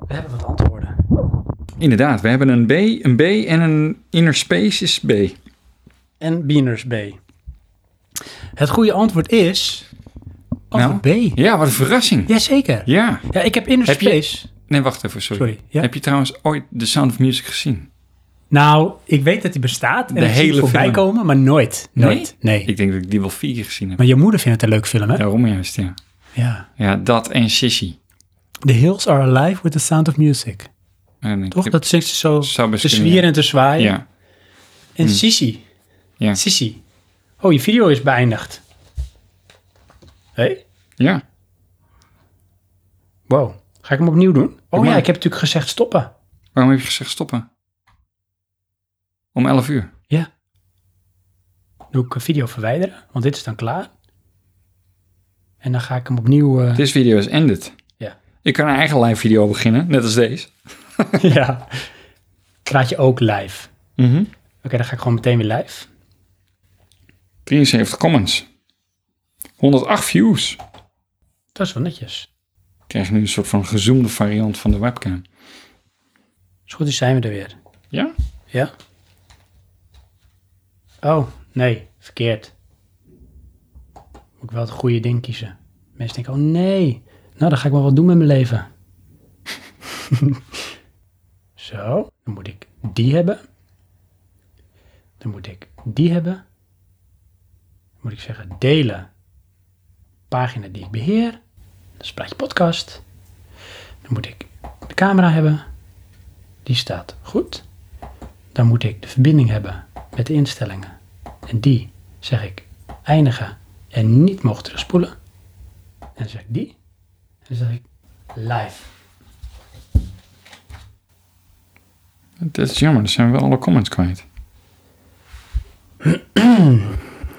Speaker 1: We hebben wat antwoorden.
Speaker 2: Inderdaad, we hebben een B, een B en een Inner Space is B.
Speaker 1: En Beaners B. Het goede antwoord is... Antwoord B.
Speaker 2: Ja, wat een verrassing.
Speaker 1: Jazeker.
Speaker 2: Nou? Ja.
Speaker 1: Ja, ik heb Inner
Speaker 2: Heb je-
Speaker 1: Space.
Speaker 2: Nee, wacht even, sorry.
Speaker 1: Sorry, ja?
Speaker 2: Heb je trouwens ooit The Sound of Music gezien?
Speaker 1: Nou, ik weet dat die bestaat en
Speaker 2: De
Speaker 1: ik zie
Speaker 2: hele
Speaker 1: het voorbij
Speaker 2: film.
Speaker 1: komen, maar nooit. Nooit. Nee.
Speaker 2: Ik denk dat ik die wel vier keer gezien heb.
Speaker 1: Maar je moeder vindt het een leuk film, hè?
Speaker 2: Daarom juist, ja.
Speaker 1: Ja.
Speaker 2: Ja, dat en Sissy.
Speaker 1: The Hills Are Alive with the Sound of Music.
Speaker 2: En ik
Speaker 1: Toch?
Speaker 2: heb-
Speaker 1: Dat zingt ze zo
Speaker 2: Zou
Speaker 1: te
Speaker 2: best kunnen,
Speaker 1: zwieren en te zwaaien.
Speaker 2: Ja. Mm.
Speaker 1: En Sissy.
Speaker 2: Ja.
Speaker 1: Sissy. Oh, je video is beëindigd. Hé?
Speaker 2: ja.
Speaker 1: Wow. Ga ik hem opnieuw doen? Oh
Speaker 2: maar.
Speaker 1: ja, ik heb natuurlijk gezegd stoppen.
Speaker 2: Waarom heb je gezegd stoppen? Om 11 uur.
Speaker 1: Ja. Doe ik eh, video verwijderen, want dit is dan klaar. En dan ga ik hem opnieuw... eh,
Speaker 2: This video is ended.
Speaker 1: Ja.
Speaker 2: Ik kan een eigen live video beginnen, net als deze.
Speaker 1: ja. Praat je ook live. Oké, dan ga ik gewoon meteen weer live.
Speaker 2: 73 comments. 108 views.
Speaker 1: Dat is wel netjes.
Speaker 2: Ik krijg nu een soort van gezoomde variant van de webcam.
Speaker 1: Als het goed is zijn we er weer.
Speaker 2: Ja?
Speaker 1: Ja? Oh, nee. Verkeerd. Moet ik wel het goede ding kiezen. Mensen denken, oh nee. Nou, dan ga ik wel wat doen met mijn leven. Zo, dan moet ik die hebben. Dan moet ik die hebben. Dan moet ik zeggen delen. Pagina die ik beheer. Dat is Praatje Podcast. Dan moet ik de camera hebben. Die staat goed. Dan moet ik de verbinding hebben met de instellingen. En die zeg ik eindigen en niet mogen terugspoelen. En dan zeg ik die. En dan zeg ik live.
Speaker 2: Dat is jammer, dan zijn we wel alle comments kwijt.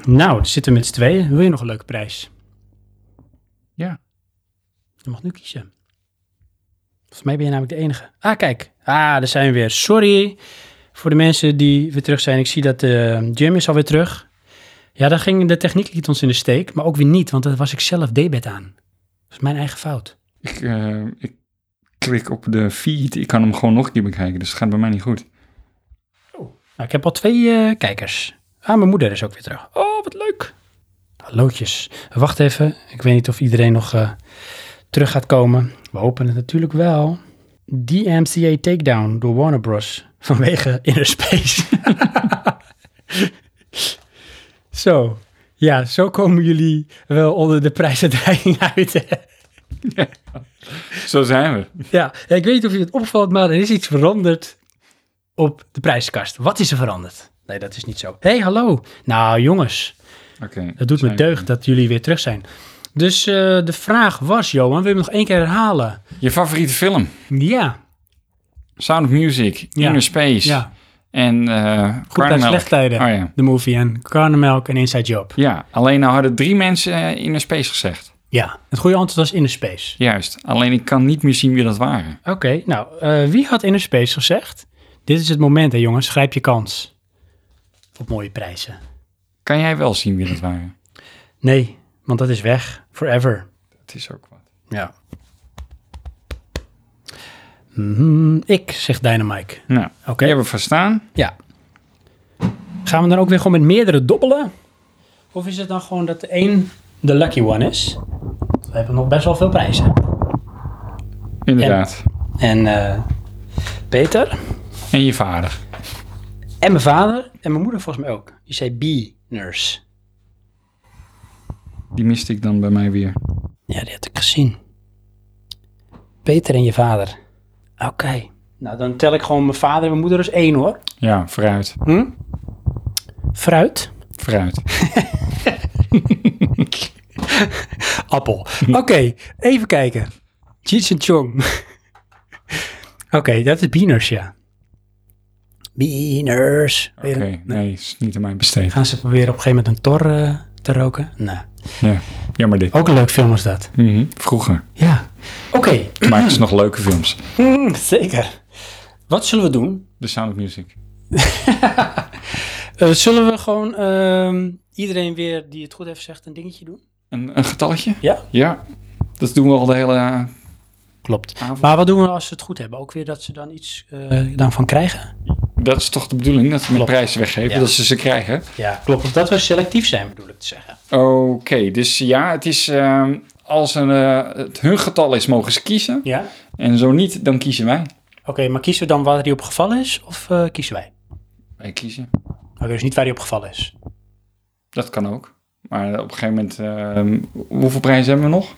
Speaker 1: Nou, dan zitten we met z'n tweeën. Wil je nog een leuke prijs?
Speaker 2: Ja.
Speaker 1: Je mag nu kiezen. Volgens mij ben je namelijk de enige. Ah, kijk. Ah, daar zijn we weer. Sorry. Voor de mensen die weer terug zijn, ik zie dat eh, Jim is alweer terug. Ja, daar ging de techniek liet ons in de steek, maar ook weer niet, want dat was ik zelf debet aan. Dat is mijn eigen fout.
Speaker 2: Ik, eh, ik klik op de feed. Ik kan hem gewoon nog een keer bekijken, dus het gaat bij mij niet goed.
Speaker 1: Nou, ik heb al twee eh, kijkers. Ah, mijn moeder is ook weer terug. Oh, wat leuk. Hallootjes. Wacht even. Ik weet niet of iedereen nog eh, terug gaat komen. We hopen het natuurlijk wel. DMCA Takedown door Warner Bros. Vanwege Inner Space. zo. Ja, zo komen jullie wel onder de prijsuitreiking uit. hè?
Speaker 2: Zo zijn we.
Speaker 1: ja. ja, ik weet niet of je het opvalt, maar er is iets veranderd op de prijskast. Wat is er veranderd? Nee, dat is niet zo. Hé, hey, hallo. Nou, jongens,
Speaker 2: Oké.
Speaker 1: het doet me
Speaker 2: zijn-
Speaker 1: deugd dat jullie weer terug zijn. Dus eh, de vraag was, Johan, wil je hem nog één keer herhalen?
Speaker 2: Je favoriete film?
Speaker 1: Ja,
Speaker 2: Sound of Music,
Speaker 1: Ja.
Speaker 2: Inner Space
Speaker 1: ja.
Speaker 2: en eh
Speaker 1: Goed bij
Speaker 2: Carnamelk.
Speaker 1: slecht tijden.
Speaker 2: Oh ja.
Speaker 1: De movie en Carnemelk en Inside Job.
Speaker 2: Ja, alleen nou hadden drie mensen eh, Inner Space gezegd.
Speaker 1: Ja, het goede antwoord was Inner Space.
Speaker 2: Juist. Alleen ik kan niet meer zien wie dat waren.
Speaker 1: Oké, nou, eh, wie had Inner Space gezegd? Dit is het moment, hè jongens. Grijp je kans. Op mooie prijzen.
Speaker 2: Kan jij wel zien wie dat waren?
Speaker 1: Nee, want dat is weg. Forever.
Speaker 2: Dat is ook wat.
Speaker 1: Ja. Mhm, ik, zegt Dynamike.
Speaker 2: Nou,
Speaker 1: Oké.
Speaker 2: die hebben we verstaan.
Speaker 1: Ja. Gaan we dan ook weer gewoon met meerdere dobbelen? Of is het dan gewoon dat de één de lucky one is? We hebben nog best wel veel prijzen.
Speaker 2: Inderdaad.
Speaker 1: En eh, Peter
Speaker 2: En je vader.
Speaker 1: en mijn vader en mijn moeder volgens mij ook. Die zei B-nurse.
Speaker 2: Die miste ik dan bij mij weer.
Speaker 1: Ja, die had ik gezien. Peter en je vader. Oké. Nou, dan tel ik gewoon mijn vader en mijn moeder als één hoor.
Speaker 2: Ja, vooruit.
Speaker 1: Hm? Fruit.
Speaker 2: Vooruit.
Speaker 1: Appel. Oké, even kijken. Cheech en Chong. Oké, dat is Beaners, ja. Beaners.
Speaker 2: Oké, nee, is niet aan mij besteed.
Speaker 1: Gaan ze proberen op een gegeven moment een tor eh, te roken? Nou,
Speaker 2: Ja, jammer dit.
Speaker 1: ook een leuk film was dat.
Speaker 2: Mhm, Vroeger.
Speaker 1: Ja. Oké,
Speaker 2: Toen maakten ze nog leuke films.
Speaker 1: Mm, zeker. Wat zullen we doen?
Speaker 2: The Sound of Music.
Speaker 1: Eh, zullen we gewoon ehm, iedereen weer die het goed heeft gezegd een dingetje doen?
Speaker 2: Een, een getalletje?
Speaker 1: Ja.
Speaker 2: Ja. Dat doen we al de hele... eh,
Speaker 1: Klopt.
Speaker 2: Avond.
Speaker 1: Maar wat doen we als ze het goed hebben? Ook weer dat ze dan iets eh, dan van krijgen?
Speaker 2: Dat is toch de bedoeling, dat we met
Speaker 1: Klopt.
Speaker 2: prijzen weggeven,
Speaker 1: Ja.
Speaker 2: dat ze ze krijgen.
Speaker 1: Ja, klopt. Of dat we selectief zijn, bedoel ik te zeggen.
Speaker 2: Oké, dus ja, het is ehm, als een, eh, het hun getal is, mogen ze kiezen.
Speaker 1: Ja?
Speaker 2: En zo niet, dan kiezen wij.
Speaker 1: Oké, maar kiezen we dan waar die op gevallen is of eh, kiezen wij?
Speaker 2: Wij kiezen.
Speaker 1: Oké, dus niet waar die op gevallen is.
Speaker 2: Dat kan ook. Maar op een gegeven moment, ehm, hoeveel prijzen hebben we nog?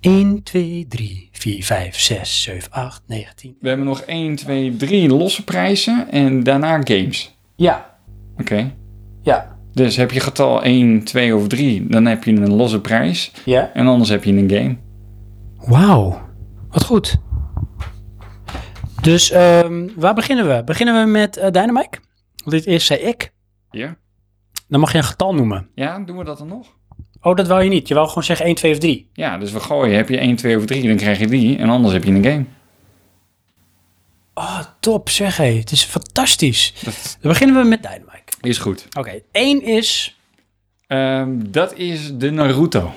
Speaker 1: 1, 2, 3, 4, 5, 6, 7, 8, 9, 10.
Speaker 2: We hebben nog 1, 2, 3 losse prijzen en daarna games.
Speaker 1: Ja,
Speaker 2: Oké.
Speaker 1: ja,
Speaker 2: Dus heb je getal 1, 2 of 3, dan heb je een losse prijs.
Speaker 1: ja.
Speaker 2: En anders heb je een game.
Speaker 1: Wauw, wat goed. Dus ehm, waar beginnen we? Beginnen we met eh, Dynamite? Want dit eerst zei ik.
Speaker 2: Ja?
Speaker 1: Dan mag je een getal noemen.
Speaker 2: Ja, doen we dat dan nog?
Speaker 1: Oh, dat wou je niet. Je wou gewoon zeggen 1, 2 of 3.
Speaker 2: Ja, dus we gooien. Heb je 1, 2 of 3, dan krijg je die. En anders heb je een game.
Speaker 1: Oh, top zeg hé. Het is fantastisch.
Speaker 2: Dat
Speaker 1: Dan beginnen we met Dynamite.
Speaker 2: is goed.
Speaker 1: Oké, 1 is
Speaker 2: Ehm, dat is de Naruto.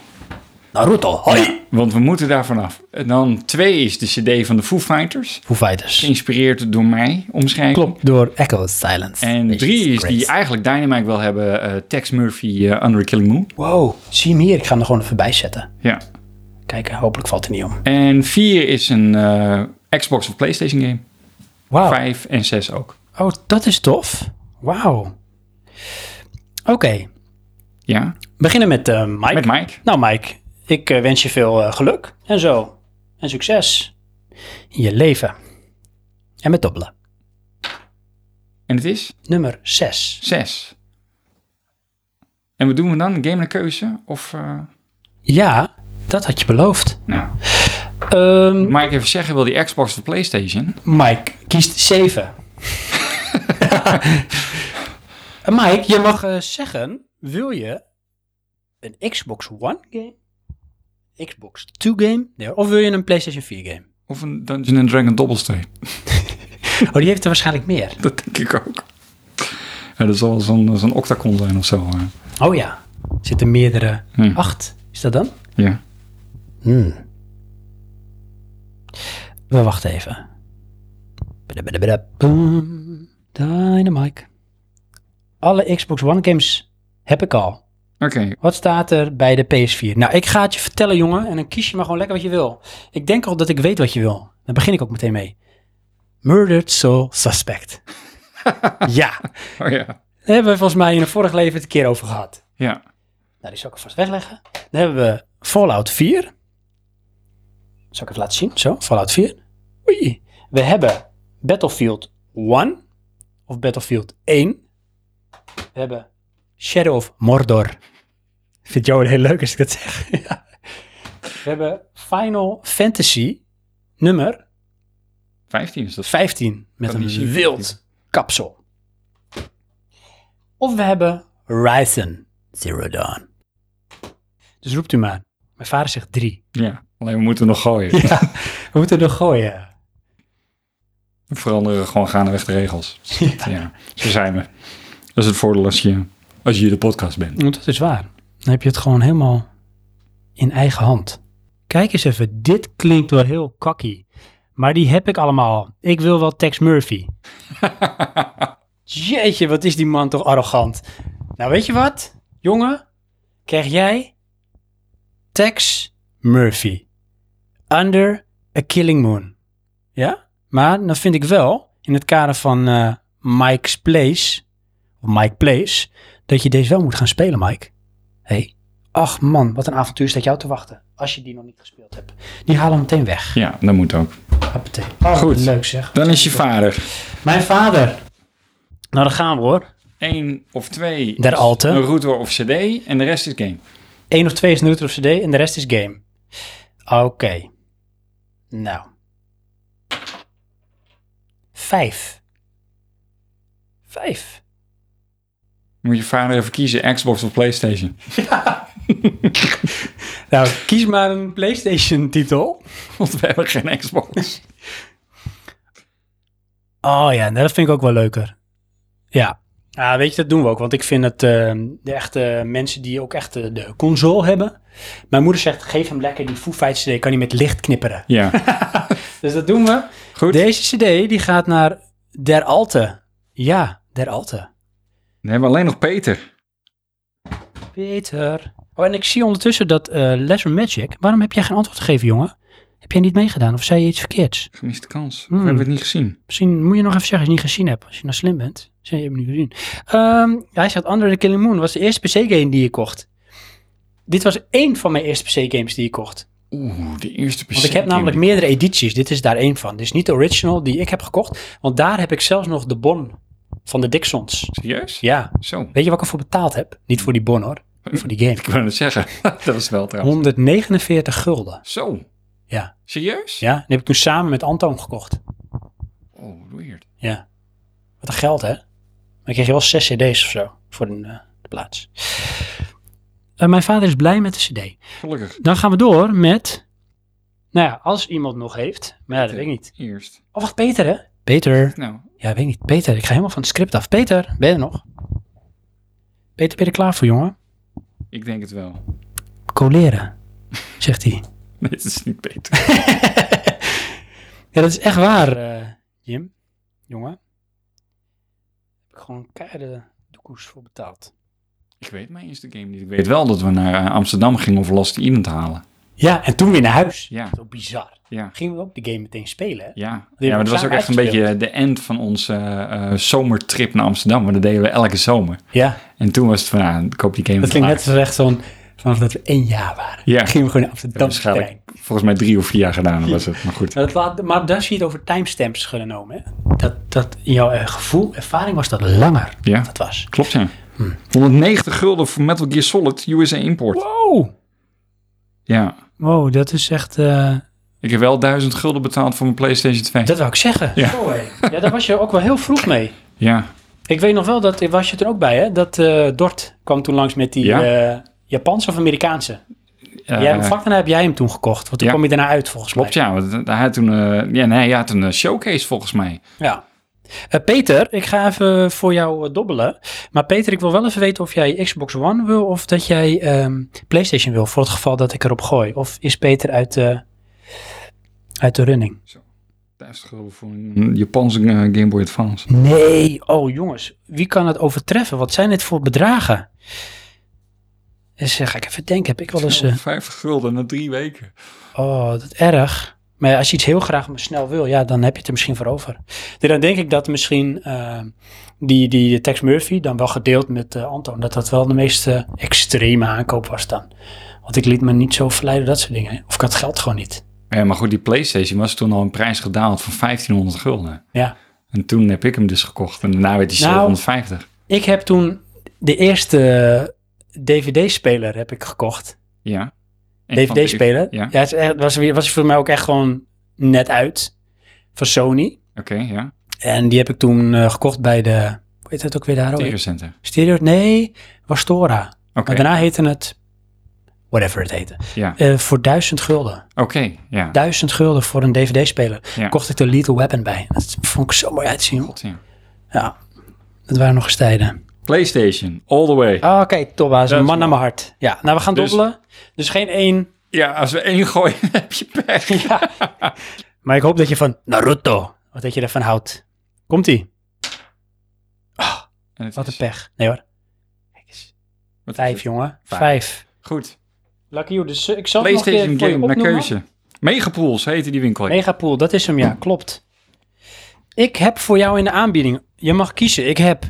Speaker 1: Naruto. Hoi.
Speaker 2: Ja, want we moeten daar vanaf. En dan twee is de CD van de Foo Fighters.
Speaker 1: Foo Fighters.
Speaker 2: Geïnspireerd door mij, omschrijving.
Speaker 1: Klopt, door Echo Silence.
Speaker 2: En
Speaker 1: Weet je,
Speaker 2: drie is
Speaker 1: great.
Speaker 2: die eigenlijk Dynamite wil hebben. eh, Tex Murphy, eh, Under Killing Moon.
Speaker 1: Wow, zie hem hier. Ik ga hem er gewoon even bij zetten.
Speaker 2: Ja.
Speaker 1: Kijk, hopelijk valt hij niet om.
Speaker 2: En vier is een eh, Xbox of Playstation game.
Speaker 1: Wauw.
Speaker 2: Vijf en zes ook.
Speaker 1: Oh, dat is tof. Wauw. Oké,
Speaker 2: Ja,
Speaker 1: beginnen met eh, Mike.
Speaker 2: met Mike.
Speaker 1: Nou Mike, ik eh, wens je veel eh, geluk en zo. En succes in je leven. En met dobbelen.
Speaker 2: En het is
Speaker 1: Nummer 6.
Speaker 2: zes. En wat doen we dan? Een game naar keuze? Of, eh,
Speaker 1: Ja, dat had je beloofd.
Speaker 2: nou,
Speaker 1: Ehm,
Speaker 2: Mike even zeggen, wil die Xbox of Playstation?
Speaker 1: Mike kiest 7. Mike, je mag eh, zeggen: wil je een Xbox One game? Xbox 2 game? Nee, of wil je een PlayStation 4 game?
Speaker 2: Of een Dungeon and Dragon dobbelsteen?
Speaker 1: Oh, die heeft er waarschijnlijk meer.
Speaker 2: Dat denk ik ook. Ja, dat zal wel zo'n zo'n octacon zijn of zo. eh. hè.
Speaker 1: Oh ja, zitten meerdere.
Speaker 2: Hmm.
Speaker 1: Acht, is dat dan?
Speaker 2: Ja.
Speaker 1: Hmm. We wachten even. Badabadabada, boom. Dynamite. Alle Xbox One games heb ik al.
Speaker 2: Oké,
Speaker 1: Wat staat er bij de PS4? Nou, ik ga het je vertellen, jongen. En dan kies je maar gewoon lekker wat je wil. Ik denk al dat ik weet wat je wil. Daar begin ik ook meteen mee. Murdered Soul Suspect. ja,
Speaker 2: oh ja.
Speaker 1: daar hebben we volgens mij in een vorig leven het een keer over gehad.
Speaker 2: Ja,
Speaker 1: Nou, die zal ik alvast wegleggen. Dan hebben we Fallout 4. Zal ik het laten zien? Zo, Fallout 4. Oei. We hebben Battlefield 1. Of Battlefield 1. We hebben Shadow of Mordor. Vindt jou heel leuk als ik dat zeg. ja. We hebben Final Fantasy nummer
Speaker 2: 15 is dat.
Speaker 1: 15. Met
Speaker 2: Kan
Speaker 1: een
Speaker 2: die zien?
Speaker 1: wild kapsel. Of we hebben Ryzen Zero Dawn. Dus roept u maar. Mijn vader zegt drie.
Speaker 2: Ja, alleen we moeten nog gooien.
Speaker 1: Ja, we moeten nog gooien.
Speaker 2: We veranderen gewoon gaandeweg de regels. Ja. zo zijn we. Dat is het voordeel als je, als je hier de podcast bent.
Speaker 1: Want Dat is waar. Dan heb je het gewoon helemaal in eigen hand. Kijk eens even, dit klinkt wel heel kakkie. Maar die heb ik allemaal. Ik wil wel Tex Murphy. Jeetje, wat is die man toch arrogant. Nou, weet je wat? Jongen, krijg jij Tex Murphy. Under a Killing Moon. Ja? Maar dan vind ik wel, in het kader van eh, Mike's Place, of Mike Place, dat je deze wel moet gaan spelen, Mike. Hé, hey. ach man, wat een avontuur staat jou te wachten. Als je die nog niet gespeeld hebt. Die halen we meteen weg.
Speaker 2: Ja, dat moet ook.
Speaker 1: Hoppatee. Oh,
Speaker 2: Goed.
Speaker 1: Goed. Leuk zeg.
Speaker 2: Dan is je vader.
Speaker 1: Mijn vader. Nou, dan gaan we hoor.
Speaker 2: Eén of twee.
Speaker 1: Der Alte.
Speaker 2: Een router of cd. En de rest is game.
Speaker 1: Eén of twee is neutral of CD en de rest is game. Oké. Nou. Vijf. Vijf.
Speaker 2: Moet je vader even kiezen. Xbox of Playstation.
Speaker 1: Nou, kies maar een PlayStation titel.
Speaker 2: Want we hebben geen Xbox.
Speaker 1: Oh ja, nou, dat vind ik ook wel leuker. Ja. Ah, weet je, dat doen we ook. Want ik vind het ehm, de echte mensen die ook echt eh, de console hebben. Mijn moeder zegt, geef hem lekker die Foo Fighters CD. Kan hij met licht knipperen.
Speaker 2: Ja,
Speaker 1: Dus dat doen we.
Speaker 2: goed.
Speaker 1: Deze CD die gaat naar Der Alte. Ja, Der Alte.
Speaker 2: Dan hebben we alleen nog Peter.
Speaker 1: Peter. Oh, en ik zie ondertussen dat eh Lesser Magic. Waarom heb jij geen antwoord gegeven, jongen? Heb jij niet meegedaan of zei je iets verkeerds?
Speaker 2: Gemiste kans. Of
Speaker 1: Hmm.
Speaker 2: hebben we het niet gezien?
Speaker 1: Misschien moet je nog even zeggen als je het niet gezien hebt. Als je nou slim bent. Zeg je hebt hem niet gezien. Ehm, hij zegt Under the Killing Moon was de eerste PC-game die ik kocht. Dit was één van mijn eerste PC-games die ik kocht.
Speaker 2: Oeh, de eerste PC.
Speaker 1: Want ik heb namelijk meerdere edities. Dit is daar één van. Dit is niet de original die ik heb gekocht. Want daar heb ik zelfs nog de bon van de Dixons.
Speaker 2: Serieus?
Speaker 1: Ja.
Speaker 2: Zo.
Speaker 1: Weet je wat ik ervoor betaald heb? Niet voor die bon hoor. Voor die game.
Speaker 2: Ik wou het zeggen. dat was wel trouwens.
Speaker 1: 149 gulden.
Speaker 2: Zo.
Speaker 1: Ja.
Speaker 2: Serieus?
Speaker 1: Ja, die heb ik toen samen met Anton gekocht.
Speaker 2: Oh, weird.
Speaker 1: Ja. Wat een geld, hè? Maar dan kreeg je wel zes cd's of zo voor een, eh, de plaats. Eh, mijn vader is blij met de cd.
Speaker 2: Gelukkig.
Speaker 1: Dan gaan we door met... Nou ja, als iemand nog heeft. Maar ja, dat weet ik niet.
Speaker 2: Eerst.
Speaker 1: Oh, wacht, Peter, hè? Peter.
Speaker 2: Nou,
Speaker 1: Ja, weet ik niet. Peter, ik ga helemaal van het script af. Peter, ben je er nog? Peter, ben je er klaar voor, jongen?
Speaker 2: ik denk het wel.
Speaker 1: Coleren, zegt hij.
Speaker 2: Nee, het is niet beter.
Speaker 1: Ja, dat is echt waar, eh, Jim. Jongen. Heb ik gewoon keiharde doekoes voor betaald.
Speaker 2: ik weet mijn eerste game niet. Ik weet wel dat we naar eh, Amsterdam gingen om Lost Island te halen.
Speaker 1: Ja, en toen weer naar huis.
Speaker 2: Ja.
Speaker 1: Zo bizar.
Speaker 2: Ja.
Speaker 1: Gingen we ook de game meteen spelen, hè?
Speaker 2: Ja,
Speaker 1: Die
Speaker 2: ja maar
Speaker 1: hebben
Speaker 2: dat was ook
Speaker 1: samen
Speaker 2: echt een beetje de end van onze eh, eh, zomertrip naar Amsterdam. Want dat deden we elke zomer.
Speaker 1: Ja,
Speaker 2: En toen was het van, ah, koop die game
Speaker 1: dat klinkt net
Speaker 2: vandaag.
Speaker 1: zo echt zo'n... Vanaf dat we één jaar waren.
Speaker 2: Ja. Dus
Speaker 1: Gingen we gewoon naar Amsterdam
Speaker 2: Waarschijnlijk
Speaker 1: trein.
Speaker 2: volgens mij drie of vier jaar gedaan was het. Maar goed.
Speaker 1: Maar, dat laat, maar daar zie je het over timestamps genomen, hè? Dat, dat in jouw eh, gevoel, ervaring was dat langer.
Speaker 2: Ja.
Speaker 1: Dat was.
Speaker 2: Klopt ja.
Speaker 1: Hm.
Speaker 2: 190 gulden voor Metal Gear Solid USA import.
Speaker 1: Wow.
Speaker 2: Ja.
Speaker 1: Wow, dat is echt... eh,
Speaker 2: Ik heb wel 1000 gulden betaald voor mijn PlayStation 2.
Speaker 1: Dat wou ik zeggen.
Speaker 2: Ja.
Speaker 1: Zo, hé. ja, daar was je ook wel heel vroeg mee.
Speaker 2: Ja.
Speaker 1: Ik weet nog wel, dat was eh, je er ook bij, hè? Dat eh, Dort kwam toen langs met die
Speaker 2: Ja.
Speaker 1: eh, Japanse of Amerikaanse.
Speaker 2: eh,
Speaker 1: jij vlak daarna heb jij hem toen gekocht. Want toen
Speaker 2: ja.
Speaker 1: kwam je daarna uit volgens
Speaker 2: Klopt,
Speaker 1: mij.
Speaker 2: ja. want Hij had toen, eh, ja, nee, hij had een eh, showcase volgens mij.
Speaker 1: Ja. Eh, Peter, ik ga even voor jou eh, dobbelen. Maar Peter, ik wil wel even weten of jij Xbox One wil of dat jij ehm, PlayStation wil. Voor het geval dat ik erop gooi. Of is Peter uit de, uit de running?
Speaker 2: 50 euro voor een Japanse eh, Game Boy Advance.
Speaker 1: Nee. Oh jongens, wie kan het overtreffen? Wat zijn dit voor bedragen? Dus eh, ga ik even denken, heb ik wel eens... eh,
Speaker 2: 50 gulden na drie weken.
Speaker 1: Oh, dat erg. Maar ja, als je iets heel graag maar snel wil, ja, dan heb je het er misschien voor over. Dus Dan denk ik dat misschien eh, die, die, de Tex Murphy, dan wel gedeeld met eh, Anton, dat dat wel de meest eh, extreme aankoop was dan. Want ik liet me niet zo verleiden, dat soort dingen. Of ik had geld gewoon niet.
Speaker 2: Ja, Eh, maar goed, die PlayStation was toen al een prijs gedaald van 1500 gulden.
Speaker 1: Ja.
Speaker 2: En toen heb ik hem dus gekocht. En daarna werd hij
Speaker 1: Nou.
Speaker 2: 750.
Speaker 1: Ik heb toen de eerste DVD-speler heb ik gekocht.
Speaker 2: Ja. En ik vond die-
Speaker 1: DVD-speler.
Speaker 2: Ja,
Speaker 1: Ja, het is echt- was, weer- was voor mij ook echt gewoon net uit. Van Sony.
Speaker 2: oké, ja.
Speaker 1: En die heb ik toen eh, gekocht bij de, hoe heet dat ook weer daar? hoor?
Speaker 2: Tegencenter.
Speaker 1: Stereo? Nee, was Tora.
Speaker 2: Oké,
Speaker 1: Oh, Maar daarna heette het, whatever het heette,
Speaker 2: ja.
Speaker 1: Eh, voor duizend gulden.
Speaker 2: Oké, ja.
Speaker 1: Duizend gulden voor een dvd-speler
Speaker 2: Ja.
Speaker 1: kocht ik de Lethal Weapon bij. Dat vond ik zo mooi uitzien. joh.
Speaker 2: God, ja.
Speaker 1: Ja, dat waren nog eens tijden.
Speaker 2: PlayStation, all the way.
Speaker 1: Ah, Oké, Tobba's,
Speaker 2: Dat
Speaker 1: een
Speaker 2: is
Speaker 1: man naar mijn hart. Ja, nou we gaan
Speaker 2: Dus-
Speaker 1: dobbelen. Dus geen één.
Speaker 2: Ja, als we één gooien, heb je pech.
Speaker 1: Maar ik hoop dat je van Naruto, wat dat je ervan houdt. Komt-ie.
Speaker 2: En het
Speaker 1: Wat een
Speaker 2: is-
Speaker 1: pech. Nee hoor. Kijk eens.
Speaker 2: wat is
Speaker 1: Vijf,
Speaker 2: het?
Speaker 1: jongen.
Speaker 2: Vijf.
Speaker 1: Vijf.
Speaker 2: Goed.
Speaker 1: Lucky you, dus eh, ik zal het nog een keer
Speaker 2: PlayStation
Speaker 1: voor je
Speaker 2: game naar
Speaker 1: opnoemen.
Speaker 2: keuze. Megapools heette die winkel.
Speaker 1: Megapool, dat is hem, ja, klopt. Ik heb voor jou in de aanbieding, je mag kiezen. Ik heb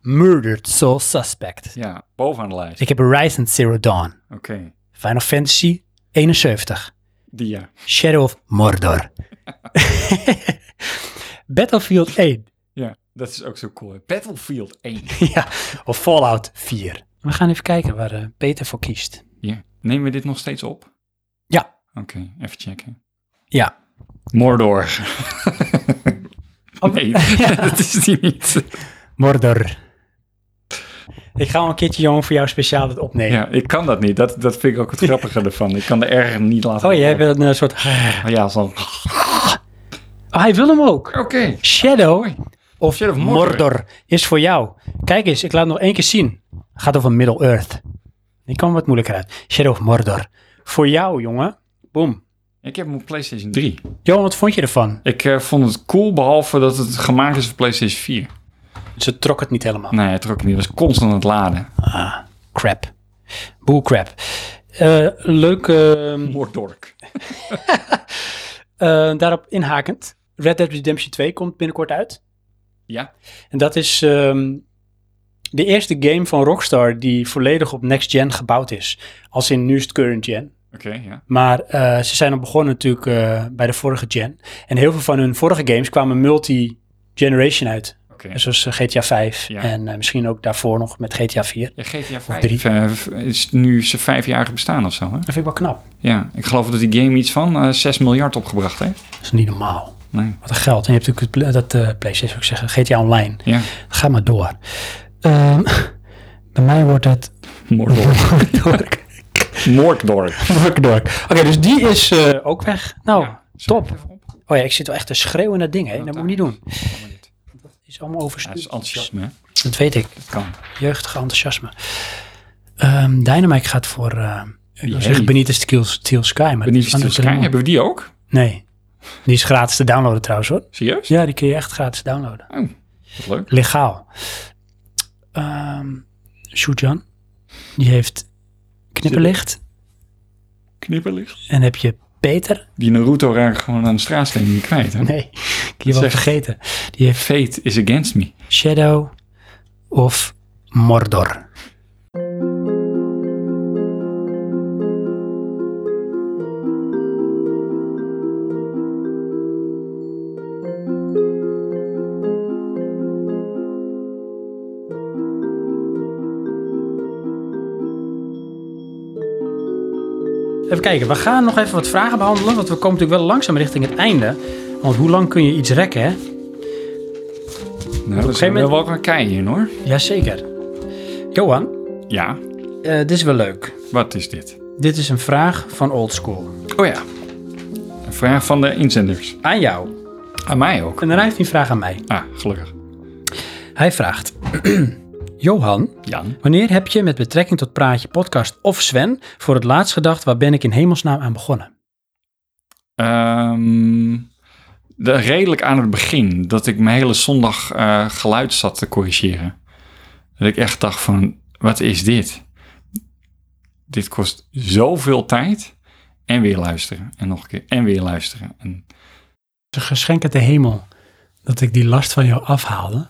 Speaker 1: Murdered Soul Suspect.
Speaker 2: Ja, bovenaan de lijst.
Speaker 1: Ik heb Horizon Zero Dawn.
Speaker 2: Oké.
Speaker 1: Final Fantasy 71.
Speaker 2: Die ja.
Speaker 1: Shadow of Mordor. Battlefield 1.
Speaker 2: Ja, dat is ook zo cool. hè. Battlefield 1.
Speaker 1: ja, of Fallout 4. We gaan even kijken waar eh, Peter voor kiest.
Speaker 2: ja. Nemen we dit nog steeds op?
Speaker 1: Ja.
Speaker 2: Oké, even checken.
Speaker 1: Ja.
Speaker 2: Mordor.
Speaker 1: Oh.
Speaker 2: nee, dat is die niet.
Speaker 1: Mordor. Ik ga al een keertje, jongen, voor jou speciaal dit opnemen.
Speaker 2: Ja, ik kan dat niet. Dat, dat vind ik ook het grappige ervan. Ik kan de erger niet laten
Speaker 1: Oh, jij
Speaker 2: horen.
Speaker 1: wil een soort...
Speaker 2: Ja, zo. Oké.
Speaker 1: Oh, hij wil hem ook. Shadow of
Speaker 2: Shadow of Mordor.
Speaker 1: Mordor. is voor jou. Kijk eens, ik laat het nog één keer zien. Het gaat over Middle Earth. Die kwam wat moeilijker uit. Shadow of Mordor. Voor jou, jongen. Boom.
Speaker 2: Ik heb mijn PlayStation 3.
Speaker 1: Johan, wat vond je ervan?
Speaker 2: Ik eh, vond het cool, behalve dat het gemaakt is voor PlayStation 4.
Speaker 1: Ze trok het niet helemaal.
Speaker 2: Nee, het trok niet. Het was constant aan het laden.
Speaker 1: Crap. Bullcrap. Eh leuk ehm,
Speaker 2: Mordork.
Speaker 1: eh, daarop inhakend. Red Dead Redemption 2 komt binnenkort uit.
Speaker 2: Ja.
Speaker 1: En dat is ehm, de eerste game van Rockstar die volledig op next gen gebouwd is. Als in nu is het current gen.
Speaker 2: Oké, ja.
Speaker 1: Maar eh, ze zijn al begonnen natuurlijk eh, bij de vorige gen. En heel veel van hun vorige games kwamen multi-generation uit.
Speaker 2: Oké.
Speaker 1: Zoals eh, GTA 5
Speaker 2: Ja.
Speaker 1: en eh, misschien ook daarvoor nog met GTA 4.
Speaker 2: Ja, GTA
Speaker 1: drie.
Speaker 2: 5 eh, is nu zijn vijfjarig bestaan of zo, hè?
Speaker 1: Dat vind ik wel knap.
Speaker 2: Ja, ik geloof dat die game iets van eh 6 miljard opgebracht heeft.
Speaker 1: Dat is niet normaal.
Speaker 2: Nee.
Speaker 1: Wat een geld. En je hebt natuurlijk het pla- dat eh PlayStation, zou ik zeggen, GTA Online.
Speaker 2: Ja,
Speaker 1: Ga maar door. Ehm, bij mij wordt het...
Speaker 2: Mordork.
Speaker 1: Dork.
Speaker 2: Mordork.
Speaker 1: Dork, dork. Oké, dus die is eh, ook weg. Nou,
Speaker 2: Ja,
Speaker 1: top. Oh ja, ik zit wel echt te schreeuwen naar dingen. hè. Dat
Speaker 2: Ja,
Speaker 1: moet
Speaker 2: daar.
Speaker 1: ik niet doen.
Speaker 2: Ja,
Speaker 1: Het is allemaal
Speaker 2: het is
Speaker 1: overstuurd.
Speaker 2: enthousiasme, hè?
Speaker 1: dat weet ik.
Speaker 2: Dat kan.
Speaker 1: jeugdige enthousiasme. Ehm Dynamite gaat voor. eh ik wil
Speaker 2: Jee.
Speaker 1: zeggen Benita Steel, Steel Sky. Maar
Speaker 2: Benieuwd
Speaker 1: dat
Speaker 2: Steel
Speaker 1: is
Speaker 2: Sky,
Speaker 1: andere
Speaker 2: hebben we die ook?
Speaker 1: termen. Nee. Die is gratis te downloaden trouwens hoor.
Speaker 2: Serieus?
Speaker 1: Ja, die kun je echt gratis downloaden.
Speaker 2: Oh, wat leuk.
Speaker 1: Legaal. Ehm Shujan. Die heeft knipperlicht.
Speaker 2: Knipperlicht.
Speaker 1: En heb je Peter?
Speaker 2: Die Naruto raak ik gewoon aan de straatsteen niet kwijt, hè?
Speaker 1: Nee, ik heb je wel
Speaker 2: Zeg.
Speaker 1: vergeten. Die heeft
Speaker 2: Fate is against me. Nou,
Speaker 1: Shadow of Mordor. Even kijken, we gaan nog even wat vragen behandelen, want we komen natuurlijk wel langzaam richting het einde. Want hoe lang kun je iets rekken, hè?
Speaker 2: Nou, dat zijn
Speaker 1: gegeven
Speaker 2: wel
Speaker 1: moment-
Speaker 2: wel een kei in, hoor.
Speaker 1: Jazeker. Johan,
Speaker 2: Ja,
Speaker 1: eh, dit is wel leuk.
Speaker 2: wat is dit?
Speaker 1: Dit is een vraag van Oldschool.
Speaker 2: Oh ja. Een vraag van de inzenders.
Speaker 1: Aan jou.
Speaker 2: Aan mij ook.
Speaker 1: En dan heeft hij een vraag aan mij.
Speaker 2: Ah, gelukkig.
Speaker 1: Hij vraagt... Johan,
Speaker 2: Jan.
Speaker 1: wanneer heb je met betrekking tot Praatje Podcast of Sven voor het laatst gedacht waar ben ik in hemelsnaam aan begonnen?
Speaker 2: Ehm, de, redelijk aan het begin dat ik mijn hele zondag eh, geluid zat te corrigeren. Dat ik echt dacht van, wat is dit? Dit kost zoveel tijd. En weer luisteren. En nog een keer. En weer luisteren. En,
Speaker 1: Het is een geschenk uit de hemel dat ik die last van jou afhaalde.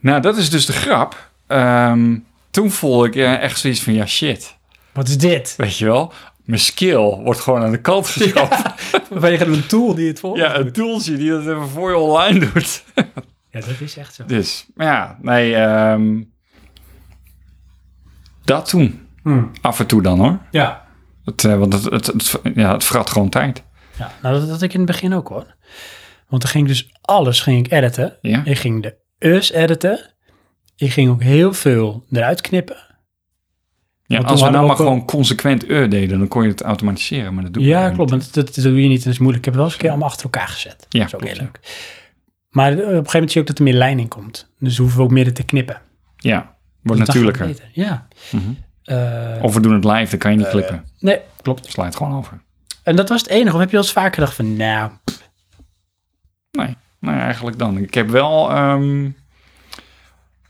Speaker 2: nou, dat is dus de grap. Ehm, toen voelde ik eh, echt zoiets van, ja shit.
Speaker 1: Wat is dit?
Speaker 2: Weet je wel? Mijn skill wordt gewoon aan de kant geschoven.
Speaker 1: Vanwege een tool die het volgt.
Speaker 2: Ja, het toeltje die dat even voor je online doet.
Speaker 1: ja, dat is echt zo.
Speaker 2: Dus, maar ja, nee, ehm, dat toen.
Speaker 1: Hmm.
Speaker 2: Af en toe dan hoor.
Speaker 1: Ja.
Speaker 2: Het, eh, want het, het, het- ja, het vrat gewoon tijd.
Speaker 1: ja. Nou, dat had ik in het begin ook hoor. Want dan ging ik dus alles ging ik editen.
Speaker 2: Ja.
Speaker 1: Ik ging de us editen. Ik ging ook heel veel eruit knippen.
Speaker 2: Ja,
Speaker 1: toen
Speaker 2: als we
Speaker 1: hadden
Speaker 2: nou
Speaker 1: we ook
Speaker 2: maar
Speaker 1: al-
Speaker 2: gewoon consequent eh deden, dan kon je het automatiseren. Maar dat doe je
Speaker 1: Ja,
Speaker 2: niet.
Speaker 1: klopt. Want dat, dat doe je niet. en Dat is moeilijk. Ik heb het wel eens een keer allemaal achter elkaar gezet.
Speaker 2: Ja,
Speaker 1: dat is ook
Speaker 2: klopt,
Speaker 1: heel leuk. Maar eh, op een gegeven moment zie je ook dat er meer lijn in komt. Dus hoeven we ook meer te knippen.
Speaker 2: Ja,
Speaker 1: Dat
Speaker 2: wordt
Speaker 1: dacht ik
Speaker 2: natuurlijker. Mhm.
Speaker 1: beter, Ja. Eh,
Speaker 2: Of we doen het live, dan kan je niet klippen.
Speaker 1: nee,
Speaker 2: Klopt. Sla het gewoon over.
Speaker 1: en dat was het enige. Of heb je wel eens vaker gedacht van, nou,
Speaker 2: Nee, nee eigenlijk dan. Ik heb wel... ehm,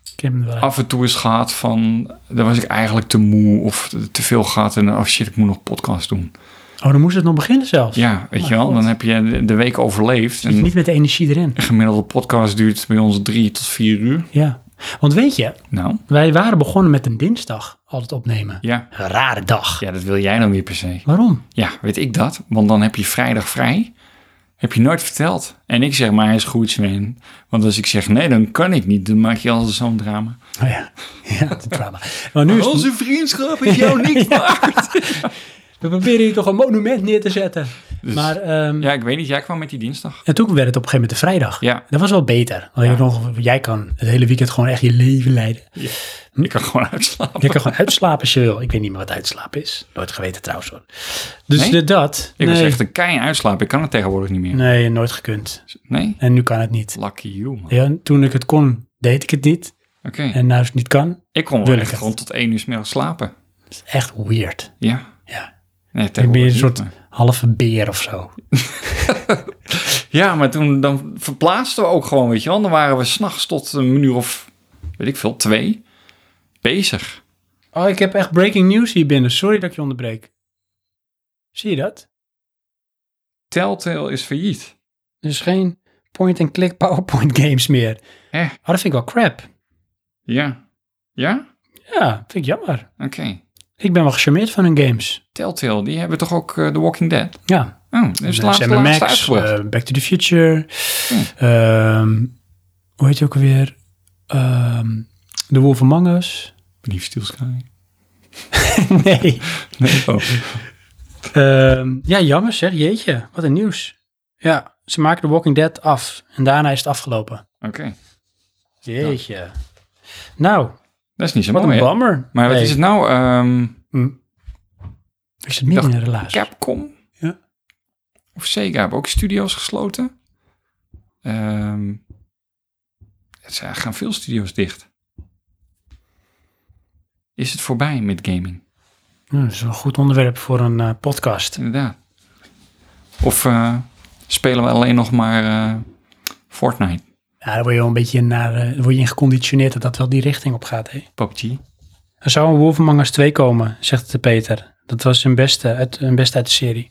Speaker 1: ik heb hem er wel uit.
Speaker 2: af en toe eens gehad van... Dan was ik eigenlijk te moe of te veel gehad. En oh shit, ik moet nog podcast doen.
Speaker 1: Oh, dan moest het nog beginnen zelfs.
Speaker 2: Ja, weet
Speaker 1: Oh
Speaker 2: je
Speaker 1: mijn
Speaker 2: wel.
Speaker 1: God.
Speaker 2: Dan heb je de- de week overleefd.
Speaker 1: Zit je
Speaker 2: En
Speaker 1: Niet met de energie erin.
Speaker 2: een gemiddelde podcast duurt bij ons drie tot vier uur.
Speaker 1: Ja. Want weet je,
Speaker 2: Nou,
Speaker 1: wij waren begonnen met een dinsdag altijd opnemen.
Speaker 2: ja.
Speaker 1: Een rare dag.
Speaker 2: Ja, dat wil jij dan weer per se.
Speaker 1: Waarom?
Speaker 2: Ja, weet ik dat. Want dan heb je vrijdag vrij. Heb je nooit verteld. En ik zeg maar, hij is goed, Sven. Want als ik zeg nee, dan kan ik niet. Dan maak je altijd zo'n drama.
Speaker 1: Oh ja, ja het drama. Maar nu is het-
Speaker 2: vriendschap is jou niks waard.
Speaker 1: we proberen hier toch een monument neer te zetten.
Speaker 2: Dus-
Speaker 1: maar ehm,
Speaker 2: Ja, ik weet niet. Jij kwam met die dinsdag.
Speaker 1: en toen werd het op een gegeven moment de vrijdag.
Speaker 2: Ja.
Speaker 1: Dat was wel beter. Want je nog, jij kan het hele weekend gewoon echt je leven leiden. Hm?
Speaker 2: Ik kan gewoon uitslapen.
Speaker 1: Je kan gewoon uitslapen als je wil. Ik weet niet meer wat uitslapen is. Nooit geweten trouwens hoor. Dus
Speaker 2: Nee?
Speaker 1: de- dat.
Speaker 2: Ik
Speaker 1: nee,
Speaker 2: was echt een kei uitslapen. Ik kan het tegenwoordig niet meer.
Speaker 1: nee, nooit gekund.
Speaker 2: Nee?
Speaker 1: En nu kan het niet.
Speaker 2: Lucky you, man.
Speaker 1: Ja, toen ik het kon, deed ik het niet.
Speaker 2: Oké.
Speaker 1: En nu het niet kan,
Speaker 2: Ik kon
Speaker 1: wil
Speaker 2: wel
Speaker 1: ik
Speaker 2: echt
Speaker 1: het.
Speaker 2: gewoon tot één uur 's middags slapen.
Speaker 1: is het echt weird.
Speaker 2: Ja.
Speaker 1: Ja.
Speaker 2: Nee,
Speaker 1: Dan ben je een
Speaker 2: tegenwoordig
Speaker 1: soort
Speaker 2: niet, maar-
Speaker 1: halve beer of zo.
Speaker 2: Ja, maar toen dan verplaatsten we ook gewoon, weet je wel. Dan waren we s'nachts tot een uur of, weet ik veel, twee bezig.
Speaker 1: Oh, ik heb echt breaking news hier binnen. Sorry dat ik je onderbreek. Zie je dat?
Speaker 2: Telltale is failliet.
Speaker 1: Dus geen point-and-click PowerPoint games meer.
Speaker 2: Hè?
Speaker 1: Oh, dat vind ik wel crap.
Speaker 2: Ja. Ja?
Speaker 1: Ja, vind ik jammer.
Speaker 2: Oké.
Speaker 1: Ik ben wel gecharmeerd van hun games.
Speaker 2: Telltale, die hebben toch ook eh, The Walking Dead?
Speaker 1: Ja,
Speaker 2: Oh, dat is
Speaker 1: Dus
Speaker 2: de laatste,
Speaker 1: Sam en
Speaker 2: laatste
Speaker 1: Max,
Speaker 2: uitgebracht.
Speaker 1: eh, Back to the Future.
Speaker 2: Hm.
Speaker 1: ehm, hoe heet je ook alweer? Ehm The Wolf Among Us.
Speaker 2: Believe Steel Sky.
Speaker 1: nee.
Speaker 2: Nee, oh.
Speaker 1: Ehm, ja, jammer zeg. Jeetje, wat een nieuws. Ja, ze maken The Walking Dead af. En daarna is het afgelopen.
Speaker 2: Oké.
Speaker 1: Jeetje. Nou,
Speaker 2: Dat is niet zo
Speaker 1: wat
Speaker 2: mooi,
Speaker 1: een
Speaker 2: hè?
Speaker 1: bammer.
Speaker 2: Maar wat is het nou? ehm,
Speaker 1: Ik zit midden in
Speaker 2: Dacht-
Speaker 1: een relaas.
Speaker 2: Capcom?
Speaker 1: Ja.
Speaker 2: Of Sega hebben ook studio's gesloten. Ehm er zijn- gaan veel studio's dicht. Is het voorbij met gaming?
Speaker 1: Nou, dat is wel een goed onderwerp voor een eh, podcast.
Speaker 2: Inderdaad. Of eh, spelen we alleen nog maar eh, Fortnite,
Speaker 1: Ja, daar word je wel een beetje in naar, eh, word je in geconditioneerd dat dat wel die richting op gaat. Hè?
Speaker 2: PUBG?
Speaker 1: Er zou een Wolf Among Us 2 komen, zegt de Peter. Dat was zijn beste uit, een beste uit de serie.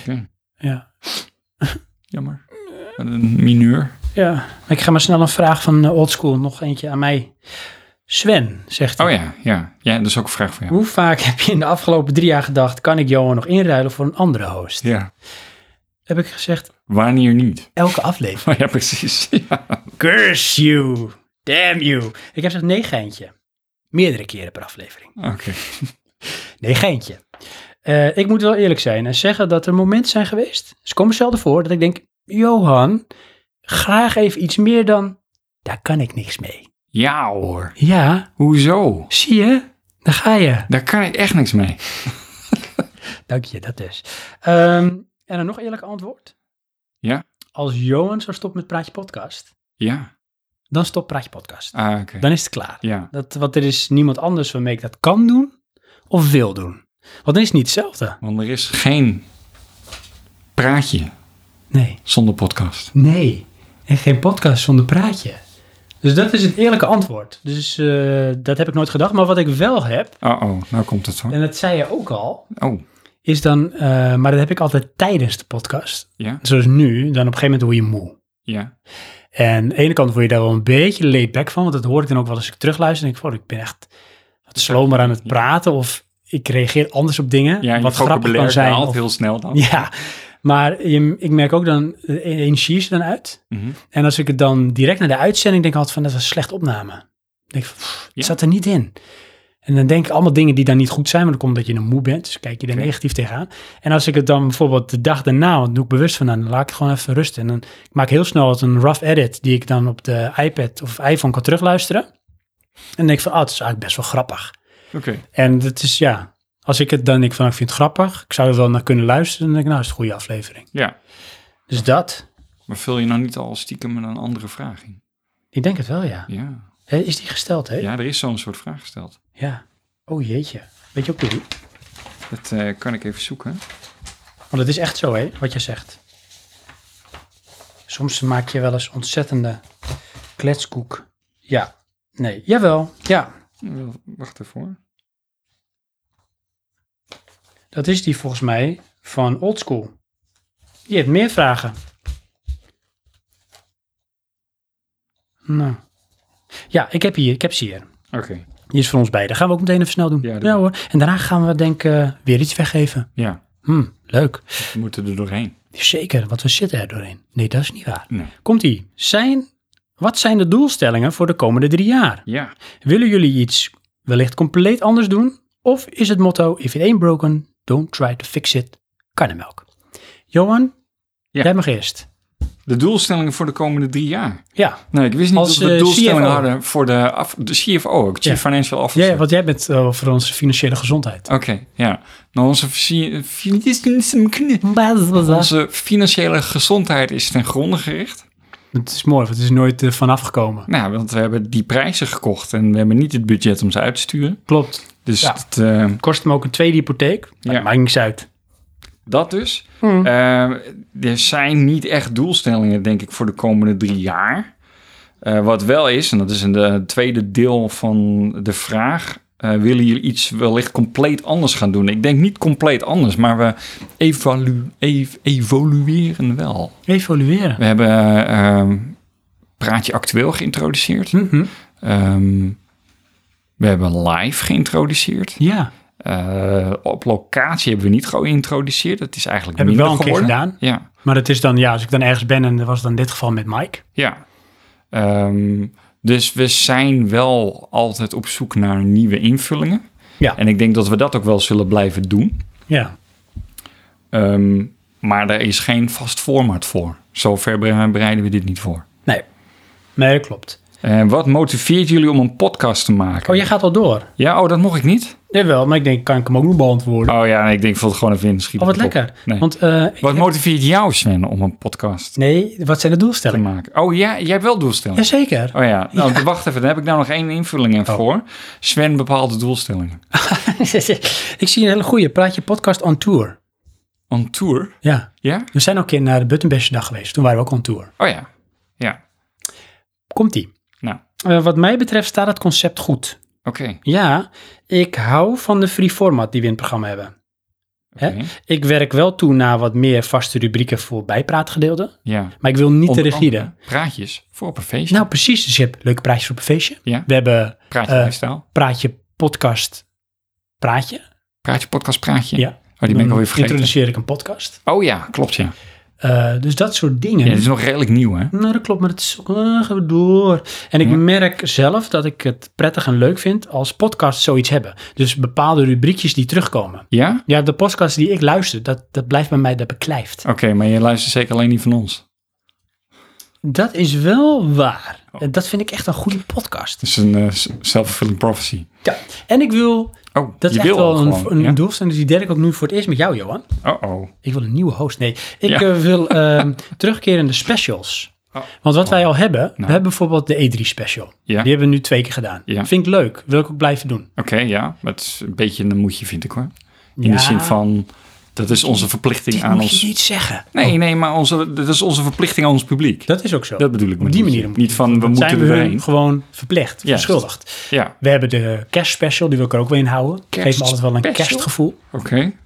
Speaker 2: Oké.
Speaker 1: Ja.
Speaker 2: Jammer. Wat Eh, een mineur.
Speaker 1: ja. Maar Ik ga maar snel een vraag van eh, Oldschool, nog eentje aan mij. Sven, zegt hij.
Speaker 2: Oh ja, ja. ja, dat is ook een vraag voor jou.
Speaker 1: Hoe vaak heb je in de afgelopen drie jaar gedacht, kan ik Johan nog inruilen voor een andere host?
Speaker 2: Ja.
Speaker 1: Heb ik gezegd,
Speaker 2: Wanneer niet?
Speaker 1: elke aflevering.
Speaker 2: Ja, precies. Ja.
Speaker 1: Curse you. Damn you. Ik heb gezegd, nee geintje. Meerdere keren per aflevering.
Speaker 2: Oké.
Speaker 1: Nee, geintje. Eh, ik moet wel eerlijk zijn en zeggen dat er momenten zijn geweest. Ze komen zelden voor dat ik denk: Johan, graag even iets meer dan. Daar kan ik niks mee.
Speaker 2: Ja hoor.
Speaker 1: Ja,
Speaker 2: Hoezo?
Speaker 1: zie je? Daar ga je.
Speaker 2: Daar kan ik echt niks mee.
Speaker 1: Dank je, dat is. Ehm, en dan nog eerlijk antwoord.
Speaker 2: Ja.
Speaker 1: Als Johan zou stoppen met Praatje Podcast,
Speaker 2: Ja.
Speaker 1: dan stopt Praatje Podcast.
Speaker 2: Ah, oké.
Speaker 1: Dan is het klaar.
Speaker 2: Ja.
Speaker 1: Dat, want er is niemand anders waarmee ik dat kan doen of wil doen. Want dan is het niet hetzelfde.
Speaker 2: Want er is geen praatje
Speaker 1: Nee.
Speaker 2: zonder podcast.
Speaker 1: Nee. En geen podcast zonder praatje. Dus dat is het eerlijke antwoord. Dus eh, dat heb ik nooit gedacht. Maar wat ik wel heb,
Speaker 2: Oh, oh, nou komt het hoor.
Speaker 1: en dat zei je ook al,
Speaker 2: Oh,
Speaker 1: is dan, eh, maar dat heb ik altijd tijdens de podcast.
Speaker 2: ja,
Speaker 1: Zoals nu, dan op een gegeven moment word je moe.
Speaker 2: ja.
Speaker 1: En aan de ene kant word je daar wel een beetje laid back van, want dat hoor ik dan ook wel als ik terugluister. En denk ik, oh, ik ben echt wat slomer aan het praten of ik reageer anders op dingen.
Speaker 2: Ja,
Speaker 1: wat
Speaker 2: je
Speaker 1: grappig kan
Speaker 2: vocabulaire
Speaker 1: zijn.
Speaker 2: daalt
Speaker 1: of-
Speaker 2: heel snel dan.
Speaker 1: ja, maar je- ik merk ook dan, de energie is er dan uit.
Speaker 2: Mhm.
Speaker 1: En als ik het dan direct naar de uitzending denk, had van, dat was een slecht opname. Dan denk ik, van, pff, het
Speaker 2: Ja.
Speaker 1: zat er niet in. En dan denk ik allemaal dingen die dan niet goed zijn, maar dan komt dat je dan moe bent. Dus kijk je er
Speaker 2: Oké.
Speaker 1: negatief tegenaan. En als ik het dan bijvoorbeeld de dag daarna, want daar doe ik bewust van, nou, dan laat ik het gewoon even rusten. En dan ik maak heel snel een rough edit die ik dan op de iPad of iPhone kan terugluisteren. En dan denk ik van, ah, het is eigenlijk best wel grappig.
Speaker 2: Oké,
Speaker 1: En het is, ja, als ik het dan denk van, ik vind het grappig. Ik zou er wel naar kunnen luisteren. Dan denk ik, nou, is het een goede aflevering.
Speaker 2: ja.
Speaker 1: Dus dat,
Speaker 2: Maar vul je nog niet al stiekem een andere vraag in?
Speaker 1: ik denk het wel, ja.
Speaker 2: Ja,
Speaker 1: Hé, Is die gesteld, hè?
Speaker 2: ja er is zo'n soort vraag gesteld.
Speaker 1: Ja. Oh jeetje. Weet je ook niet?
Speaker 2: Dat eh, kan ik even zoeken.
Speaker 1: Want het is echt zo, hè, wat je zegt. Soms maak je wel eens ontzettende kletskoek. Ja. Nee. Jawel. Ja.
Speaker 2: Eh, Wacht even hoor.
Speaker 1: Dat is die volgens mij van Oldschool. Je hebt meer vragen. Nou. Ja, ik heb hier. Ik heb ze hier.
Speaker 2: Oké.
Speaker 1: Die is voor ons beiden. Gaan we ook meteen even snel doen.
Speaker 2: Ja, doe
Speaker 1: Ja, hoor. En daarna gaan we denk ik eh, weer iets weggeven.
Speaker 2: Ja,
Speaker 1: Hm, leuk.
Speaker 2: we moeten er doorheen.
Speaker 1: Zeker, want we zitten er doorheen. Nee, dat is niet waar.
Speaker 2: Nee.
Speaker 1: Komt-ie. Zijn, wat zijn de doelstellingen voor de komende drie jaar?
Speaker 2: Ja,
Speaker 1: Willen jullie iets wellicht compleet anders doen? Of is het motto, if it ain't broken, don't try to fix it, karnemelk? Johan,
Speaker 2: Ja.
Speaker 1: jij mag eerst.
Speaker 2: de doelstellingen voor de komende drie jaar.
Speaker 1: Ja,
Speaker 2: Nee, ik wist niet
Speaker 1: Als,
Speaker 2: dat we
Speaker 1: eh,
Speaker 2: doelstellingen
Speaker 1: CFO.
Speaker 2: hadden voor de, af, de CFO, ook, Chief
Speaker 1: Ja.
Speaker 2: Financial Officer.
Speaker 1: ja want jij bent eh, voor onze financiële gezondheid.
Speaker 2: Oké, ja. Nou, onze, fi- fi- onze financiële gezondheid is ten gronde gericht.
Speaker 1: Het is mooi, want het is nooit eh, vanaf gekomen.
Speaker 2: Nou, want we hebben die prijzen gekocht en we hebben niet het budget om ze uit te sturen.
Speaker 1: Klopt.
Speaker 2: Dus
Speaker 1: Ja.
Speaker 2: dat, eh,
Speaker 1: Kost hem ook een tweede hypotheek. Maar
Speaker 2: Ja.
Speaker 1: dat maakt niks uit.
Speaker 2: dat dus. Eh, er zijn niet echt doelstellingen, denk ik, voor de komende drie jaar. Eh, wat wel is, en dat is in de tweede deel van de vraag... eh, willen jullie iets wellicht compleet anders gaan doen? Ik denk niet compleet anders, maar we evalu- ev- evolueren wel.
Speaker 1: Evolueren.
Speaker 2: We hebben eh, ehm, Praatje Actueel geïntroduceerd.
Speaker 1: Mhm.
Speaker 2: Ehm, we hebben live geïntroduceerd.
Speaker 1: Ja,
Speaker 2: Eh, op locatie hebben we niet geïntroduceerd. Dat is eigenlijk
Speaker 1: heb ik
Speaker 2: minder
Speaker 1: wel een keer
Speaker 2: geworden.
Speaker 1: gedaan.
Speaker 2: Ja,
Speaker 1: Maar het is dan, ja, als ik dan ergens ben en dat was dan in dit geval met Mike.
Speaker 2: ja. Ehm, dus we zijn wel altijd op zoek naar nieuwe invullingen.
Speaker 1: Ja.
Speaker 2: En ik denk dat we dat ook wel zullen blijven doen.
Speaker 1: Ja,
Speaker 2: Ehm, maar er is geen vast format voor. Zover bre- bereiden we dit niet voor.
Speaker 1: nee. Nee, klopt.
Speaker 2: En wat motiveert jullie om een podcast te maken?
Speaker 1: Oh, jij gaat al door.
Speaker 2: Ja, oh, dat mocht ik niet.
Speaker 1: Jawel, maar ik denk, kan ik hem ook nog beantwoorden?
Speaker 2: Oh ja, nee, ik denk, ik vul het gewoon even in. schiet
Speaker 1: Oh, wat
Speaker 2: het op.
Speaker 1: lekker.
Speaker 2: Nee.
Speaker 1: Want, eh, ik-
Speaker 2: Wat motiveert jou, Sven, om een podcast
Speaker 1: nee, wat zijn de
Speaker 2: te
Speaker 1: doelstellingen?
Speaker 2: maken? Oh ja, jij hebt wel doelstellingen.
Speaker 1: Jazeker.
Speaker 2: Oh ja, nou, wacht even. Daar heb ik nou nog één invulling
Speaker 1: Oh.
Speaker 2: in voor. Sven bepaalde doelstellingen.
Speaker 1: ik zie een hele goede. Praat je podcast on tour?
Speaker 2: On tour?
Speaker 1: Ja.
Speaker 2: Ja?
Speaker 1: We zijn ook een keer naar de Buttonbashje dag geweest. Toen waren we ook on tour.
Speaker 2: Oh ja. Ja.
Speaker 1: Komt-ie.
Speaker 2: Nou,
Speaker 1: Eh, wat mij betreft staat het concept goed.
Speaker 2: oké.
Speaker 1: Ja, ik hou van de free format die we in het programma hebben. Hè?
Speaker 2: Oké.
Speaker 1: Ik werk wel toe naar wat meer vaste rubrieken voor bijpraatgedeelden.
Speaker 2: Ja.
Speaker 1: Maar ik wil niet
Speaker 2: Onder
Speaker 1: te rigide.
Speaker 2: andere Praatjes voor op een feestje.
Speaker 1: Nou, precies. Dus je hebt leuke praatjes op een feestje.
Speaker 2: Ja.
Speaker 1: We hebben
Speaker 2: Praatje
Speaker 1: eh,
Speaker 2: lifestyle.
Speaker 1: praatje, podcast, praatje.
Speaker 2: Praatje, podcast, praatje.
Speaker 1: Ja.
Speaker 2: Oh, die ben ik alweer vergeten.
Speaker 1: introduceer ik een podcast.
Speaker 2: Oh ja, klopt ja.
Speaker 1: Eh, dus dat soort dingen.
Speaker 2: Ja, dit is nog redelijk nieuw hè.
Speaker 1: Nou, dat klopt, maar het is ook, eh, gaan we door. En ik
Speaker 2: Ja.
Speaker 1: merk zelf dat ik het prettig en leuk vind als podcasts zoiets hebben. Dus bepaalde rubriekjes die terugkomen.
Speaker 2: Ja?
Speaker 1: Ja, de podcasts die ik luister, dat, dat blijft bij mij, dat beklijft.
Speaker 2: Oké, maar je luistert zeker alleen niet van ons.
Speaker 1: Dat is wel
Speaker 2: Oh.
Speaker 1: waar. En Dat vind ik echt een goede podcast.
Speaker 2: Het is een eh, s- self-fulfilling prophecy.
Speaker 1: Ja. En ik wil
Speaker 2: Oh,
Speaker 1: Dat is
Speaker 2: je
Speaker 1: echt
Speaker 2: wil
Speaker 1: wel
Speaker 2: al
Speaker 1: een,
Speaker 2: gewoon,
Speaker 1: een
Speaker 2: ja?
Speaker 1: doelstelling. Dus die deel ik ook nu voor het eerst met jou, Johan.
Speaker 2: Oh, oh.
Speaker 1: Ik wil een nieuwe host. Nee, ik
Speaker 2: Ja.
Speaker 1: eh, wil ehm, terugkeren in de specials.
Speaker 2: Oh.
Speaker 1: Want wat wij al hebben, we
Speaker 2: Nou.
Speaker 1: hebben bijvoorbeeld de E3 special.
Speaker 2: Ja.
Speaker 1: Die hebben we nu twee keer gedaan.
Speaker 2: Ja.
Speaker 1: Vind ik leuk. Wil ik ook blijven doen.
Speaker 2: Oké, ja. Dat is een beetje een moedje, vind ik hoor. In
Speaker 1: Ja.
Speaker 2: de zin van, dat is onze verplichting
Speaker 1: Dit
Speaker 2: aan
Speaker 1: moet
Speaker 2: ons...
Speaker 1: je niet zeggen.
Speaker 2: Nee, nee, maar onze, dat is onze verplichting aan ons publiek.
Speaker 1: Oh. Dat is ook zo.
Speaker 2: Dat bedoel ik
Speaker 1: Op
Speaker 2: met
Speaker 1: die
Speaker 2: moedje.
Speaker 1: manier. moet-
Speaker 2: Niet van, we
Speaker 1: dat
Speaker 2: moeten
Speaker 1: zijn we hun
Speaker 2: erheen.
Speaker 1: gewoon verplicht,
Speaker 2: Juist.
Speaker 1: verschuldigd.
Speaker 2: Ja,
Speaker 1: We hebben de kerstspecial, die wil ik er ook weer in houden. Geeft me altijd wel een
Speaker 2: Kerstspecial?
Speaker 1: kerstgevoel.
Speaker 2: oké. Okay.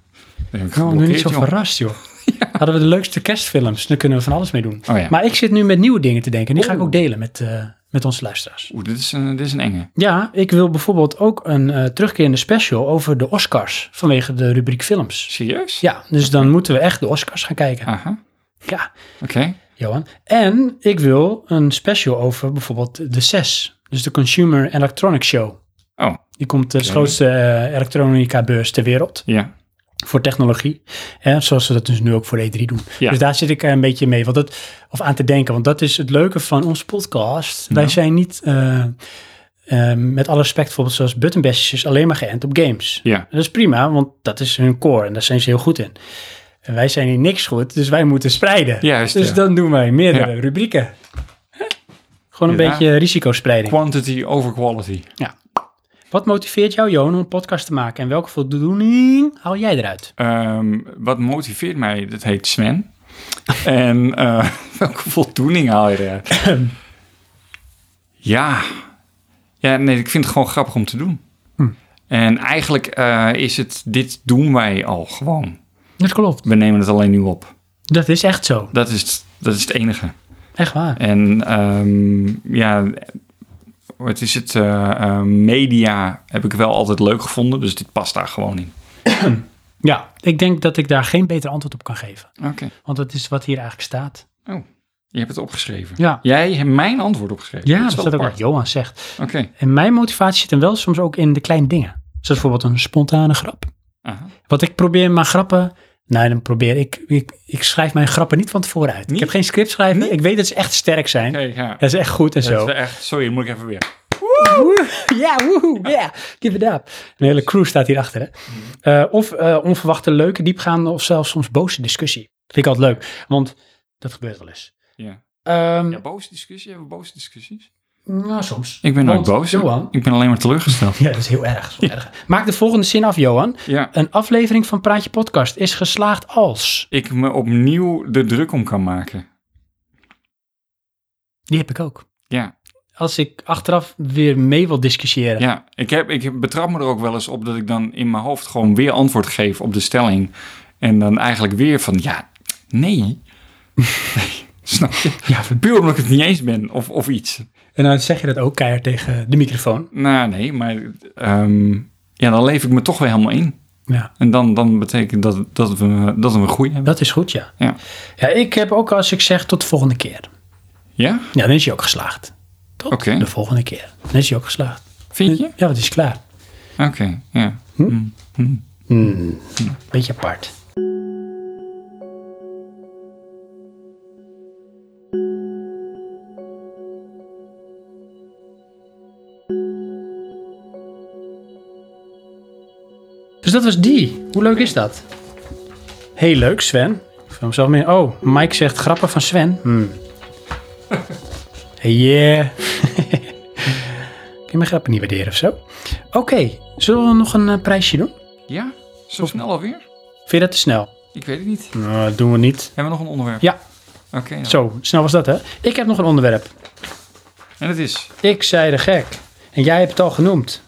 Speaker 2: Ik
Speaker 1: Oh, nu niet zo
Speaker 2: joh.
Speaker 1: verrast, joh. Hadden we de leukste kerstfilms. Dan kunnen we van alles mee doen.
Speaker 2: Oh ja.
Speaker 1: Maar ik zit nu met nieuwe dingen te denken. Die ga ik
Speaker 2: Oeh.
Speaker 1: ook delen met, eh, met onze luisteraars.
Speaker 2: Oeh, dit is, een, dit is een enge.
Speaker 1: Ja, ik wil bijvoorbeeld ook een eh, terugkerende special over de Oscars. Vanwege de rubriek films.
Speaker 2: Serieus?
Speaker 1: Ja, dus dan moeten we echt de Oscars gaan kijken.
Speaker 2: Aha,
Speaker 1: Ja,
Speaker 2: oké.
Speaker 1: Johan. En ik wil een special over bijvoorbeeld de CES. Dus de Consumer Electronics Show.
Speaker 2: Oh,
Speaker 1: Die komt de
Speaker 2: Oké.
Speaker 1: grootste eh, elektronica beurs ter wereld
Speaker 2: ja.
Speaker 1: voor technologie. Hè, zoals ze dat dus nu ook voor E3 doen.
Speaker 2: Ja.
Speaker 1: Dus daar zit ik eh, een beetje mee. Want dat, of aan te denken. Want dat is het leuke van onze podcast. Wij zijn niet, eh, eh, met alle respect, bijvoorbeeld zoals Buttonbashers, alleen maar geënt op games.
Speaker 2: Ja,
Speaker 1: En Dat is prima, want dat is hun core en daar zijn ze heel goed in. En wij zijn in niks goed, dus wij moeten spreiden.
Speaker 2: Juist,
Speaker 1: dus
Speaker 2: ja.
Speaker 1: dan doen wij meerdere
Speaker 2: Ja.
Speaker 1: rubrieken. Hè? Gewoon een
Speaker 2: Ja.
Speaker 1: beetje risicospreiding.
Speaker 2: quantity over quality.
Speaker 1: Wat motiveert jou, Johan, om een podcast te maken? En welke voldoening haal jij eruit?
Speaker 2: Ehm, wat motiveert mij? Dat heet Sven. en eh, welke voldoening haal je eruit? ja. Ja, nee, ik vind het gewoon grappig om te doen. En eigenlijk eh, is het, dit doen wij al gewoon.
Speaker 1: Dat klopt.
Speaker 2: We nemen het alleen nu op.
Speaker 1: Dat is echt zo.
Speaker 2: Dat is, het- dat is het enige.
Speaker 1: Echt waar.
Speaker 2: En ehm, ja, wat is het? eh, eh, media heb ik wel altijd leuk gevonden, dus dit past daar gewoon in.
Speaker 1: Ja, ik denk dat ik daar geen beter antwoord op kan geven.
Speaker 2: Oké.
Speaker 1: Want dat is wat hier eigenlijk staat.
Speaker 2: Oh, je hebt het opgeschreven.
Speaker 1: Ja.
Speaker 2: Jij hebt mijn antwoord opgeschreven.
Speaker 1: Ja, dat
Speaker 2: is
Speaker 1: is
Speaker 2: wel
Speaker 1: Dus dat ook wat
Speaker 2: apart.
Speaker 1: Johan zegt.
Speaker 2: Oké.
Speaker 1: En mijn motivatie zit hem wel soms ook in de kleine dingen. Zoals bijvoorbeeld een spontane grap.
Speaker 2: Aha.
Speaker 1: Want ik probeer mijn grappen... Nou, dan probeer ik... Ik, ik schrijf mijn grappen niet van tevoren uit. Ik
Speaker 2: Niet?
Speaker 1: heb geen script schrijven. Ik weet dat ze echt sterk zijn.
Speaker 2: Oké, ja.
Speaker 1: Dat is echt goed en
Speaker 2: Dat
Speaker 1: zo.
Speaker 2: is echt, sorry, dan moet ik even weer.
Speaker 1: Woe, Ja, woehoe, ja. Give it up. Een hele crew staat hierachter, hè.
Speaker 2: Mhm.
Speaker 1: Eh, of eh, onverwachte leuke, diepgaande of zelfs soms boze discussie. Vind ik altijd leuk. Want dat gebeurt wel eens.
Speaker 2: Ja.
Speaker 1: Ehm,
Speaker 2: ja, boze discussie? Hebben we boze discussies?
Speaker 1: Nou, soms.
Speaker 2: Ik ben
Speaker 1: Want,
Speaker 2: nooit boos.
Speaker 1: Johan.
Speaker 2: Ik ben alleen maar teleurgesteld.
Speaker 1: Ja, dat is heel erg. dat is wel erg. Maak de volgende zin af, Johan.
Speaker 2: ja.
Speaker 1: Een aflevering van Praatje Podcast is geslaagd als...
Speaker 2: Ik me opnieuw de druk om kan maken.
Speaker 1: Die heb ik ook.
Speaker 2: Ja.
Speaker 1: Als ik achteraf weer mee wil discussiëren.
Speaker 2: Ja, ik, heb, ik heb- betrap me er ook wel eens op dat ik dan in mijn hoofd gewoon weer antwoord geef op de stelling. En dan eigenlijk weer van, ja, nee. nee snap je?
Speaker 1: Ja, ver-
Speaker 2: Puur omdat ik het niet eens ben of, of iets.
Speaker 1: en dan zeg je dat ook keihard tegen de microfoon.
Speaker 2: Nou, nee, maar ehm, ja, dan leef ik me toch weer helemaal in.
Speaker 1: Ja.
Speaker 2: En dan, dan betekent dat dat we, dat we een goeie hebben.
Speaker 1: Dat is goed, ja.
Speaker 2: Ja.
Speaker 1: Ja, ik heb ook als ik zeg tot de volgende keer.
Speaker 2: ja?
Speaker 1: Ja, dan is hij ook geslaagd. Tot
Speaker 2: Oké.
Speaker 1: de volgende keer. Dan is hij ook geslaagd.
Speaker 2: Vind je?
Speaker 1: Ja, dat is klaar.
Speaker 2: Oké, ja.
Speaker 1: Beetje apart. Dus dat was die. Hoe leuk is dat? Heel leuk, Sven. Ik vond mezelf meer. Oh, Mike zegt grappen van Sven. Hmm. Yeah. Kun je mijn grappen niet waarderen of zo? Oké, zullen we nog een eh, prijsje doen?
Speaker 2: Ja? Zo snel alweer?
Speaker 1: Vind je dat te snel?
Speaker 2: Ik weet het niet.
Speaker 1: Nou, dat doen we niet.
Speaker 2: Hebben we nog een onderwerp?
Speaker 1: Ja,
Speaker 2: Oké. nou.
Speaker 1: zo, snel was dat hè. Ik heb nog een onderwerp.
Speaker 2: En het is?
Speaker 1: Ik zei de gek. En jij hebt het al genoemd.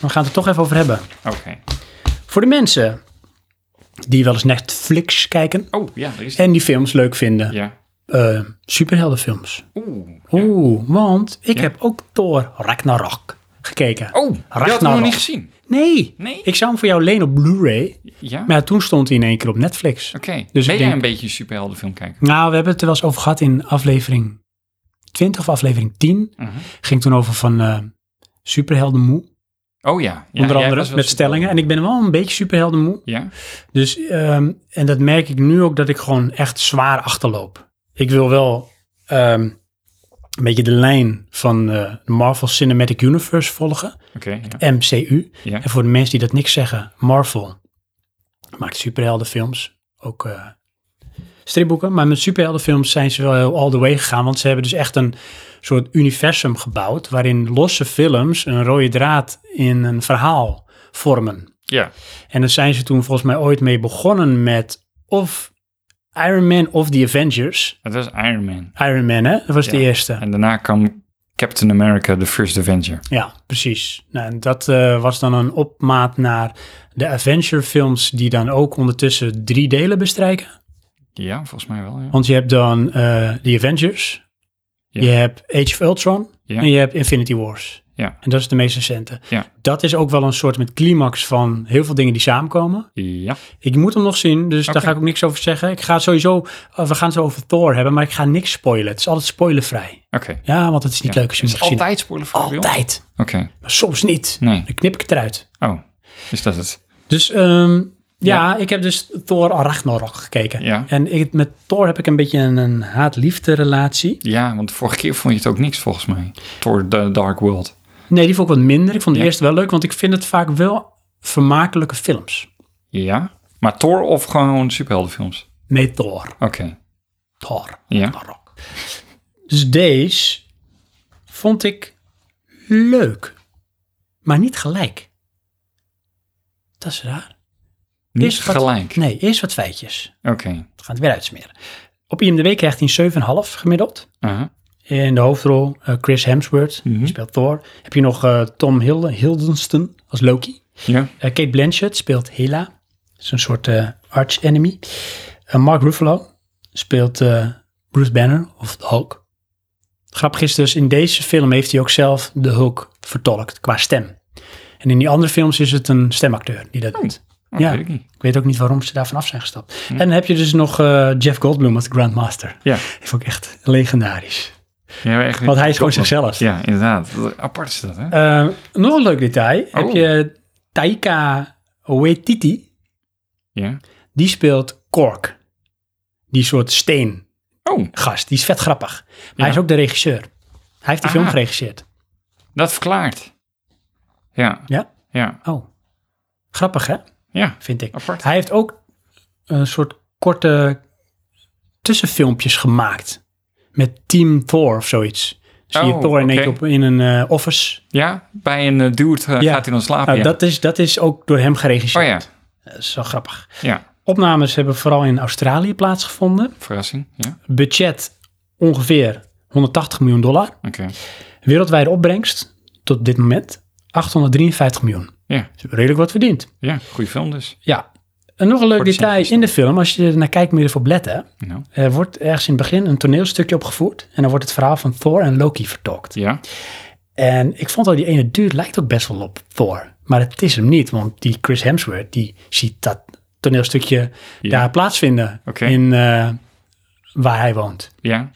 Speaker 1: We gaan het er toch even over hebben.
Speaker 2: Oké.
Speaker 1: Voor de mensen die wel eens Netflix kijken
Speaker 2: Oh, ja, er is
Speaker 1: en die films leuk vinden.
Speaker 2: Ja.
Speaker 1: Eh, superheldenfilms.
Speaker 2: Oeh.
Speaker 1: Oeh, want ik
Speaker 2: Ja.
Speaker 1: heb ook Thor Ragnarok gekeken.
Speaker 2: Oh, je had hem nog
Speaker 1: Ragnarok.
Speaker 2: niet gezien.
Speaker 1: Nee.
Speaker 2: Nee?
Speaker 1: ik zou hem voor jou lenen op Blu-ray.
Speaker 2: Ja?
Speaker 1: Maar ja, toen stond hij in één keer op Netflix.
Speaker 2: Oké.
Speaker 1: Dus
Speaker 2: ben
Speaker 1: ik
Speaker 2: jij
Speaker 1: denk-
Speaker 2: een beetje een superheldenfilm kijken?
Speaker 1: Nou, we hebben het er wel eens over gehad in aflevering 20 of aflevering 10. Ging toen over van eh superheldenmoe,
Speaker 2: Oh Mhm. ja. ja
Speaker 1: onder
Speaker 2: jij
Speaker 1: andere
Speaker 2: was
Speaker 1: met
Speaker 2: wel
Speaker 1: stellingen. En ik ben wel een beetje superheldenmoe.
Speaker 2: superhelden.
Speaker 1: Dus, ehm, en dat merk ik nu ook dat ik gewoon echt zwaar achterloop. Ik wil wel ehm, een beetje de lijn van eh, de Marvel Cinematic Universe volgen.
Speaker 2: Oké, ja.
Speaker 1: MCU.
Speaker 2: Ja.
Speaker 1: En voor de mensen die dat niks zeggen, Marvel maakt superheldenfilms, ook eh, stripboeken. Maar met superheldenfilms zijn ze wel heel all the way gegaan, want ze hebben dus echt een soort universum gebouwd waarin losse films een rode draad in een verhaal vormen.
Speaker 2: ja.
Speaker 1: En daar zijn ze toen volgens mij ooit mee begonnen met of Iron Man of The Avengers.
Speaker 2: Dat was Iron Man.
Speaker 1: Iron Man, hè? Dat was de
Speaker 2: Ja.
Speaker 1: eerste.
Speaker 2: En daarna kwam Captain America, The First Avenger.
Speaker 1: Ja, precies. Nou, en dat eh, was dan een opmaat naar de Avenger-films, die dan ook ondertussen drie delen bestrijken.
Speaker 2: Ja, volgens mij wel, ja.
Speaker 1: Want je hebt dan eh The Avengers,
Speaker 2: Ja.
Speaker 1: je hebt Age of Ultron
Speaker 2: Ja.
Speaker 1: en je hebt Infinity Wars.
Speaker 2: Ja.
Speaker 1: En dat is de meest recente.
Speaker 2: Ja.
Speaker 1: Dat is ook wel een soort met climax van heel veel dingen die samenkomen.
Speaker 2: Ja,
Speaker 1: Ik moet hem nog zien, dus daar
Speaker 2: Oké.
Speaker 1: ga ik ook niks over zeggen. Ik ga sowieso, eh, we gaan het zo over Thor hebben, maar ik ga niks spoilen. Het is altijd spoilervrij.
Speaker 2: oké.
Speaker 1: Ja, want het is niet
Speaker 2: Ja.
Speaker 1: leuk als je hem
Speaker 2: Is
Speaker 1: nog gezien hebt.
Speaker 2: altijd spoilervrij? bij ons?
Speaker 1: Altijd.
Speaker 2: Oké.
Speaker 1: Maar soms niet.
Speaker 2: Nee.
Speaker 1: Dan knip ik het eruit.
Speaker 2: Oh, is dat het?
Speaker 1: Dus ehm, ja,
Speaker 2: Ja.
Speaker 1: ik heb dus Thor Ragnarok gekeken.
Speaker 2: Ja.
Speaker 1: En ik, met Thor heb ik een beetje een, een haat-liefde relatie.
Speaker 2: Ja, want vorige keer vond je het ook niks, volgens mij. Thor The Dark World.
Speaker 1: Nee, die vond ik wat minder. Ik vond de
Speaker 2: Ja.
Speaker 1: eerste wel leuk, want ik vind het vaak wel vermakelijke films.
Speaker 2: Ja? Maar Thor of gewoon superheldenfilms?
Speaker 1: Nee, Thor.
Speaker 2: Oké.
Speaker 1: Thor
Speaker 2: Ja?
Speaker 1: Ragnarok. Dus deze vond ik leuk. Maar niet gelijk. Dat is raar.
Speaker 2: Niet
Speaker 1: Eerst wat-
Speaker 2: gelijk.
Speaker 1: Nee, eerst wat feitjes.
Speaker 2: Oké.
Speaker 1: We gaan het weer uitsmeren. Op IMDb krijgt hij een 7,5 gemiddeld.
Speaker 2: Aha.
Speaker 1: In de hoofdrol eh, Chris Hemsworth,
Speaker 2: Mhm.
Speaker 1: die speelt Thor. Heb je nog eh, Tom Hilde, Hiddleston als Loki.
Speaker 2: Ja? oh,
Speaker 1: Eh, Kate Blanchett speelt Hela. Dat is een soort eh, arch-enemy. Eh, Mark Ruffalo speelt eh, Bruce Banner of de Hulk. Grappig is dus, in deze film heeft hij ook zelf de Hulk vertolkt qua stem. En in die andere films is het een stemacteur die dat doet.
Speaker 2: Oh,
Speaker 1: Ja.
Speaker 2: weet ik niet.
Speaker 1: Ik weet ook niet waarom ze daarvan af zijn gestapt. En dan heb je dus nog eh, Jeff Goldblum als Grandmaster.
Speaker 2: Ja.
Speaker 1: Die vond ik echt legendarisch.
Speaker 2: Ja, maar echt-
Speaker 1: Want hij is gewoon zichzelf.
Speaker 2: Ja, inderdaad. Wat Apart is dat, hè?
Speaker 1: Eh, nog een leuk detail.
Speaker 2: Oh.
Speaker 1: Heb je Taika Waititi.
Speaker 2: ja.
Speaker 1: Die speelt Kork. Die soort steengast.
Speaker 2: Oh,
Speaker 1: Die is vet grappig. Maar hij
Speaker 2: Ja. Ah.
Speaker 1: is ook de regisseur. Hij heeft die
Speaker 2: Aha.
Speaker 1: film geregisseerd.
Speaker 2: dat verklaart. Ja,
Speaker 1: Ja?
Speaker 2: ja,
Speaker 1: Oh. Grappig, hè?
Speaker 2: ja.
Speaker 1: Vind ik.
Speaker 2: Apart.
Speaker 1: Hij heeft ook een soort korte tussenfilmpjes gemaakt. Met Team Thor of zoiets. Zie je
Speaker 2: Oh,
Speaker 1: Thor in, één keer op,
Speaker 2: oké.
Speaker 1: in een eh, office.
Speaker 2: Ja, bij een eh, dude eh, gaat hij dan slapen.
Speaker 1: Nou,
Speaker 2: ja.
Speaker 1: dat, is, dat is ook door hem
Speaker 2: oh
Speaker 1: geregisseerd.
Speaker 2: ja,
Speaker 1: Dat is wel grappig.
Speaker 2: ja.
Speaker 1: Opnames hebben vooral in Australië plaatsgevonden.
Speaker 2: Verrassing. Ja,
Speaker 1: Budget ongeveer 180 miljoen dollar.
Speaker 2: oké.
Speaker 1: Wereldwijde opbrengst tot dit moment 853 miljoen.
Speaker 2: Ja,
Speaker 1: Dus redelijk wat verdiend.
Speaker 2: ja, goede film dus.
Speaker 1: Ja. En nog een leuk
Speaker 2: Voor de
Speaker 1: detail
Speaker 2: cijfers
Speaker 1: in de film, als je er naar kijkt, moet je ervoor letten.
Speaker 2: Nou,
Speaker 1: Er wordt ergens in het begin een toneelstukje opgevoerd en dan wordt het verhaal van Thor en Loki vertolkt.
Speaker 2: ja,
Speaker 1: En ik vond al die ene dude lijkt ook best wel op Thor. Maar het is hem niet, want die Chris Hemsworth, die ziet dat toneelstukje
Speaker 2: Ja.
Speaker 1: daar plaatsvinden
Speaker 2: Oké.
Speaker 1: in eh, waar hij woont.
Speaker 2: ja.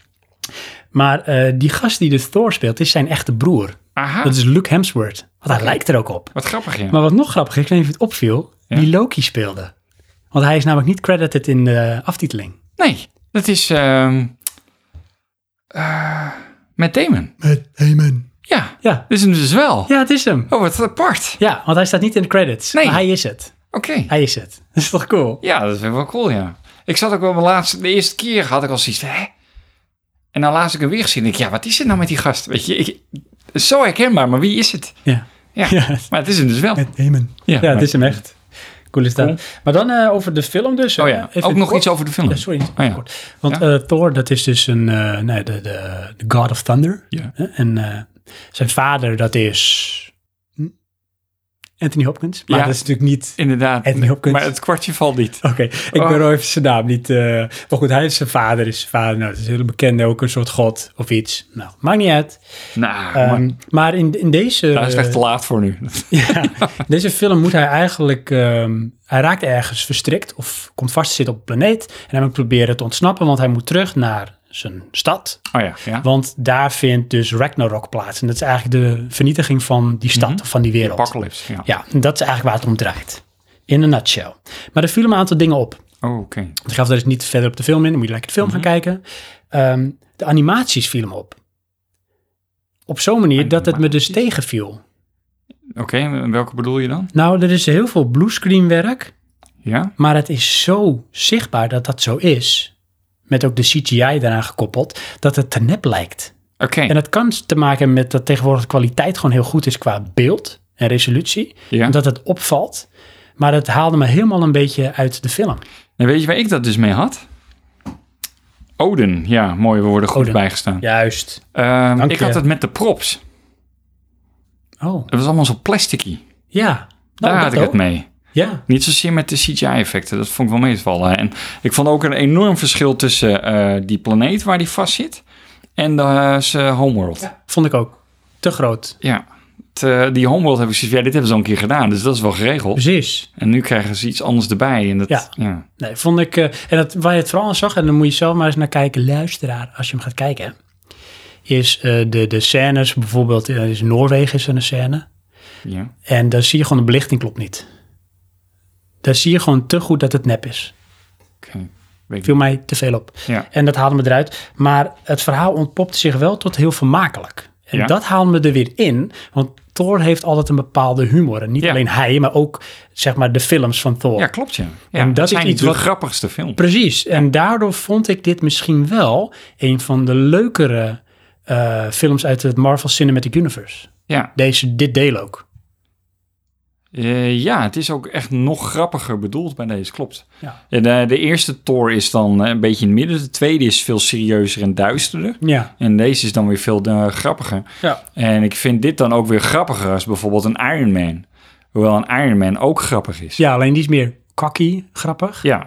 Speaker 1: Maar eh, die gast die de Thor speelt, is zijn echte broer.
Speaker 2: Aha,
Speaker 1: Dat is Luke Hemsworth. Want hij lijkt er ook op.
Speaker 2: wat grappig, ja.
Speaker 1: Maar wat nog grappig is, ik weet niet of het opviel, die Loki speelde. Want hij is namelijk niet credited in de aftiteling.
Speaker 2: Nee, dat is ehm eh, met Damon.
Speaker 1: Met Heyman.
Speaker 2: Ja,
Speaker 1: Ja.
Speaker 2: dit is hem dus wel.
Speaker 1: Ja, het is hem.
Speaker 2: Oh, wat apart.
Speaker 1: Ja, want hij staat niet in de credits.
Speaker 2: Nee.
Speaker 1: Maar hij is het.
Speaker 2: Oké.
Speaker 1: Hij is het. Dat is toch cool?
Speaker 2: Ja, dat vind ik wel cool, ja. Ik zat ook wel mijn laatste, de eerste keer had ik al zoiets van, hè? En dan laatst ik hem weer gezien, denk ik, ja, wat is het nou met die gast? Weet je, ik, zo herkenbaar, maar wie is het?
Speaker 1: Ja.
Speaker 2: Ja,
Speaker 1: Ja.
Speaker 2: maar het is hem dus wel.
Speaker 1: Heyman. Ja, het is hem echt. Cool is dat. Maar dan eh, over de film dus.
Speaker 2: Oh
Speaker 1: eh,
Speaker 2: ja,
Speaker 1: even
Speaker 2: ook nog
Speaker 1: kort.
Speaker 2: iets over de film.
Speaker 1: Ja, sorry,
Speaker 2: Oh ja.
Speaker 1: kort. Want
Speaker 2: Ja.
Speaker 1: eh, Thor, dat is dus een, eh, nee, de, de, de God of Thunder.
Speaker 2: Ja.
Speaker 1: Hè? En eh, zijn vader, dat is hm? Anthony Hopkins. Maar
Speaker 2: Ja.
Speaker 1: dat is natuurlijk niet...
Speaker 2: Inderdaad,
Speaker 1: Anthony Hopkins.
Speaker 2: maar het kwartje valt niet.
Speaker 1: Oké, ik
Speaker 2: Oh.
Speaker 1: ben even zijn naam niet... eh, maar goed, hij is zijn vader, is zijn vader. Nou, dat is een hele bekende, ook een soort god of iets. Nou, maakt niet uit.
Speaker 2: Nou,
Speaker 1: Ehm,
Speaker 2: maar
Speaker 1: maar in, in deze...
Speaker 2: daar is het echt te
Speaker 1: eh,
Speaker 2: laat voor nu.
Speaker 1: ja, in deze film moet hij eigenlijk... ehm, hij raakt ergens verstrikt of komt vast te zitten op een planeet. En hij moet proberen te ontsnappen, want hij moet terug naar zijn stad.
Speaker 2: Oh ja, ja.
Speaker 1: Want daar vindt dus Ragnarok plaats. En dat is eigenlijk de vernietiging van die stad, of van die wereld.
Speaker 2: Apocalypse, ja.
Speaker 1: Ja, en dat is eigenlijk waar het om draait. In een nutshell. Maar er vielen me een aantal dingen op.
Speaker 2: Oh, oké.
Speaker 1: Ik gaf daar dus niet verder op de film in. Dan moet je lekker de film gaan kijken. Ehm, de animaties vielen me op. op zo'n manier dat het me dus
Speaker 2: Animaties?
Speaker 1: tegenviel.
Speaker 2: Oké, en welke bedoel je dan?
Speaker 1: Nou, er is heel veel bluescreenwerk,
Speaker 2: Ja?
Speaker 1: maar het is zo zichtbaar dat dat zo is. Met ook de CGI daaraan gekoppeld, dat het te nep lijkt.
Speaker 2: Oké.
Speaker 1: En dat kan te maken hebben met dat tegenwoordig de kwaliteit gewoon heel goed is qua beeld en resolutie.
Speaker 2: Ja.
Speaker 1: En dat het opvalt. Maar dat haalde me helemaal een beetje uit de film.
Speaker 2: En weet je waar ik dat dus mee had? Oden, ja, mooi, we worden goed
Speaker 1: Oden.
Speaker 2: bijgestaan.
Speaker 1: Juist.
Speaker 2: Ehm,
Speaker 1: Dank
Speaker 2: ik
Speaker 1: je.
Speaker 2: had het met de props.
Speaker 1: Oh,
Speaker 2: Het was allemaal zo plasticky.
Speaker 1: ja. Nou, dat
Speaker 2: Daar had ik het
Speaker 1: ook.
Speaker 2: mee.
Speaker 1: Ja,
Speaker 2: Niet zozeer met de CGI-effecten, dat vond ik wel meevallen. En ik vond ook een enorm verschil tussen eh, die planeet waar die vast zit en de, eh, zijn homeworld. Ja,
Speaker 1: vond ik ook. Te groot.
Speaker 2: Het, eh, die homeworld heb ik zoiets van, ja, dit hebben ze al een keer gedaan, dus dat is wel geregeld.
Speaker 1: Precies.
Speaker 2: En nu krijgen ze iets anders erbij. En dat,
Speaker 1: Ja.
Speaker 2: ja.
Speaker 1: Nee, vond ik, eh, en dat, waar je het vooral aan zag, en dan moet je zelf maar eens naar kijken, luisteraar, als je hem gaat kijken, hè, is eh, de, de scènes, bijvoorbeeld eh, is in Noorwegen is er een scène,
Speaker 2: ja.
Speaker 1: en dan zie je gewoon de belichting klopt niet. Daar zie je gewoon te goed dat het nep is.
Speaker 2: Oké. Weet ik
Speaker 1: Viel mij te veel op.
Speaker 2: Ja.
Speaker 1: En dat haalde me eruit. Maar het verhaal ontpopte zich wel tot heel vermakelijk. En
Speaker 2: Ja.
Speaker 1: dat haalde me er weer in. Want Thor heeft altijd een bepaalde humor. En niet
Speaker 2: Ja.
Speaker 1: alleen hij, maar ook zeg maar de films van Thor.
Speaker 2: Ja, klopt ja. ja
Speaker 1: En dat is
Speaker 2: zijn
Speaker 1: iets
Speaker 2: de
Speaker 1: wat-
Speaker 2: grappigste film.
Speaker 1: Precies. En daardoor vond ik dit misschien wel een van de leukere eh, films uit het Marvel Cinematic Universe.
Speaker 2: Ja.
Speaker 1: Deze, dit deel ook.
Speaker 2: Eh, ja, het is ook echt nog grappiger bedoeld bij deze, klopt.
Speaker 1: Ja.
Speaker 2: Eh, De, de eerste Thor is dan eh, een beetje in het midden. De tweede is veel serieuzer en duisterder.
Speaker 1: Ja.
Speaker 2: En deze is dan weer veel eh, grappiger.
Speaker 1: Ja.
Speaker 2: En ik vind dit dan ook weer grappiger als bijvoorbeeld een Iron Man. Hoewel een Iron Man ook grappig is.
Speaker 1: ja, alleen die is meer cocky, grappig.
Speaker 2: Ja,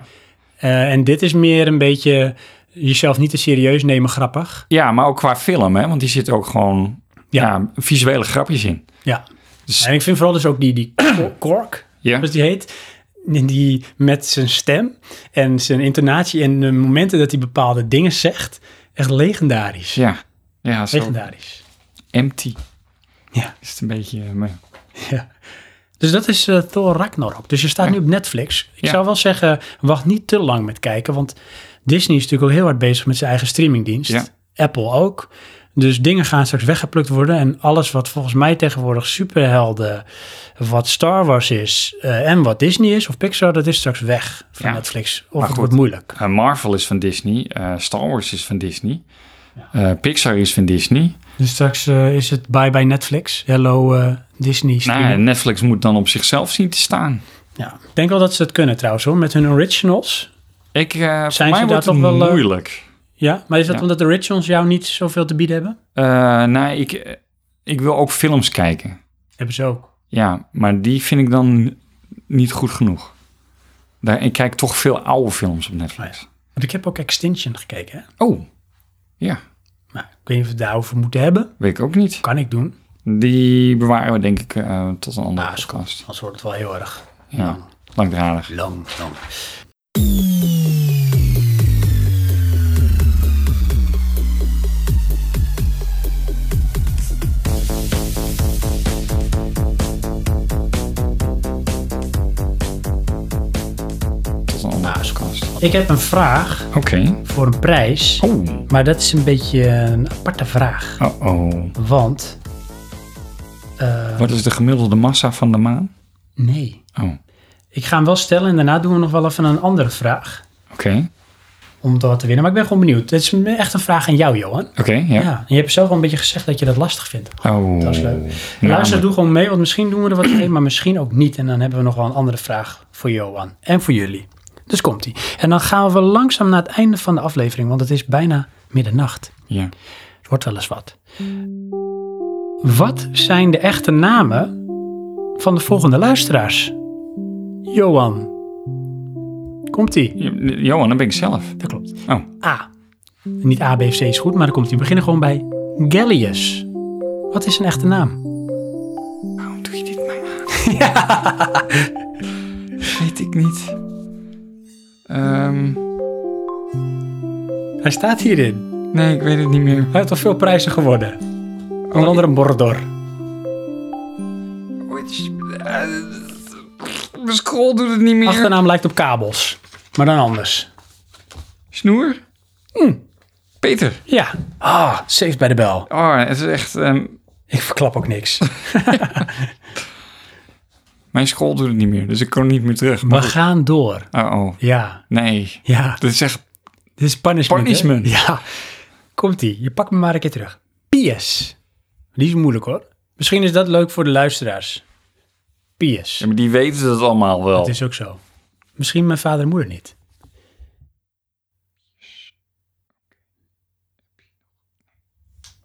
Speaker 1: Eh, en dit is meer een beetje jezelf niet te serieus nemen, grappig.
Speaker 2: Ja, maar ook qua film, hè? want die zit ook gewoon ja. visuele grapjes in.
Speaker 1: Ja.
Speaker 2: Dus-
Speaker 1: En ik vind vooral dus ook die, die Kork,
Speaker 2: Ja.
Speaker 1: zoals die heet, die met zijn stem en zijn intonatie en de momenten dat hij bepaalde dingen zegt, echt legendarisch.
Speaker 2: Ja, ja zo
Speaker 1: Legendarisch.
Speaker 2: empty
Speaker 1: Ja.
Speaker 2: is het een beetje. eh, maar-
Speaker 1: Dus dat is eh, Thor Ragnarok. Dus je staat nu op Netflix. Ik
Speaker 2: Ja.
Speaker 1: zou wel zeggen, wacht niet te lang met kijken, want Disney is natuurlijk ook heel hard bezig met zijn eigen streamingdienst.
Speaker 2: Ja.
Speaker 1: Apple ook. Dus dingen gaan straks weggeplukt worden. En alles wat volgens mij tegenwoordig superhelden, wat Star Wars is eh, en wat Disney is of Pixar, dat is straks weg van
Speaker 2: Ja.
Speaker 1: Netflix. Of
Speaker 2: Maar
Speaker 1: het
Speaker 2: goed.
Speaker 1: wordt moeilijk.
Speaker 2: Eh, Marvel is van Disney, eh, Star Wars is van Disney, eh, Pixar is van Disney.
Speaker 1: Dus straks eh, is het bye bye Netflix. Hello eh, Disney
Speaker 2: Nou,
Speaker 1: streaming.
Speaker 2: ja, Netflix moet dan op zichzelf zien te staan.
Speaker 1: ja. Ik denk wel dat ze dat kunnen trouwens hoor, met hun originals.
Speaker 2: Ik, eh voor
Speaker 1: Zijn
Speaker 2: mij
Speaker 1: ze
Speaker 2: wordt
Speaker 1: daar
Speaker 2: het
Speaker 1: toch wel, eh,
Speaker 2: moeilijk.
Speaker 1: Ja, maar is dat
Speaker 2: Ja.
Speaker 1: omdat de originals jou niet zoveel te bieden hebben?
Speaker 2: Eh, nou, ik, eh, ik wil ook films kijken.
Speaker 1: Hebben ze ook.
Speaker 2: Ja, maar die vind ik dan niet goed genoeg. Daar, ik kijk toch veel oude films op Netflix.
Speaker 1: Want ik heb ook Extinction gekeken. Hè?
Speaker 2: Oh, ja,
Speaker 1: Nou, ik weet niet of we het daarover moeten hebben.
Speaker 2: weet ik ook niet.
Speaker 1: Kan ik doen.
Speaker 2: Die bewaren we denk ik eh, tot een andere
Speaker 1: Ah, is goed.
Speaker 2: podcast.
Speaker 1: Anders wordt het wel heel erg
Speaker 2: Ja, langdradig.
Speaker 1: lang. lang.
Speaker 2: Tot een andere
Speaker 1: Ah, is
Speaker 2: podcast.
Speaker 1: Ik heb een vraag
Speaker 2: Oké.
Speaker 1: voor een prijs.
Speaker 2: Oh.
Speaker 1: Maar dat is een beetje een aparte vraag.
Speaker 2: Oh oh.
Speaker 1: Want eh,
Speaker 2: Wat is de gemiddelde massa van de maan?
Speaker 1: nee.
Speaker 2: Oh, oké.
Speaker 1: Ik ga hem wel stellen en daarna doen we nog wel even een andere vraag. Om dat te winnen. Maar ik ben gewoon benieuwd. Het is echt een vraag aan jou, Johan.
Speaker 2: Oké, ja.
Speaker 1: Ja. en je hebt zelf al een beetje gezegd dat je dat lastig vindt.
Speaker 2: Oh.
Speaker 1: Dat is leuk.
Speaker 2: Ja,
Speaker 1: Luister,
Speaker 2: maar-
Speaker 1: doe gewoon mee, want misschien doen we er wat mee, maar misschien ook niet. En dan hebben we nog wel een andere vraag voor Johan en voor jullie. Dus komt ie. En dan gaan we langzaam naar het einde van de aflevering, want het is bijna middernacht.
Speaker 2: Ja.
Speaker 1: Het wordt wel eens wat. Wat zijn de echte namen van de volgende luisteraars? Johan. Komt ie.
Speaker 2: J- Johan, dan ben ik zelf.
Speaker 1: Dat klopt.
Speaker 2: Oh,
Speaker 1: A. Niet A, B of C is goed, maar dan komt ie. We beginnen gewoon bij Gallius. Wat is een echte naam?
Speaker 2: waarom doe je dit mij aan? Weet ik niet. Ehm,
Speaker 1: Hij staat hierin.
Speaker 2: nee, ik weet het niet meer.
Speaker 1: Hij heeft al veel prijzen geworden. Onder andere Mordor.
Speaker 2: Which, eh, mijn scroll doet het niet meer.
Speaker 1: eh. Achternaam lijkt op kabels. Maar dan anders.
Speaker 2: Snoer? Hm. Peter.
Speaker 1: Ja. Ah, saved by the bell.
Speaker 2: Oh, het is echt... ehm,
Speaker 1: Ik verklap ook niks.
Speaker 2: mijn school doet het niet meer, dus ik kon niet meer terug.
Speaker 1: We
Speaker 2: Maar
Speaker 1: gaan door.
Speaker 2: Oh, oh.
Speaker 1: Ja.
Speaker 2: Nee.
Speaker 1: Ja.
Speaker 2: Dit is echt...
Speaker 1: Dit is punishment. hè?
Speaker 2: Punishment.
Speaker 1: Ja. Komt-ie. Je pakt me maar een keer terug. PS. Die is moeilijk hoor. Misschien is dat leuk voor de luisteraars. PS.
Speaker 2: Ja, maar die weten dat allemaal wel.
Speaker 1: Dat is ook zo. Misschien mijn vader en moeder niet.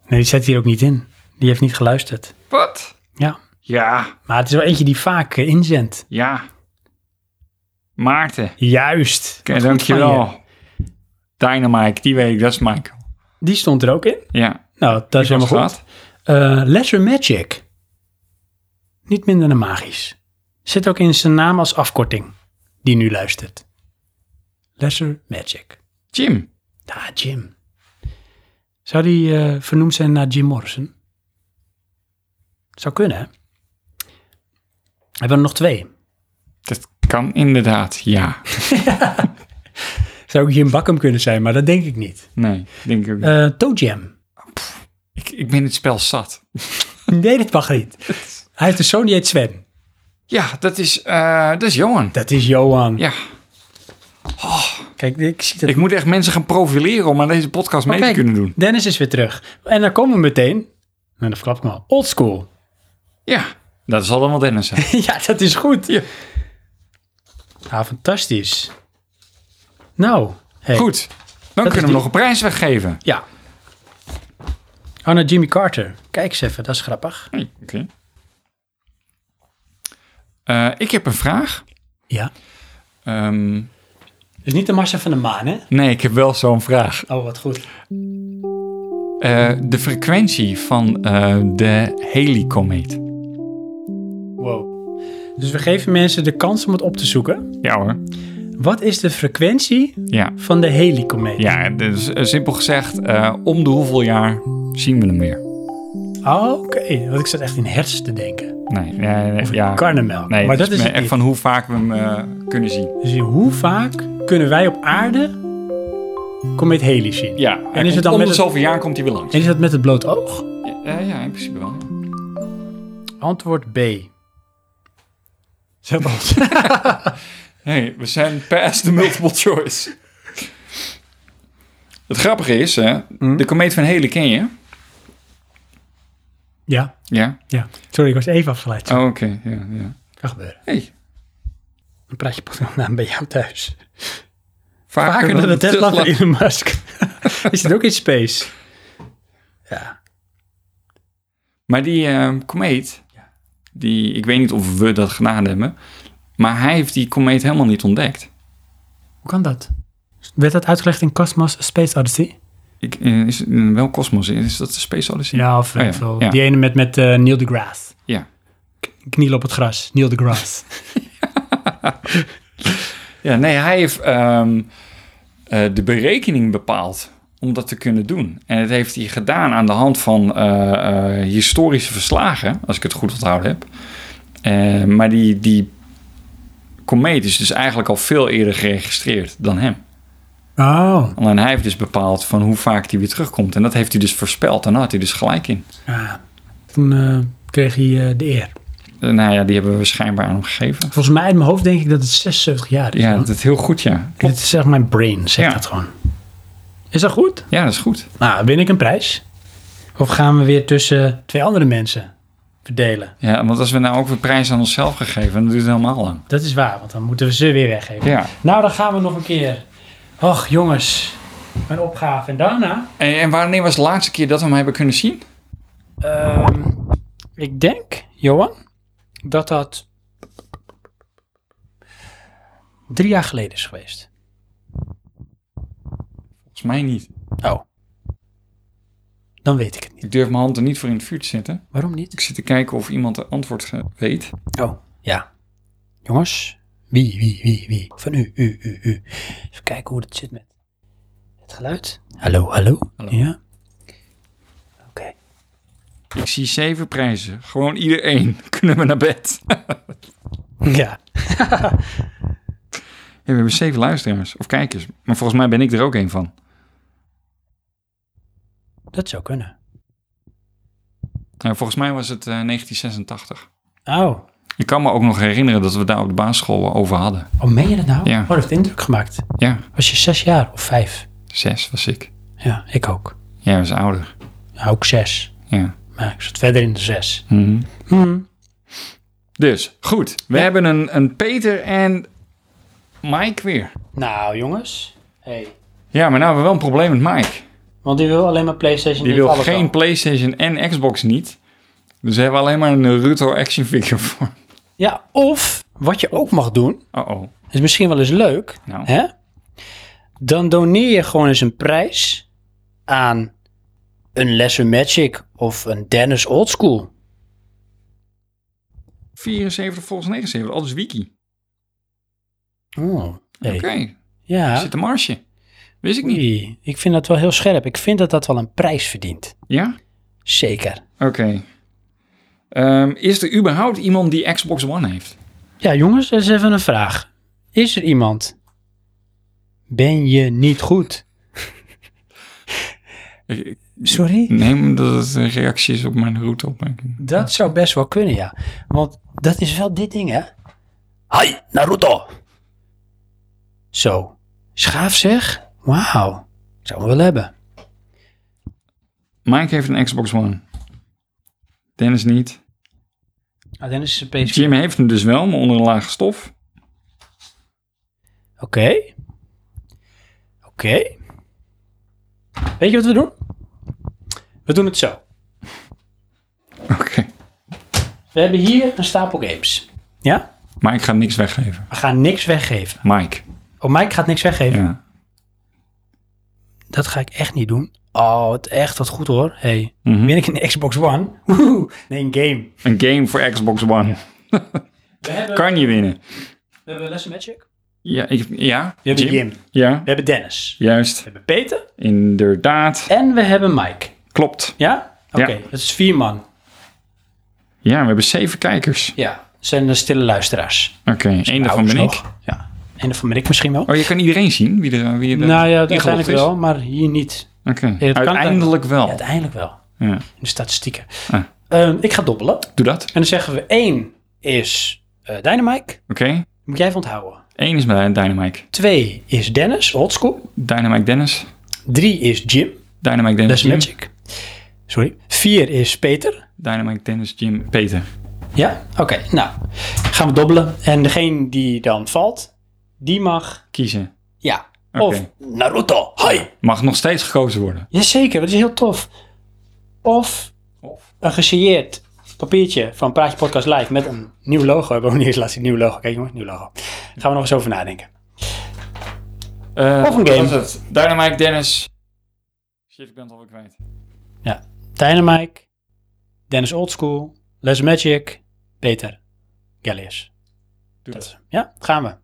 Speaker 1: Nee, die zet hier ook niet in. Die heeft niet geluisterd.
Speaker 2: Wat?
Speaker 1: Ja.
Speaker 2: Ja,
Speaker 1: Maar het is wel eentje die vaak eh, inzendt.
Speaker 2: ja. Maarten.
Speaker 1: Juist.
Speaker 2: Oké,
Speaker 1: Wat goed van je.
Speaker 2: dankjewel. Dynamite, die weet ik, dat is Michael.
Speaker 1: Die stond er ook in.
Speaker 2: Ja,
Speaker 1: Nou, dat is helemaal goed.
Speaker 2: Wat?
Speaker 1: Eh, Lesser Magic. Niet minder dan magisch. Zit ook in zijn naam als afkorting. Die nu luistert. Lesser Magic.
Speaker 2: Jim.
Speaker 1: Daar, Jim. Zou die eh, vernoemd zijn naar Jim Morrison? Zou kunnen, hè? Hebben we er nog twee?
Speaker 2: Dat kan inderdaad, ja.
Speaker 1: Zou ook Jim Bakkum kunnen zijn, maar dat denk ik niet.
Speaker 2: Nee, denk ik ook niet.
Speaker 1: Eh Toe Jam.
Speaker 2: ik, ik ben het spel zat.
Speaker 1: Nee, dat mag niet. Hij heeft een zoon, die heet Sven.
Speaker 2: Ja, dat is, eh, dat is Johan.
Speaker 1: Dat is Johan.
Speaker 2: Ja,
Speaker 1: Kijk, ik zie dat
Speaker 2: ik moet echt mensen gaan profileren om aan deze podcast mee
Speaker 1: kijk.
Speaker 2: te kunnen doen.
Speaker 1: Dennis is weer terug. En dan komen we meteen. En dan verklap ik me al. Old school.
Speaker 2: Ja, dat zal dan wel Dennis zijn.
Speaker 1: ja, dat is goed.
Speaker 2: Ja.
Speaker 1: Ah, fantastisch. Nou. Hey.
Speaker 2: Goed, dan
Speaker 1: is
Speaker 2: kunnen we
Speaker 1: die.
Speaker 2: nog een prijs weggeven.
Speaker 1: Ja. Anna Jimmy Carter. Kijk eens even, dat is grappig.
Speaker 2: Hey, Oké. Eh, ik heb een vraag.
Speaker 1: Ja.
Speaker 2: Ehm,
Speaker 1: Dus niet de massa van de maan, hè?
Speaker 2: nee, ik heb wel zo'n vraag.
Speaker 1: Oh, wat goed.
Speaker 2: Eh, de frequentie van eh, de Halley-komeet.
Speaker 1: Wow. Dus we geven mensen de kans om het op te zoeken.
Speaker 2: Ja hoor.
Speaker 1: Wat is de frequentie
Speaker 2: Ja,
Speaker 1: van de helikomeet?
Speaker 2: ja dus eh, simpel gezegd, eh, om de hoeveel jaar zien we hem weer?
Speaker 1: Oh, Oké, want ik zat echt in hersen te denken.
Speaker 2: Nee, nee, nee, ja.
Speaker 1: Karnemelk.
Speaker 2: nee
Speaker 1: maar
Speaker 2: het
Speaker 1: dat is
Speaker 2: me-
Speaker 1: het
Speaker 2: echt
Speaker 1: niet.
Speaker 2: van hoe vaak we hem eh, kunnen zien.
Speaker 1: Dus hoe vaak kunnen wij op aarde komeet Heli zien?
Speaker 2: Ja,
Speaker 1: En is het dan
Speaker 2: om
Speaker 1: met
Speaker 2: de
Speaker 1: het-
Speaker 2: zoveel jaar komt hij weer langs.
Speaker 1: En is dat met het bloot oog?
Speaker 2: Ja, eh, ja, in principe wel.
Speaker 1: Antwoord B. Zet ons.
Speaker 2: Nee, we zijn past de multiple choice. Het grappige is, hè, de komeet van Halley ken je?
Speaker 1: ja,
Speaker 2: Ja.
Speaker 1: ja. Sorry, ik was even afgeleid.
Speaker 2: Oh, oké. Ja, ja.
Speaker 1: Kan gebeuren.
Speaker 2: Hey,
Speaker 1: Dan praat je pas nog naam bij jou thuis.
Speaker 2: vaker,
Speaker 1: Vaker dan de Tesla van
Speaker 2: Tesla.
Speaker 1: Elon Musk. is het ook in space? Ja.
Speaker 2: Maar die ehm komeet, die, ik weet niet of we dat gedaan hebben, maar hij heeft die komeet helemaal niet ontdekt.
Speaker 1: Hoe kan dat? Werd dat uitgelegd in Cosmos Space Odyssey?
Speaker 2: Ik, eh, is, eh, wel Cosmos, is dat de Space Odyssey?
Speaker 1: Ja, of
Speaker 2: Oh ja,
Speaker 1: weet ik veel.
Speaker 2: ja.
Speaker 1: Die ene met, met eh, Neil deGrasse.
Speaker 2: Ja.
Speaker 1: Knielen op het gras. Neil deGrasse.
Speaker 2: Ja, nee, hij heeft ehm, eh, de berekening bepaald om dat te kunnen doen. En dat heeft hij gedaan aan de hand van eh, eh, historische verslagen, als ik het goed onthouden heb. Eh, maar die, die komeet is dus eigenlijk al veel eerder geregistreerd dan hem.
Speaker 1: oh.
Speaker 2: Alleen hij heeft dus bepaald van hoe vaak die weer terugkomt. En dat heeft hij dus voorspeld. En daar had hij dus gelijk in.
Speaker 1: Ja. Toen eh, kreeg hij eh, de eer.
Speaker 2: Eh, Nou ja, die hebben we schijnbaar aan hem gegeven.
Speaker 1: Volgens mij in mijn hoofd denk ik dat het 76 jaar is.
Speaker 2: Ja,
Speaker 1: hoor.
Speaker 2: dat is heel goed, ja.
Speaker 1: Dit is echt mijn brain, zegt
Speaker 2: Ja.
Speaker 1: dat gewoon. Is dat goed?
Speaker 2: Ja, dat is goed.
Speaker 1: Nou, win ik een prijs? Of gaan we weer tussen twee andere mensen verdelen?
Speaker 2: Ja, want als we nou ook weer prijs aan onszelf gegeven, dan duurt het helemaal lang.
Speaker 1: Dat is waar, want dan moeten we ze weer weggeven.
Speaker 2: Ja.
Speaker 1: Nou, dan gaan we nog een keer. Och, jongens. Mijn opgave. En daarna?
Speaker 2: En, en wanneer was de laatste keer dat we hem hebben kunnen zien?
Speaker 1: ehm, ik denk, Johan, dat dat drie jaar geleden is geweest.
Speaker 2: Volgens mij niet.
Speaker 1: Oh. Dan weet ik het niet.
Speaker 2: Ik durf mijn hand er niet voor in het vuur te zetten.
Speaker 1: Waarom niet?
Speaker 2: Ik zit te kijken of iemand een antwoord ge- weet.
Speaker 1: Oh, ja. Jongens, wie, wie, wie, wie? Van u, u, u, u. Even kijken hoe het zit met het geluid. Hallo, hallo. Ja. Oké.
Speaker 2: Ik zie zeven prijzen. Gewoon ieder één. Kunnen we naar bed? Ja,
Speaker 1: Ja.
Speaker 2: we hebben zeven luisteraars of kijkers. Maar volgens mij ben ik er ook één van.
Speaker 1: Dat zou kunnen.
Speaker 2: Nou, volgens mij was het eh, 1986.
Speaker 1: Oh,
Speaker 2: Ik kan me ook nog herinneren dat we daar op de basisschool over hadden.
Speaker 1: oh meen je dat nou?
Speaker 2: Ja.
Speaker 1: Oh, dat heeft indruk gemaakt.
Speaker 2: Ja,
Speaker 1: Was je zes jaar of vijf?
Speaker 2: zes was ik.
Speaker 1: Ja, ik ook.
Speaker 2: Jij was ouder.
Speaker 1: Nou, ook zes.
Speaker 2: Ja.
Speaker 1: Maar ik zat verder in de zes.
Speaker 2: Mhm.
Speaker 1: Mhm.
Speaker 2: Dus, goed. We hebben een, een Peter en Mike weer.
Speaker 1: Nou, jongens. Hey.
Speaker 2: Ja, maar nou hebben we wel een probleem met Mike.
Speaker 1: Want die wil alleen maar PlayStation.
Speaker 2: Die
Speaker 1: niet
Speaker 2: wil
Speaker 1: alles
Speaker 2: geen
Speaker 1: wel.
Speaker 2: PlayStation en Xbox niet. Dus we hebben alleen maar een Ruto action figure voor.
Speaker 1: Ja, of wat je ook mag doen,
Speaker 2: Oh oh.
Speaker 1: is misschien wel eens leuk.
Speaker 2: Nou.
Speaker 1: Hè? Dan doneer je gewoon eens een prijs aan een Lesser Magic of een Dennis Oldschool.
Speaker 2: 74 volgens 79, alles wiki.
Speaker 1: Oh, hey.
Speaker 2: Oké,
Speaker 1: Ja.
Speaker 2: zit een marsje. Wist ik niet.
Speaker 1: Oei, ik vind dat wel heel scherp. Ik vind dat dat wel een prijs verdient.
Speaker 2: Ja?
Speaker 1: Zeker.
Speaker 2: Oké. Ehm, is er überhaupt iemand die Xbox One heeft?
Speaker 1: Ja, jongens, dat is even een vraag. Is er iemand? Ben je niet goed?
Speaker 2: Ik, ik
Speaker 1: Sorry?
Speaker 2: neem dat het een reactie is op mijn route opmerking.
Speaker 1: Dat zou best wel kunnen, ja. Want dat is wel dit ding, hè? Hai, Naruto! Zo. Schaaf zeg? Wauw. Zou we wel hebben.
Speaker 2: Mike heeft een Xbox One. Dennis niet.
Speaker 1: Ah, dan is het een PS4.
Speaker 2: Jim heeft hem dus wel, maar onder een lage stof.
Speaker 1: Oké. Oké. Weet je wat we doen? We doen het zo.
Speaker 2: Oké.
Speaker 1: We hebben hier een stapel games. Ja?
Speaker 2: Mike gaat niks weggeven.
Speaker 1: We gaan niks weggeven.
Speaker 2: Mike.
Speaker 1: Oh, Mike gaat niks weggeven.
Speaker 2: Ja.
Speaker 1: Dat ga ik echt niet doen. Oh, het echt wat goed hoor. hey,
Speaker 2: Mhm.
Speaker 1: ben ik een Xbox One? Woehoe. Nee, een game.
Speaker 2: Een game voor Xbox One.
Speaker 1: We hebben,
Speaker 2: Kan je winnen.
Speaker 1: we hebben Les Magic.
Speaker 2: Ja, ik, ja.
Speaker 1: We hebben Jim.
Speaker 2: Ja,
Speaker 1: We hebben Dennis.
Speaker 2: juist.
Speaker 1: We hebben Peter.
Speaker 2: Inderdaad.
Speaker 1: En we hebben Mike.
Speaker 2: Klopt.
Speaker 1: Ja? Oké,
Speaker 2: Ja.
Speaker 1: dat is vier man.
Speaker 2: Ja, we hebben zeven kijkers.
Speaker 1: Ja, dat zijn de stille luisteraars.
Speaker 2: Oké, één daarvan
Speaker 1: Ouders
Speaker 2: ben ik.
Speaker 1: nog. Ja, één daarvan ben ik misschien wel.
Speaker 2: Oh, je kan iedereen zien wie er wie er
Speaker 1: nou ja,
Speaker 2: ingelogd
Speaker 1: uiteindelijk
Speaker 2: is?
Speaker 1: wel, maar hier niet.
Speaker 2: Oké,
Speaker 1: dat kan
Speaker 2: uiteindelijk wel.
Speaker 1: Uiteindelijk wel,
Speaker 2: Ja.
Speaker 1: in de statistieken.
Speaker 2: Ah.
Speaker 1: Ehm, ik ga dobbelen. En
Speaker 2: Doe dat.
Speaker 1: dan zeggen we één is eh Dynamite.
Speaker 2: Oké,
Speaker 1: Moet jij even onthouden.
Speaker 2: één is mijn Dynamite.
Speaker 1: Twee is Dennis, oldschool.
Speaker 2: Dynamite Dennis.
Speaker 1: Drie is Jim,
Speaker 2: Dynamite Dennis
Speaker 1: Les
Speaker 2: Jim.
Speaker 1: Magic. Sorry. Vier is Peter.
Speaker 2: Dynamite Dennis Jim Peter.
Speaker 1: Ja, oké. Nou, gaan we dobbelen. En degene die dan valt, die mag.
Speaker 2: Kiezen.
Speaker 1: Ja.
Speaker 2: Oké.
Speaker 1: Of Naruto. Hoi.
Speaker 2: Mag nog steeds gekozen worden.
Speaker 1: Jazeker, dat is heel tof. Of
Speaker 2: Of.
Speaker 1: een gesigneerd papiertje van Praatje Podcast Live met een nieuw logo. We hebben ook niet eens laatst een nieuw logo. Kijk jongen, nieuw logo. Daar gaan we nog eens over nadenken. Of een game.
Speaker 2: Was Eh, het? Dynamite Dennis. Shit, ik ben het alweer kwijt.
Speaker 1: Ja. Dynamite, Dennis Oldschool, Les Magic, Peter, Gallius. Dat
Speaker 2: Doe dat.
Speaker 1: is hem. Ja, gaan we.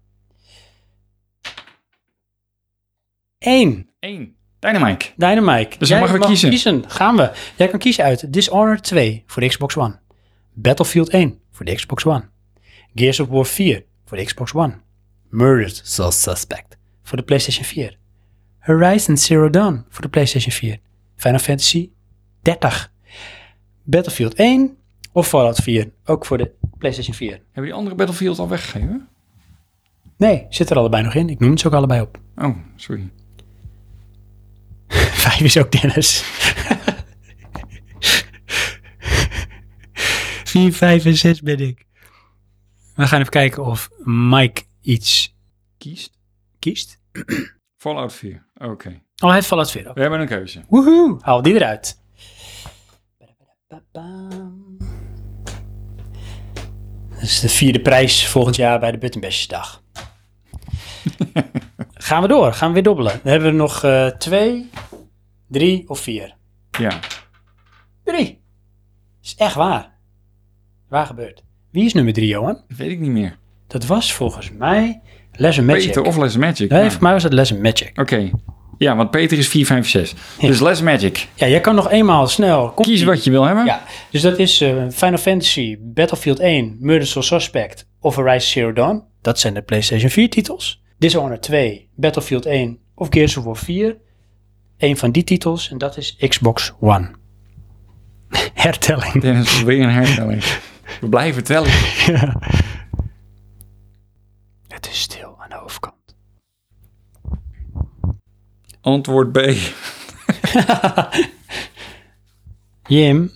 Speaker 1: Eén.
Speaker 2: Eén. Dynamite.
Speaker 1: Dynamite.
Speaker 2: Dus
Speaker 1: Jij
Speaker 2: dan mogen we kiezen.
Speaker 1: Gaan we. Jij kan kiezen uit Dishonored 2 voor de Xbox One. Battlefield 1 voor de Xbox One. Gears of War 4 voor de Xbox One. Murdered Soul Suspect voor de PlayStation 4. Horizon Zero Dawn voor de PlayStation 4. Final Fantasy 30. Battlefield 1 of Fallout 4, ook voor de PlayStation 4.
Speaker 2: Hebben die andere Battlefield al weggegeven?
Speaker 1: Nee, zit er allebei nog in. Ik noem ze ook allebei op.
Speaker 2: Oh, sorry.
Speaker 1: Vijf is ook Dennis. Vier, vijf en zes ben ik. We gaan even kijken of Mike iets
Speaker 2: Kiest.
Speaker 1: kiest.
Speaker 2: Fallout 4. Oké.
Speaker 1: Oh, hij heeft Fallout 4 ook.
Speaker 2: We hebben een keuze.
Speaker 1: Woehoe, haal die eruit. Dat is de vierde prijs volgend jaar bij de Buttonbestjesdag. gaan we door, gaan we weer dobbelen. Dan hebben we nog eh, twee, drie of vier.
Speaker 2: Ja.
Speaker 1: Drie. Is echt waar. Waar gebeurt. Wie is nummer drie, Johan?
Speaker 2: Weet ik niet meer.
Speaker 1: Dat was volgens mij Les Magic.
Speaker 2: Peter of Les Magic.
Speaker 1: Nee,
Speaker 2: Ja.
Speaker 1: voor mij was dat Les Magic.
Speaker 2: Oké. Ja, want Peter is 4, 5, 6. Dus Les Magic.
Speaker 1: Ja, jij kan nog eenmaal snel. Kom
Speaker 2: Kies wat je wil hebben.
Speaker 1: Ja, dus dat is eh, Final Fantasy, Battlefield 1, Murder Soul Suspect of Horizon Zero Dawn. Dat zijn de PlayStation 4 titels. Dishonored 2, Battlefield 1 of Gears of War 4. een van die titels en dat is Xbox One. Hertelling.
Speaker 2: Dennis, weer een herstelling. We blijven tellen.
Speaker 1: Het is stil aan de overkant.
Speaker 2: Antwoord B.
Speaker 1: Jim.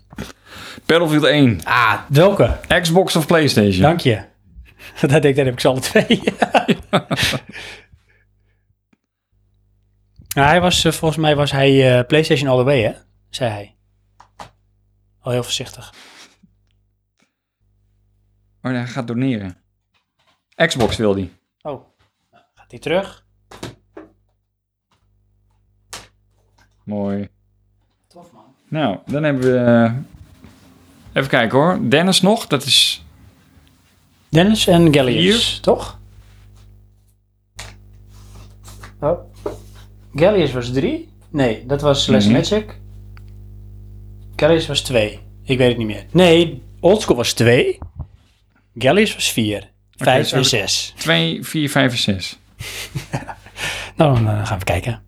Speaker 2: Battlefield 1.
Speaker 1: Ah, welke?
Speaker 2: Xbox of PlayStation?
Speaker 1: Dank je. Dat denk ik, dat heb ik ze alle twee. Nou, hij was, eh, volgens mij was hij eh, PlayStation all the way, hè? Zei hij. Al heel voorzichtig.
Speaker 2: Oh, hij gaat doneren. Xbox wil die.
Speaker 1: Oh, gaat hij terug?
Speaker 2: Mooi.
Speaker 1: Tof, man.
Speaker 2: Nou, dan hebben we... eh, Even kijken hoor. Dennis nog, dat is...
Speaker 1: Dennis en Gallius,
Speaker 2: Hier.
Speaker 1: toch? Oh. Gallius was drie? Nee, dat was Les
Speaker 2: Nee.
Speaker 1: Magic. Gallius was twee. Ik weet het niet meer. Nee, Oldschool was twee. Gallius was vier. Vijf
Speaker 2: zo
Speaker 1: en
Speaker 2: heb ik-
Speaker 1: zes.
Speaker 2: 2, 4, 5 en 6.
Speaker 1: Nou, dan eh, gaan we kijken.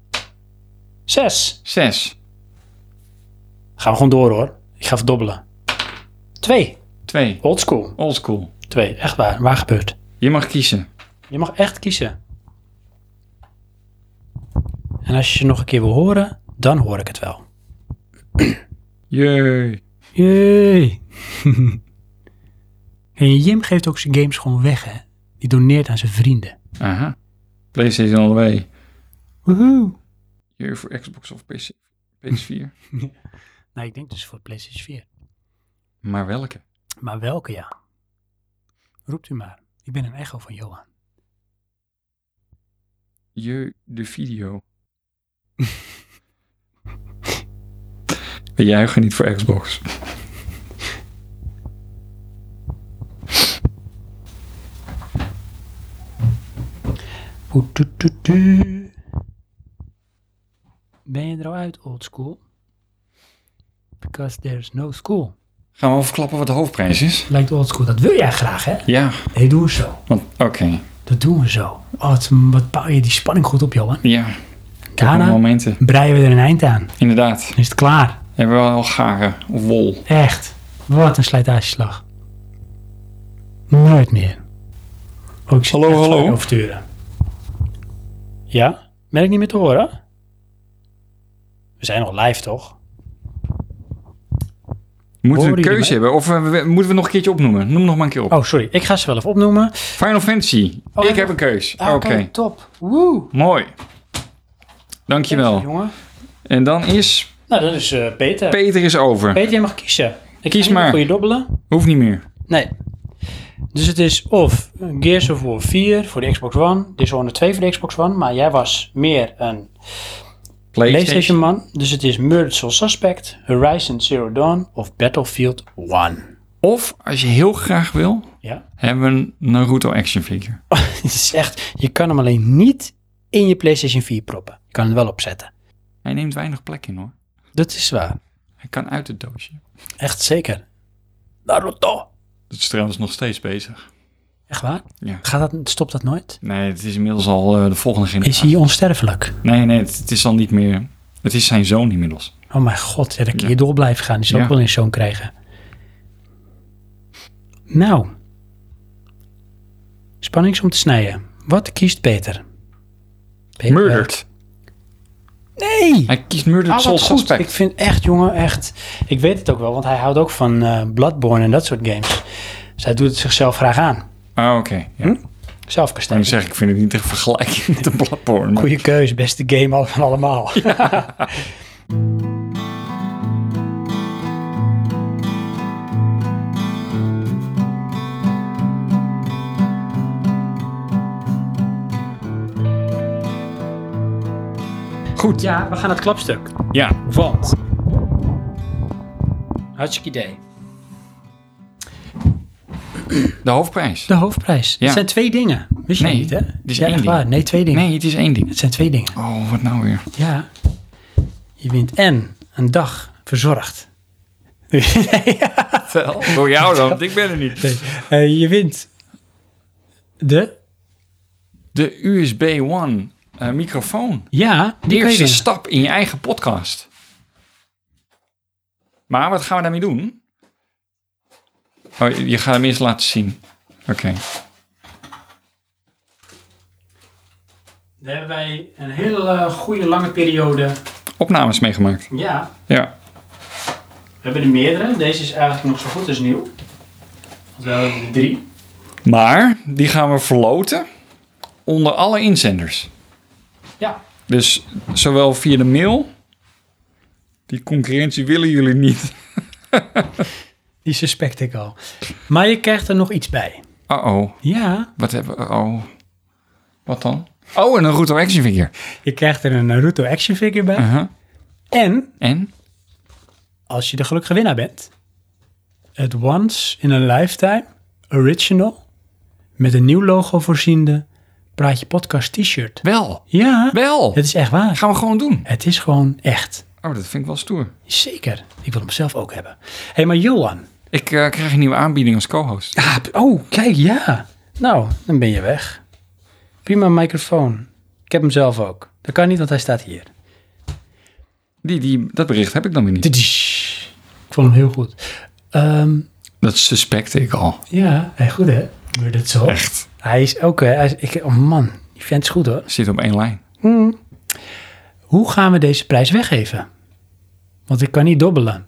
Speaker 1: Zes.
Speaker 2: 6,
Speaker 1: Gaan we gewoon door, hoor. Ik ga verdobbelen. Twee.
Speaker 2: 2.
Speaker 1: Oldschool.
Speaker 2: Old school.
Speaker 1: Twee. Echt waar. Waar gebeurt?
Speaker 2: Je mag kiezen.
Speaker 1: Je mag echt kiezen. En als je je nog een keer wil horen, dan hoor ik het wel.
Speaker 2: Jee.
Speaker 1: Jee. en Jim geeft ook zijn games gewoon weg, hè? Die doneert aan zijn vrienden.
Speaker 2: Aha. PlayStation all the way.
Speaker 1: Woehoe.
Speaker 2: Jee voor Xbox of PC, PS4.
Speaker 1: Nou, ik denk dus voor PlayStation 4.
Speaker 2: Maar welke?
Speaker 1: Maar welke, ja? Roept u maar. Ik ben een echo van Johan.
Speaker 2: Je de video. We juichen niet voor Xbox.
Speaker 1: Poetututu. Ben je er al uit, old school? Because there's no school.
Speaker 2: Gaan we overklappen wat de hoofdprijs is?
Speaker 1: Lijkt old school, dat wil jij graag, hè?
Speaker 2: Ja,
Speaker 1: Nee, doe eens zo.
Speaker 2: want oké.
Speaker 1: Dat doen we zo. Oh, wat, wat bouw je die spanning goed op, Johan.
Speaker 2: Ja,
Speaker 1: Daarna
Speaker 2: momenten.
Speaker 1: breien we er een eind aan.
Speaker 2: Inderdaad.
Speaker 1: Dan is het klaar.
Speaker 2: Hebben we al garen of wol?
Speaker 1: Echt. Wat een slijtageslag. Nooit meer. Oh, ik zit
Speaker 2: Hallo,
Speaker 1: echt
Speaker 2: hallo.
Speaker 1: zwaar oversturen. Ja? Ben ik niet meer te horen? We zijn nog live, toch?
Speaker 2: Moeten we
Speaker 1: Horen
Speaker 2: een
Speaker 1: jullie
Speaker 2: keuze hebben of eh, we- moeten we nog een keertje opnoemen? Noem nog maar een keer op.
Speaker 1: Oh, sorry. Ik ga ze wel even opnoemen.
Speaker 2: Final Fantasy.
Speaker 1: Oh,
Speaker 2: ik
Speaker 1: en-
Speaker 2: heb een keus. Ah, Oké,
Speaker 1: top. Woe.
Speaker 2: mooi. Dankjewel.
Speaker 1: Jongen.
Speaker 2: En dan is
Speaker 1: Nou, dat is eh, Peter.
Speaker 2: Peter is over.
Speaker 1: Peter, jij mag kiezen. Ik
Speaker 2: Kies
Speaker 1: ga niet
Speaker 2: maar.
Speaker 1: Voor je dobbelen.
Speaker 2: Hoeft niet meer.
Speaker 1: Nee. Dus het is of Gears of War 4 voor de Xbox One, Dishonored 2 voor de Xbox One, maar jij was meer een PlayStation man, dus het is Murdered Soul Suspect, Horizon Zero Dawn of Battlefield 1.
Speaker 2: Of als je heel graag wil,
Speaker 1: Ja,
Speaker 2: hebben we een Naruto action figure.
Speaker 1: het is echt, je kan hem alleen niet in je PlayStation 4 proppen. Je kan hem wel opzetten.
Speaker 2: Hij neemt weinig plek in hoor.
Speaker 1: Dat is waar.
Speaker 2: Hij kan uit het doosje.
Speaker 1: Echt zeker. Naruto.
Speaker 2: Dat is trouwens nog steeds bezig.
Speaker 1: Echt waar?
Speaker 2: Ja.
Speaker 1: Gaat dat, stopt dat nooit?
Speaker 2: Nee, het is inmiddels al eh, de volgende
Speaker 1: Is
Speaker 2: generatie.
Speaker 1: hij onsterfelijk?
Speaker 2: Nee, nee, het, het is dan niet meer... Het is zijn zoon inmiddels.
Speaker 1: Oh mijn god, ja, dat ik
Speaker 2: Ja.
Speaker 1: hier door blijf gaan. Die zal
Speaker 2: Ja.
Speaker 1: ook wel eens zo'n krijgen. Nou. Spannings om te snijden. Wat kiest Peter? Peter
Speaker 2: Murdered.
Speaker 1: wel. Nee!
Speaker 2: Hij kiest Murdered
Speaker 1: Ah,
Speaker 2: Soul
Speaker 1: wat goed.
Speaker 2: Suspect.
Speaker 1: Ik vind echt, jongen, echt... Ik weet het ook wel, want hij houdt ook van eh, Bloodborne en dat soort games. Dus hij doet het zichzelf graag aan.
Speaker 2: Ah, oké. Ja.
Speaker 1: Hm? Zelf
Speaker 2: Dan
Speaker 1: kastetten.
Speaker 2: zeg ik, ik vind het niet echt vergelijking met een platform. maar-
Speaker 1: Goeie keuze, beste game al- van allemaal.
Speaker 2: Goed.
Speaker 1: Ja, we gaan naar het klapstuk.
Speaker 2: Ja.
Speaker 1: Want. Hartstikke idee.
Speaker 2: De hoofdprijs.
Speaker 1: De hoofdprijs.
Speaker 2: Ja.
Speaker 1: Het zijn twee dingen. Wist je
Speaker 2: Nee,
Speaker 1: niet, hè?
Speaker 2: het is
Speaker 1: ja,
Speaker 2: één
Speaker 1: echt
Speaker 2: ding.
Speaker 1: waar. Nee, twee dingen.
Speaker 2: Nee, het is één ding.
Speaker 1: Het zijn twee dingen.
Speaker 2: Oh, wat nou weer.
Speaker 1: Ja. Je wint en een dag verzorgd.
Speaker 2: Door jou dan, want ik ben er niet.
Speaker 1: Eh, je wint de
Speaker 2: De USB One eh, microfoon.
Speaker 1: Ja,
Speaker 2: De
Speaker 1: die kun
Speaker 2: eerste
Speaker 1: je winnen.
Speaker 2: stap in je eigen podcast. Maar wat gaan we daarmee doen? Oh, je je gaat hem eerst laten zien. Oké.
Speaker 1: Daar hebben wij een hele eh, goede lange periode.
Speaker 2: Opnames meegemaakt.
Speaker 1: Ja,
Speaker 2: Ja.
Speaker 1: we hebben er meerdere. Deze is eigenlijk nog zo goed als nieuw. Want we hebben er drie.
Speaker 2: Maar die gaan we verloten onder alle inzenders.
Speaker 1: Ja,
Speaker 2: Dus zowel via de mail. Die concurrentie willen jullie niet.
Speaker 1: die suspect ik al. Maar je krijgt er nog iets bij.
Speaker 2: Oh oh.
Speaker 1: Ja,
Speaker 2: Wat hebben we? Oh. Wat dan? Oh, en een Ruto Action Figure.
Speaker 1: je krijgt er een Naruto action figure bij.
Speaker 2: Uh-huh.
Speaker 1: En
Speaker 2: En?
Speaker 1: als je de gelukkige winnaar bent, het Once in a Lifetime Original met een nieuw logo voorziende Praatje Podcast t-shirt.
Speaker 2: Wel.
Speaker 1: Ja,
Speaker 2: Wel.
Speaker 1: het is echt waar.
Speaker 2: gaan we gewoon doen.
Speaker 1: Het is gewoon echt.
Speaker 2: Oh, dat vind ik wel stoer.
Speaker 1: Zeker. Ik wil hem zelf ook hebben. Hé, hey, maar Johan.
Speaker 2: Ik eh, krijg een nieuwe aanbieding als co-host.
Speaker 1: Ah, p- oh, kijk, ja. Nou, dan ben je weg. Prima microfoon. Ik heb hem zelf ook. Dat kan niet, want hij staat hier.
Speaker 2: Die, die, dat bericht heb ik dan weer niet.
Speaker 1: Tadish. Ik vond hem heel goed. Ehm,
Speaker 2: Dat suspecte ik al.
Speaker 1: ja, hey, goed hè? Doe dat zo?
Speaker 2: Echt.
Speaker 1: Hij is ook, hè? Hij is, ik, oh man, die vent is goed hoor.
Speaker 2: Zit op één lijn.
Speaker 1: Mm. Hoe gaan we deze prijs weggeven? Want ik kan niet dobbelen.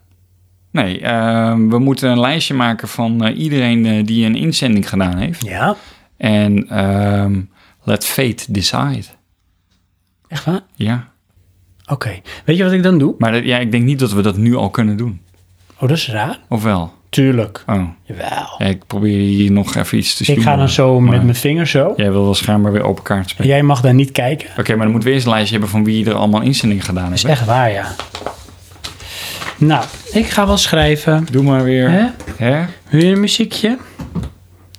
Speaker 2: Nee, eh, we moeten een lijstje maken van eh, iedereen eh, die een inzending gedaan heeft.
Speaker 1: Ja,
Speaker 2: En ehm, let fate decide.
Speaker 1: echt waar?
Speaker 2: Ja.
Speaker 1: Oké. Weet je wat ik dan doe?
Speaker 2: Maar dat, ja, ik denk niet dat we dat nu al kunnen doen.
Speaker 1: Oh, dat is raar.
Speaker 2: Of wel?
Speaker 1: Tuurlijk.
Speaker 2: Oh.
Speaker 1: Jawel.
Speaker 2: Ja, ik probeer hier nog even iets te sturen.
Speaker 1: Ik ga dan zo
Speaker 2: Maar
Speaker 1: met mijn vinger zo.
Speaker 2: Jij wil wel schijnbaar weer open kaart spelen.
Speaker 1: Jij mag daar niet kijken.
Speaker 2: Oké, maar dan moeten we eerst een lijstje hebben van wie er allemaal inzending gedaan heeft.
Speaker 1: Dat is echt waar, ja. Nou, ik ga wel schrijven.
Speaker 2: Doe maar weer.
Speaker 1: Hè?
Speaker 2: Hè?
Speaker 1: Wil je een muziekje?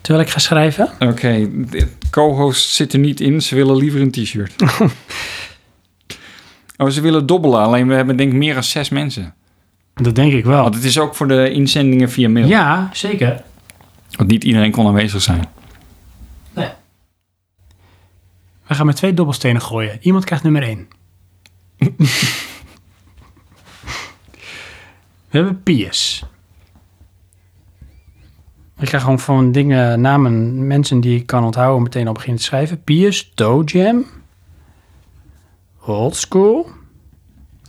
Speaker 1: Terwijl ik ga schrijven?
Speaker 2: Oké, dit- co-host zit er niet in. Ze willen liever een t-shirt. oh, ze willen dobbelen. Alleen we hebben denk ik meer dan zes mensen.
Speaker 1: Dat denk ik wel.
Speaker 2: Want het is ook voor de inzendingen via mail.
Speaker 1: Ja, zeker.
Speaker 2: Want niet iedereen kon aanwezig zijn.
Speaker 1: Nee. We gaan met twee dobbelstenen gooien. Iemand krijgt nummer één. We hebben Piers. Ik ga gewoon van dingen, namen, mensen die ik kan onthouden, meteen al beginnen te schrijven. Piers, Toe Jam, Old School.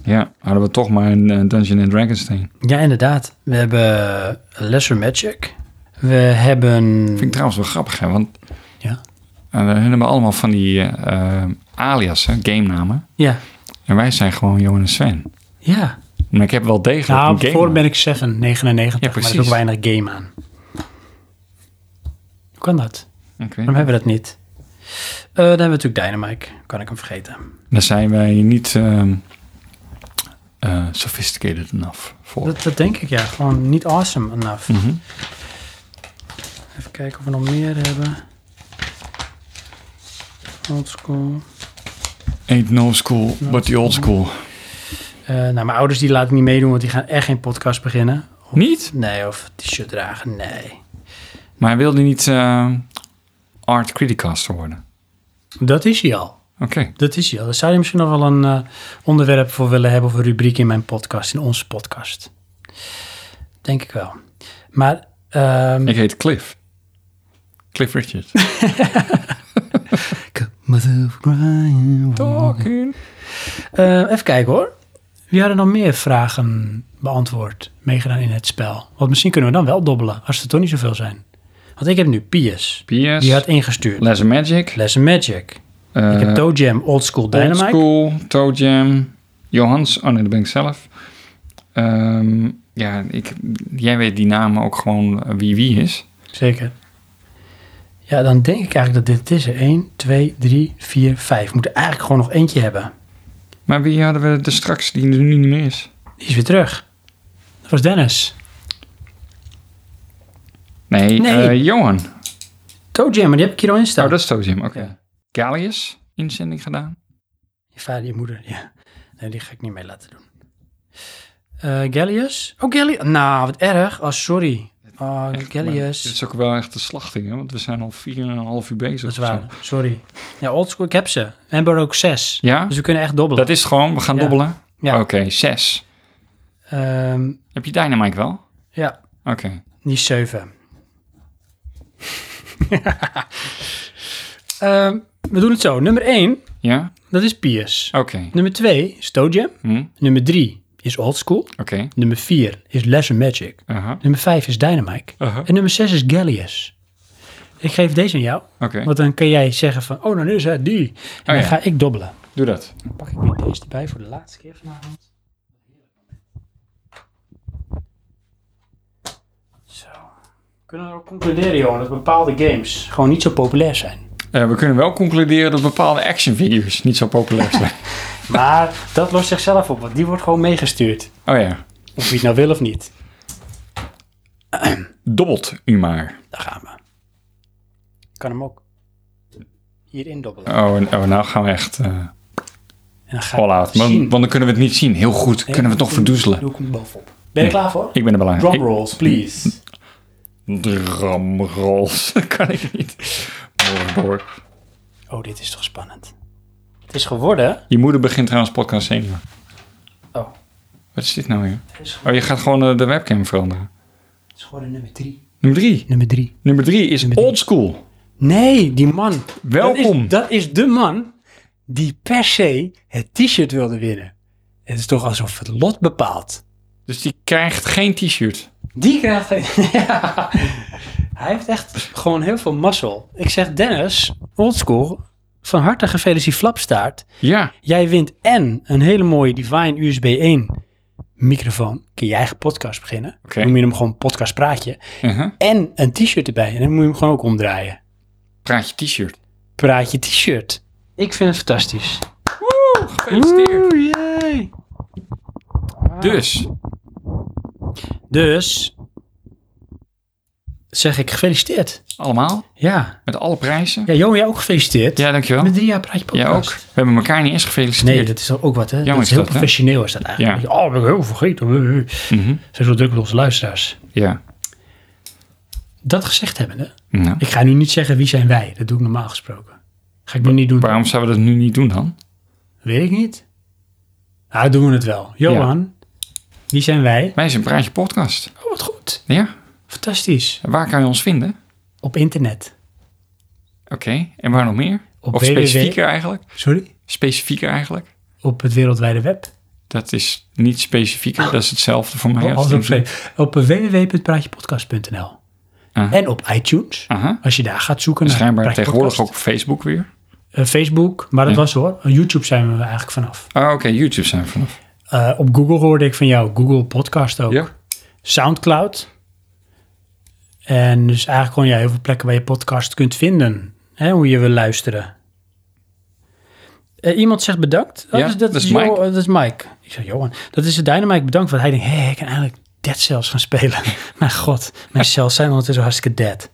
Speaker 2: Ja, hadden we toch maar een eh, Dungeon and Dragonstein.
Speaker 1: Ja, inderdaad. We hebben Lesser Magic. We hebben...
Speaker 2: Vind ik trouwens wel grappig, hè? Want
Speaker 1: Ja.
Speaker 2: eh, we hebben allemaal van die eh, eh, aliasen, game namen.
Speaker 1: Ja.
Speaker 2: En wij zijn gewoon Johan en Sven.
Speaker 1: Ja.
Speaker 2: Maar ik heb wel degelijk
Speaker 1: Nou,
Speaker 2: een game.
Speaker 1: voor
Speaker 2: naam.
Speaker 1: ben ik 7, 99.
Speaker 2: Ja,
Speaker 1: maar er is ook
Speaker 2: precies.
Speaker 1: weinig game aan. Hoe kan dat?
Speaker 2: Ik weet
Speaker 1: Waarom
Speaker 2: het.
Speaker 1: hebben we dat niet? Eh, dan hebben we natuurlijk Dynamite. Kan ik hem vergeten.
Speaker 2: Daar zijn wij niet ehm, eh, sophisticated enough voor.
Speaker 1: Dat, dat denk ik, ja. Gewoon niet awesome enough.
Speaker 2: Mhm.
Speaker 1: Even kijken of we nog meer hebben. Old school.
Speaker 2: Ain't no school, but the old school.
Speaker 1: Eh, nou, mijn ouders die laat ik niet meedoen, want die gaan echt geen podcast beginnen.
Speaker 2: Niet?
Speaker 1: Nee, of t-shirt dragen, nee.
Speaker 2: Maar hij wilde niet eh, art criticaster worden.
Speaker 1: Dat is hij al.
Speaker 2: Oké.
Speaker 1: Dat is hij al. Daar zou je misschien nog wel een eh, onderwerp voor willen hebben of een rubriek in mijn podcast, in onze podcast. Denk ik wel. Maar ehm
Speaker 2: Ik heet Cliff. Cliff Richard. Talking.
Speaker 1: Eh, even kijken hoor. Wie hadden nog meer vragen beantwoord, meegedaan in het spel? Want misschien kunnen we dan wel dobbelen, als er toch niet zoveel zijn. Want ik heb nu Piers.
Speaker 2: P.S.
Speaker 1: Die had ingestuurd.
Speaker 2: Les Magic.
Speaker 1: Les Magic.
Speaker 2: eh,
Speaker 1: ik heb Toe Jam, Old School Dynamite.
Speaker 2: Old School, Toe Jam, Johans. Oh nee, dat ben ik zelf. Ehm, ja, ik, jij weet die namen ook gewoon eh, wie wie is.
Speaker 1: Zeker. Ja, dan denk ik eigenlijk dat dit het is. 1, 2, 3, 4, 5. We moeten eigenlijk gewoon nog eentje hebben.
Speaker 2: Maar wie hadden we er straks die er nu niet meer is?
Speaker 1: Die is weer terug. Dat was Dennis.
Speaker 2: Nee,
Speaker 1: Nee.
Speaker 2: eh, Johan.
Speaker 1: Toe Jam, maar die heb ik hier al in staan.
Speaker 2: Oh, dat is Toe Jam, oké.
Speaker 1: Ja.
Speaker 2: Gallius, inzending gedaan.
Speaker 1: Je vader, je moeder. Ja. Nee, die ga ik niet mee laten doen. Eh Gallius? Oh, Gallius. Nou, wat erg. Oh, sorry. Oh,
Speaker 2: Dit
Speaker 1: Gellius.
Speaker 2: is ook wel echt de slachting, hè? want we zijn al 4,5 uur bezig.
Speaker 1: Dat is
Speaker 2: of zo.
Speaker 1: waar. Sorry. Ja, oldschool. Ik heb ze. Ember ook 6.
Speaker 2: Ja?
Speaker 1: Dus we kunnen echt dobbelen.
Speaker 2: Dat is het gewoon, we gaan
Speaker 1: Ja.
Speaker 2: dobbelen.
Speaker 1: Ja.
Speaker 2: Oké, 6.
Speaker 1: Ehm,
Speaker 2: Heb je Dynamite wel?
Speaker 1: ja,
Speaker 2: Oké.
Speaker 1: niet 7. Ehm, we doen het zo. Nummer 1,
Speaker 2: Ja?
Speaker 1: dat is Piers.
Speaker 2: Oké.
Speaker 1: Nummer 2 is Toe Jam.
Speaker 2: Hm? Oké.
Speaker 1: Nummer 3 is Oldschool. Nummer 4 is Lesser Magic.
Speaker 2: Aha.
Speaker 1: Nummer 5 is Dynamite.
Speaker 2: Aha.
Speaker 1: En nummer 6 is Gallius. Ik geef deze aan jou.
Speaker 2: Oké,
Speaker 1: Want dan kan jij zeggen van, oh, dan is het die. En dan
Speaker 2: ja.
Speaker 1: ga ik dobbelen.
Speaker 2: doe dat.
Speaker 1: Dan pak ik weer deze erbij voor de laatste keer vanavond. Zo. We kunnen ook concluderen, Johan, dat bepaalde games gewoon niet zo populair zijn.
Speaker 2: Eh, we kunnen wel concluderen dat bepaalde actionvideo's niet zo populair zijn.
Speaker 1: Maar dat lost zichzelf op, want die wordt gewoon meegestuurd.
Speaker 2: oh ja.
Speaker 1: Of je het nou wil of niet.
Speaker 2: Dobbelt u maar.
Speaker 1: Daar gaan we. Ik kan hem ook hierin dobbelen.
Speaker 2: Oh, en- oh nou gaan we echt eh
Speaker 1: En dan ga
Speaker 2: all out.
Speaker 1: ik
Speaker 2: Want,
Speaker 1: zien.
Speaker 2: want dan kunnen we het niet zien. Heel goed. kunnen we het toch
Speaker 1: doe-
Speaker 2: verdoezelen.
Speaker 1: Doe ik hem bovenop. Ben je
Speaker 2: Ja.
Speaker 1: klaar voor?
Speaker 2: Ik ben er belangrijk.
Speaker 1: Drum rolls, please.
Speaker 2: Ik- Drumrolls. Dat kan ik niet. Hoor, hoor.
Speaker 1: Oh, dit is toch spannend. Het is geworden.
Speaker 2: Je moeder begint trouwens podcast senior.
Speaker 1: Oh,
Speaker 2: Wat is dit nou weer?
Speaker 1: het is,
Speaker 2: Oh, je gaat gewoon eh, de webcam veranderen.
Speaker 1: het is geworden nummer drie.
Speaker 2: Nummer drie.
Speaker 1: Nummer drie.
Speaker 2: Nummer drie is
Speaker 1: Nummer drie.
Speaker 2: old school.
Speaker 1: Nee, die man. Dat
Speaker 2: Welkom.
Speaker 1: is, dat is de man die per se het t-shirt wilde winnen. Het is toch alsof het lot bepaalt.
Speaker 2: Dus die krijgt geen t-shirt.
Speaker 1: Die krijgt hij. Ja. Hij heeft echt gewoon heel veel mazzel. Ik zeg Dennis, oldschool, van harte gefeliciteerd Flapstaart.
Speaker 2: Ja.
Speaker 1: Jij wint en een hele mooie Divine USB 1 microfoon. Kun je je eigen podcast beginnen.
Speaker 2: Oké.
Speaker 1: Noem je hem gewoon podcast praatje.
Speaker 2: Uh-huh.
Speaker 1: En een t-shirt erbij. En dan moet je hem gewoon ook omdraaien.
Speaker 2: Praat je t-shirt.
Speaker 1: Praatje t-shirt. Ik vind het fantastisch.
Speaker 2: Gefeliciteerd.
Speaker 1: Oeh, jee.
Speaker 2: Dus,
Speaker 1: Dus zeg ik gefeliciteerd.
Speaker 2: allemaal,
Speaker 1: Ja.
Speaker 2: met alle prijzen.
Speaker 1: Ja, Johan, jij ook gefeliciteerd.
Speaker 2: Ja, dankjewel.
Speaker 1: Met drie jaar praatje podcast.
Speaker 2: Jij ook. We hebben elkaar niet eens gefeliciteerd.
Speaker 1: Nee, dat is ook wat, hè? dat
Speaker 2: is
Speaker 1: is heel
Speaker 2: dat, hè?
Speaker 1: professioneel, is dat eigenlijk.
Speaker 2: Ja.
Speaker 1: Oh, ben ik heel vergeten.
Speaker 2: Mhm.
Speaker 1: Ze zijn zo druk met onze luisteraars.
Speaker 2: Ja.
Speaker 1: Dat gezegd hebbende,
Speaker 2: Nou,
Speaker 1: ik ga nu niet zeggen wie zijn wij. Dat doe ik normaal gesproken. Ga ik nu niet doen.
Speaker 2: waarom zouden we dat nu niet doen dan?
Speaker 1: Weet ik niet. Nou, doen we het wel. Johan, wie zijn wij?
Speaker 2: Wij zijn Praatje Podcast.
Speaker 1: Oh, wat goed.
Speaker 2: Ja.
Speaker 1: Fantastisch.
Speaker 2: Waar kan je ons vinden?
Speaker 1: Op internet.
Speaker 2: Oké. En waar nog meer?
Speaker 1: Op
Speaker 2: of
Speaker 1: www.
Speaker 2: specifieker eigenlijk?
Speaker 1: Sorry?
Speaker 2: Specifieker eigenlijk?
Speaker 1: Op het wereldwijde web.
Speaker 2: Dat is niet specifieker, dat is hetzelfde voor mij.
Speaker 1: Oh, als
Speaker 2: als
Speaker 1: op
Speaker 2: het-
Speaker 1: op www.praatjepodcast.nl.
Speaker 2: Ah.
Speaker 1: En op iTunes.
Speaker 2: Aha. Dus
Speaker 1: Als je daar gaat zoeken naar
Speaker 2: Schijnbaar
Speaker 1: Praatje
Speaker 2: tegenwoordig ook
Speaker 1: Podcast.
Speaker 2: op Facebook weer.
Speaker 1: Eh, Facebook, maar dat
Speaker 2: Ja.
Speaker 1: was hoor. YouTube zijn we eigenlijk vanaf.
Speaker 2: Ah, oké, YouTube zijn we vanaf.
Speaker 1: Eh, op Google hoorde ik van jou, Google Podcast ook.
Speaker 2: Ja.
Speaker 1: Soundcloud. En dus eigenlijk gewoon ja, heel veel plekken waar je podcast kunt vinden. Hè, hoe je wil luisteren. Eh, iemand zegt bedankt.
Speaker 2: Ja, dat is Mike.
Speaker 1: Jo- dat is Mike. Ik zeg, Johan, dat is de Dynamite bedankt. Want hij denkt, hé, ik kan eigenlijk dead cells gaan spelen. mijn god, mijn cells zijn ondertussen hartstikke dead.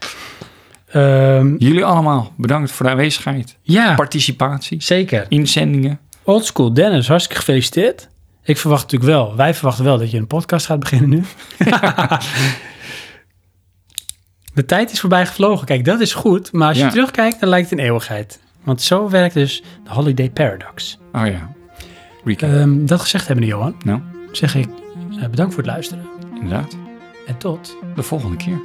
Speaker 1: Ehm,
Speaker 2: Jullie allemaal, bedankt voor de aanwezigheid,
Speaker 1: ja,
Speaker 2: participatie,
Speaker 1: zeker.
Speaker 2: inzendingen.
Speaker 1: Oldschool Dennis, hartstikke gefeliciteerd. Ik verwacht natuurlijk wel, wij verwachten wel dat je een podcast gaat beginnen nu. De tijd is voorbij gevlogen. Kijk, dat is goed. Maar als je
Speaker 2: Ja.
Speaker 1: terugkijkt, dan lijkt het een eeuwigheid. Want zo werkt dus de Holiday Paradox.
Speaker 2: Oh ja. Recap.
Speaker 1: Ehm, dat gezegd hebbende, Johan,
Speaker 2: nou,
Speaker 1: zeg ik eh, bedankt voor het luisteren.
Speaker 2: inderdaad.
Speaker 1: En tot...
Speaker 2: De volgende keer.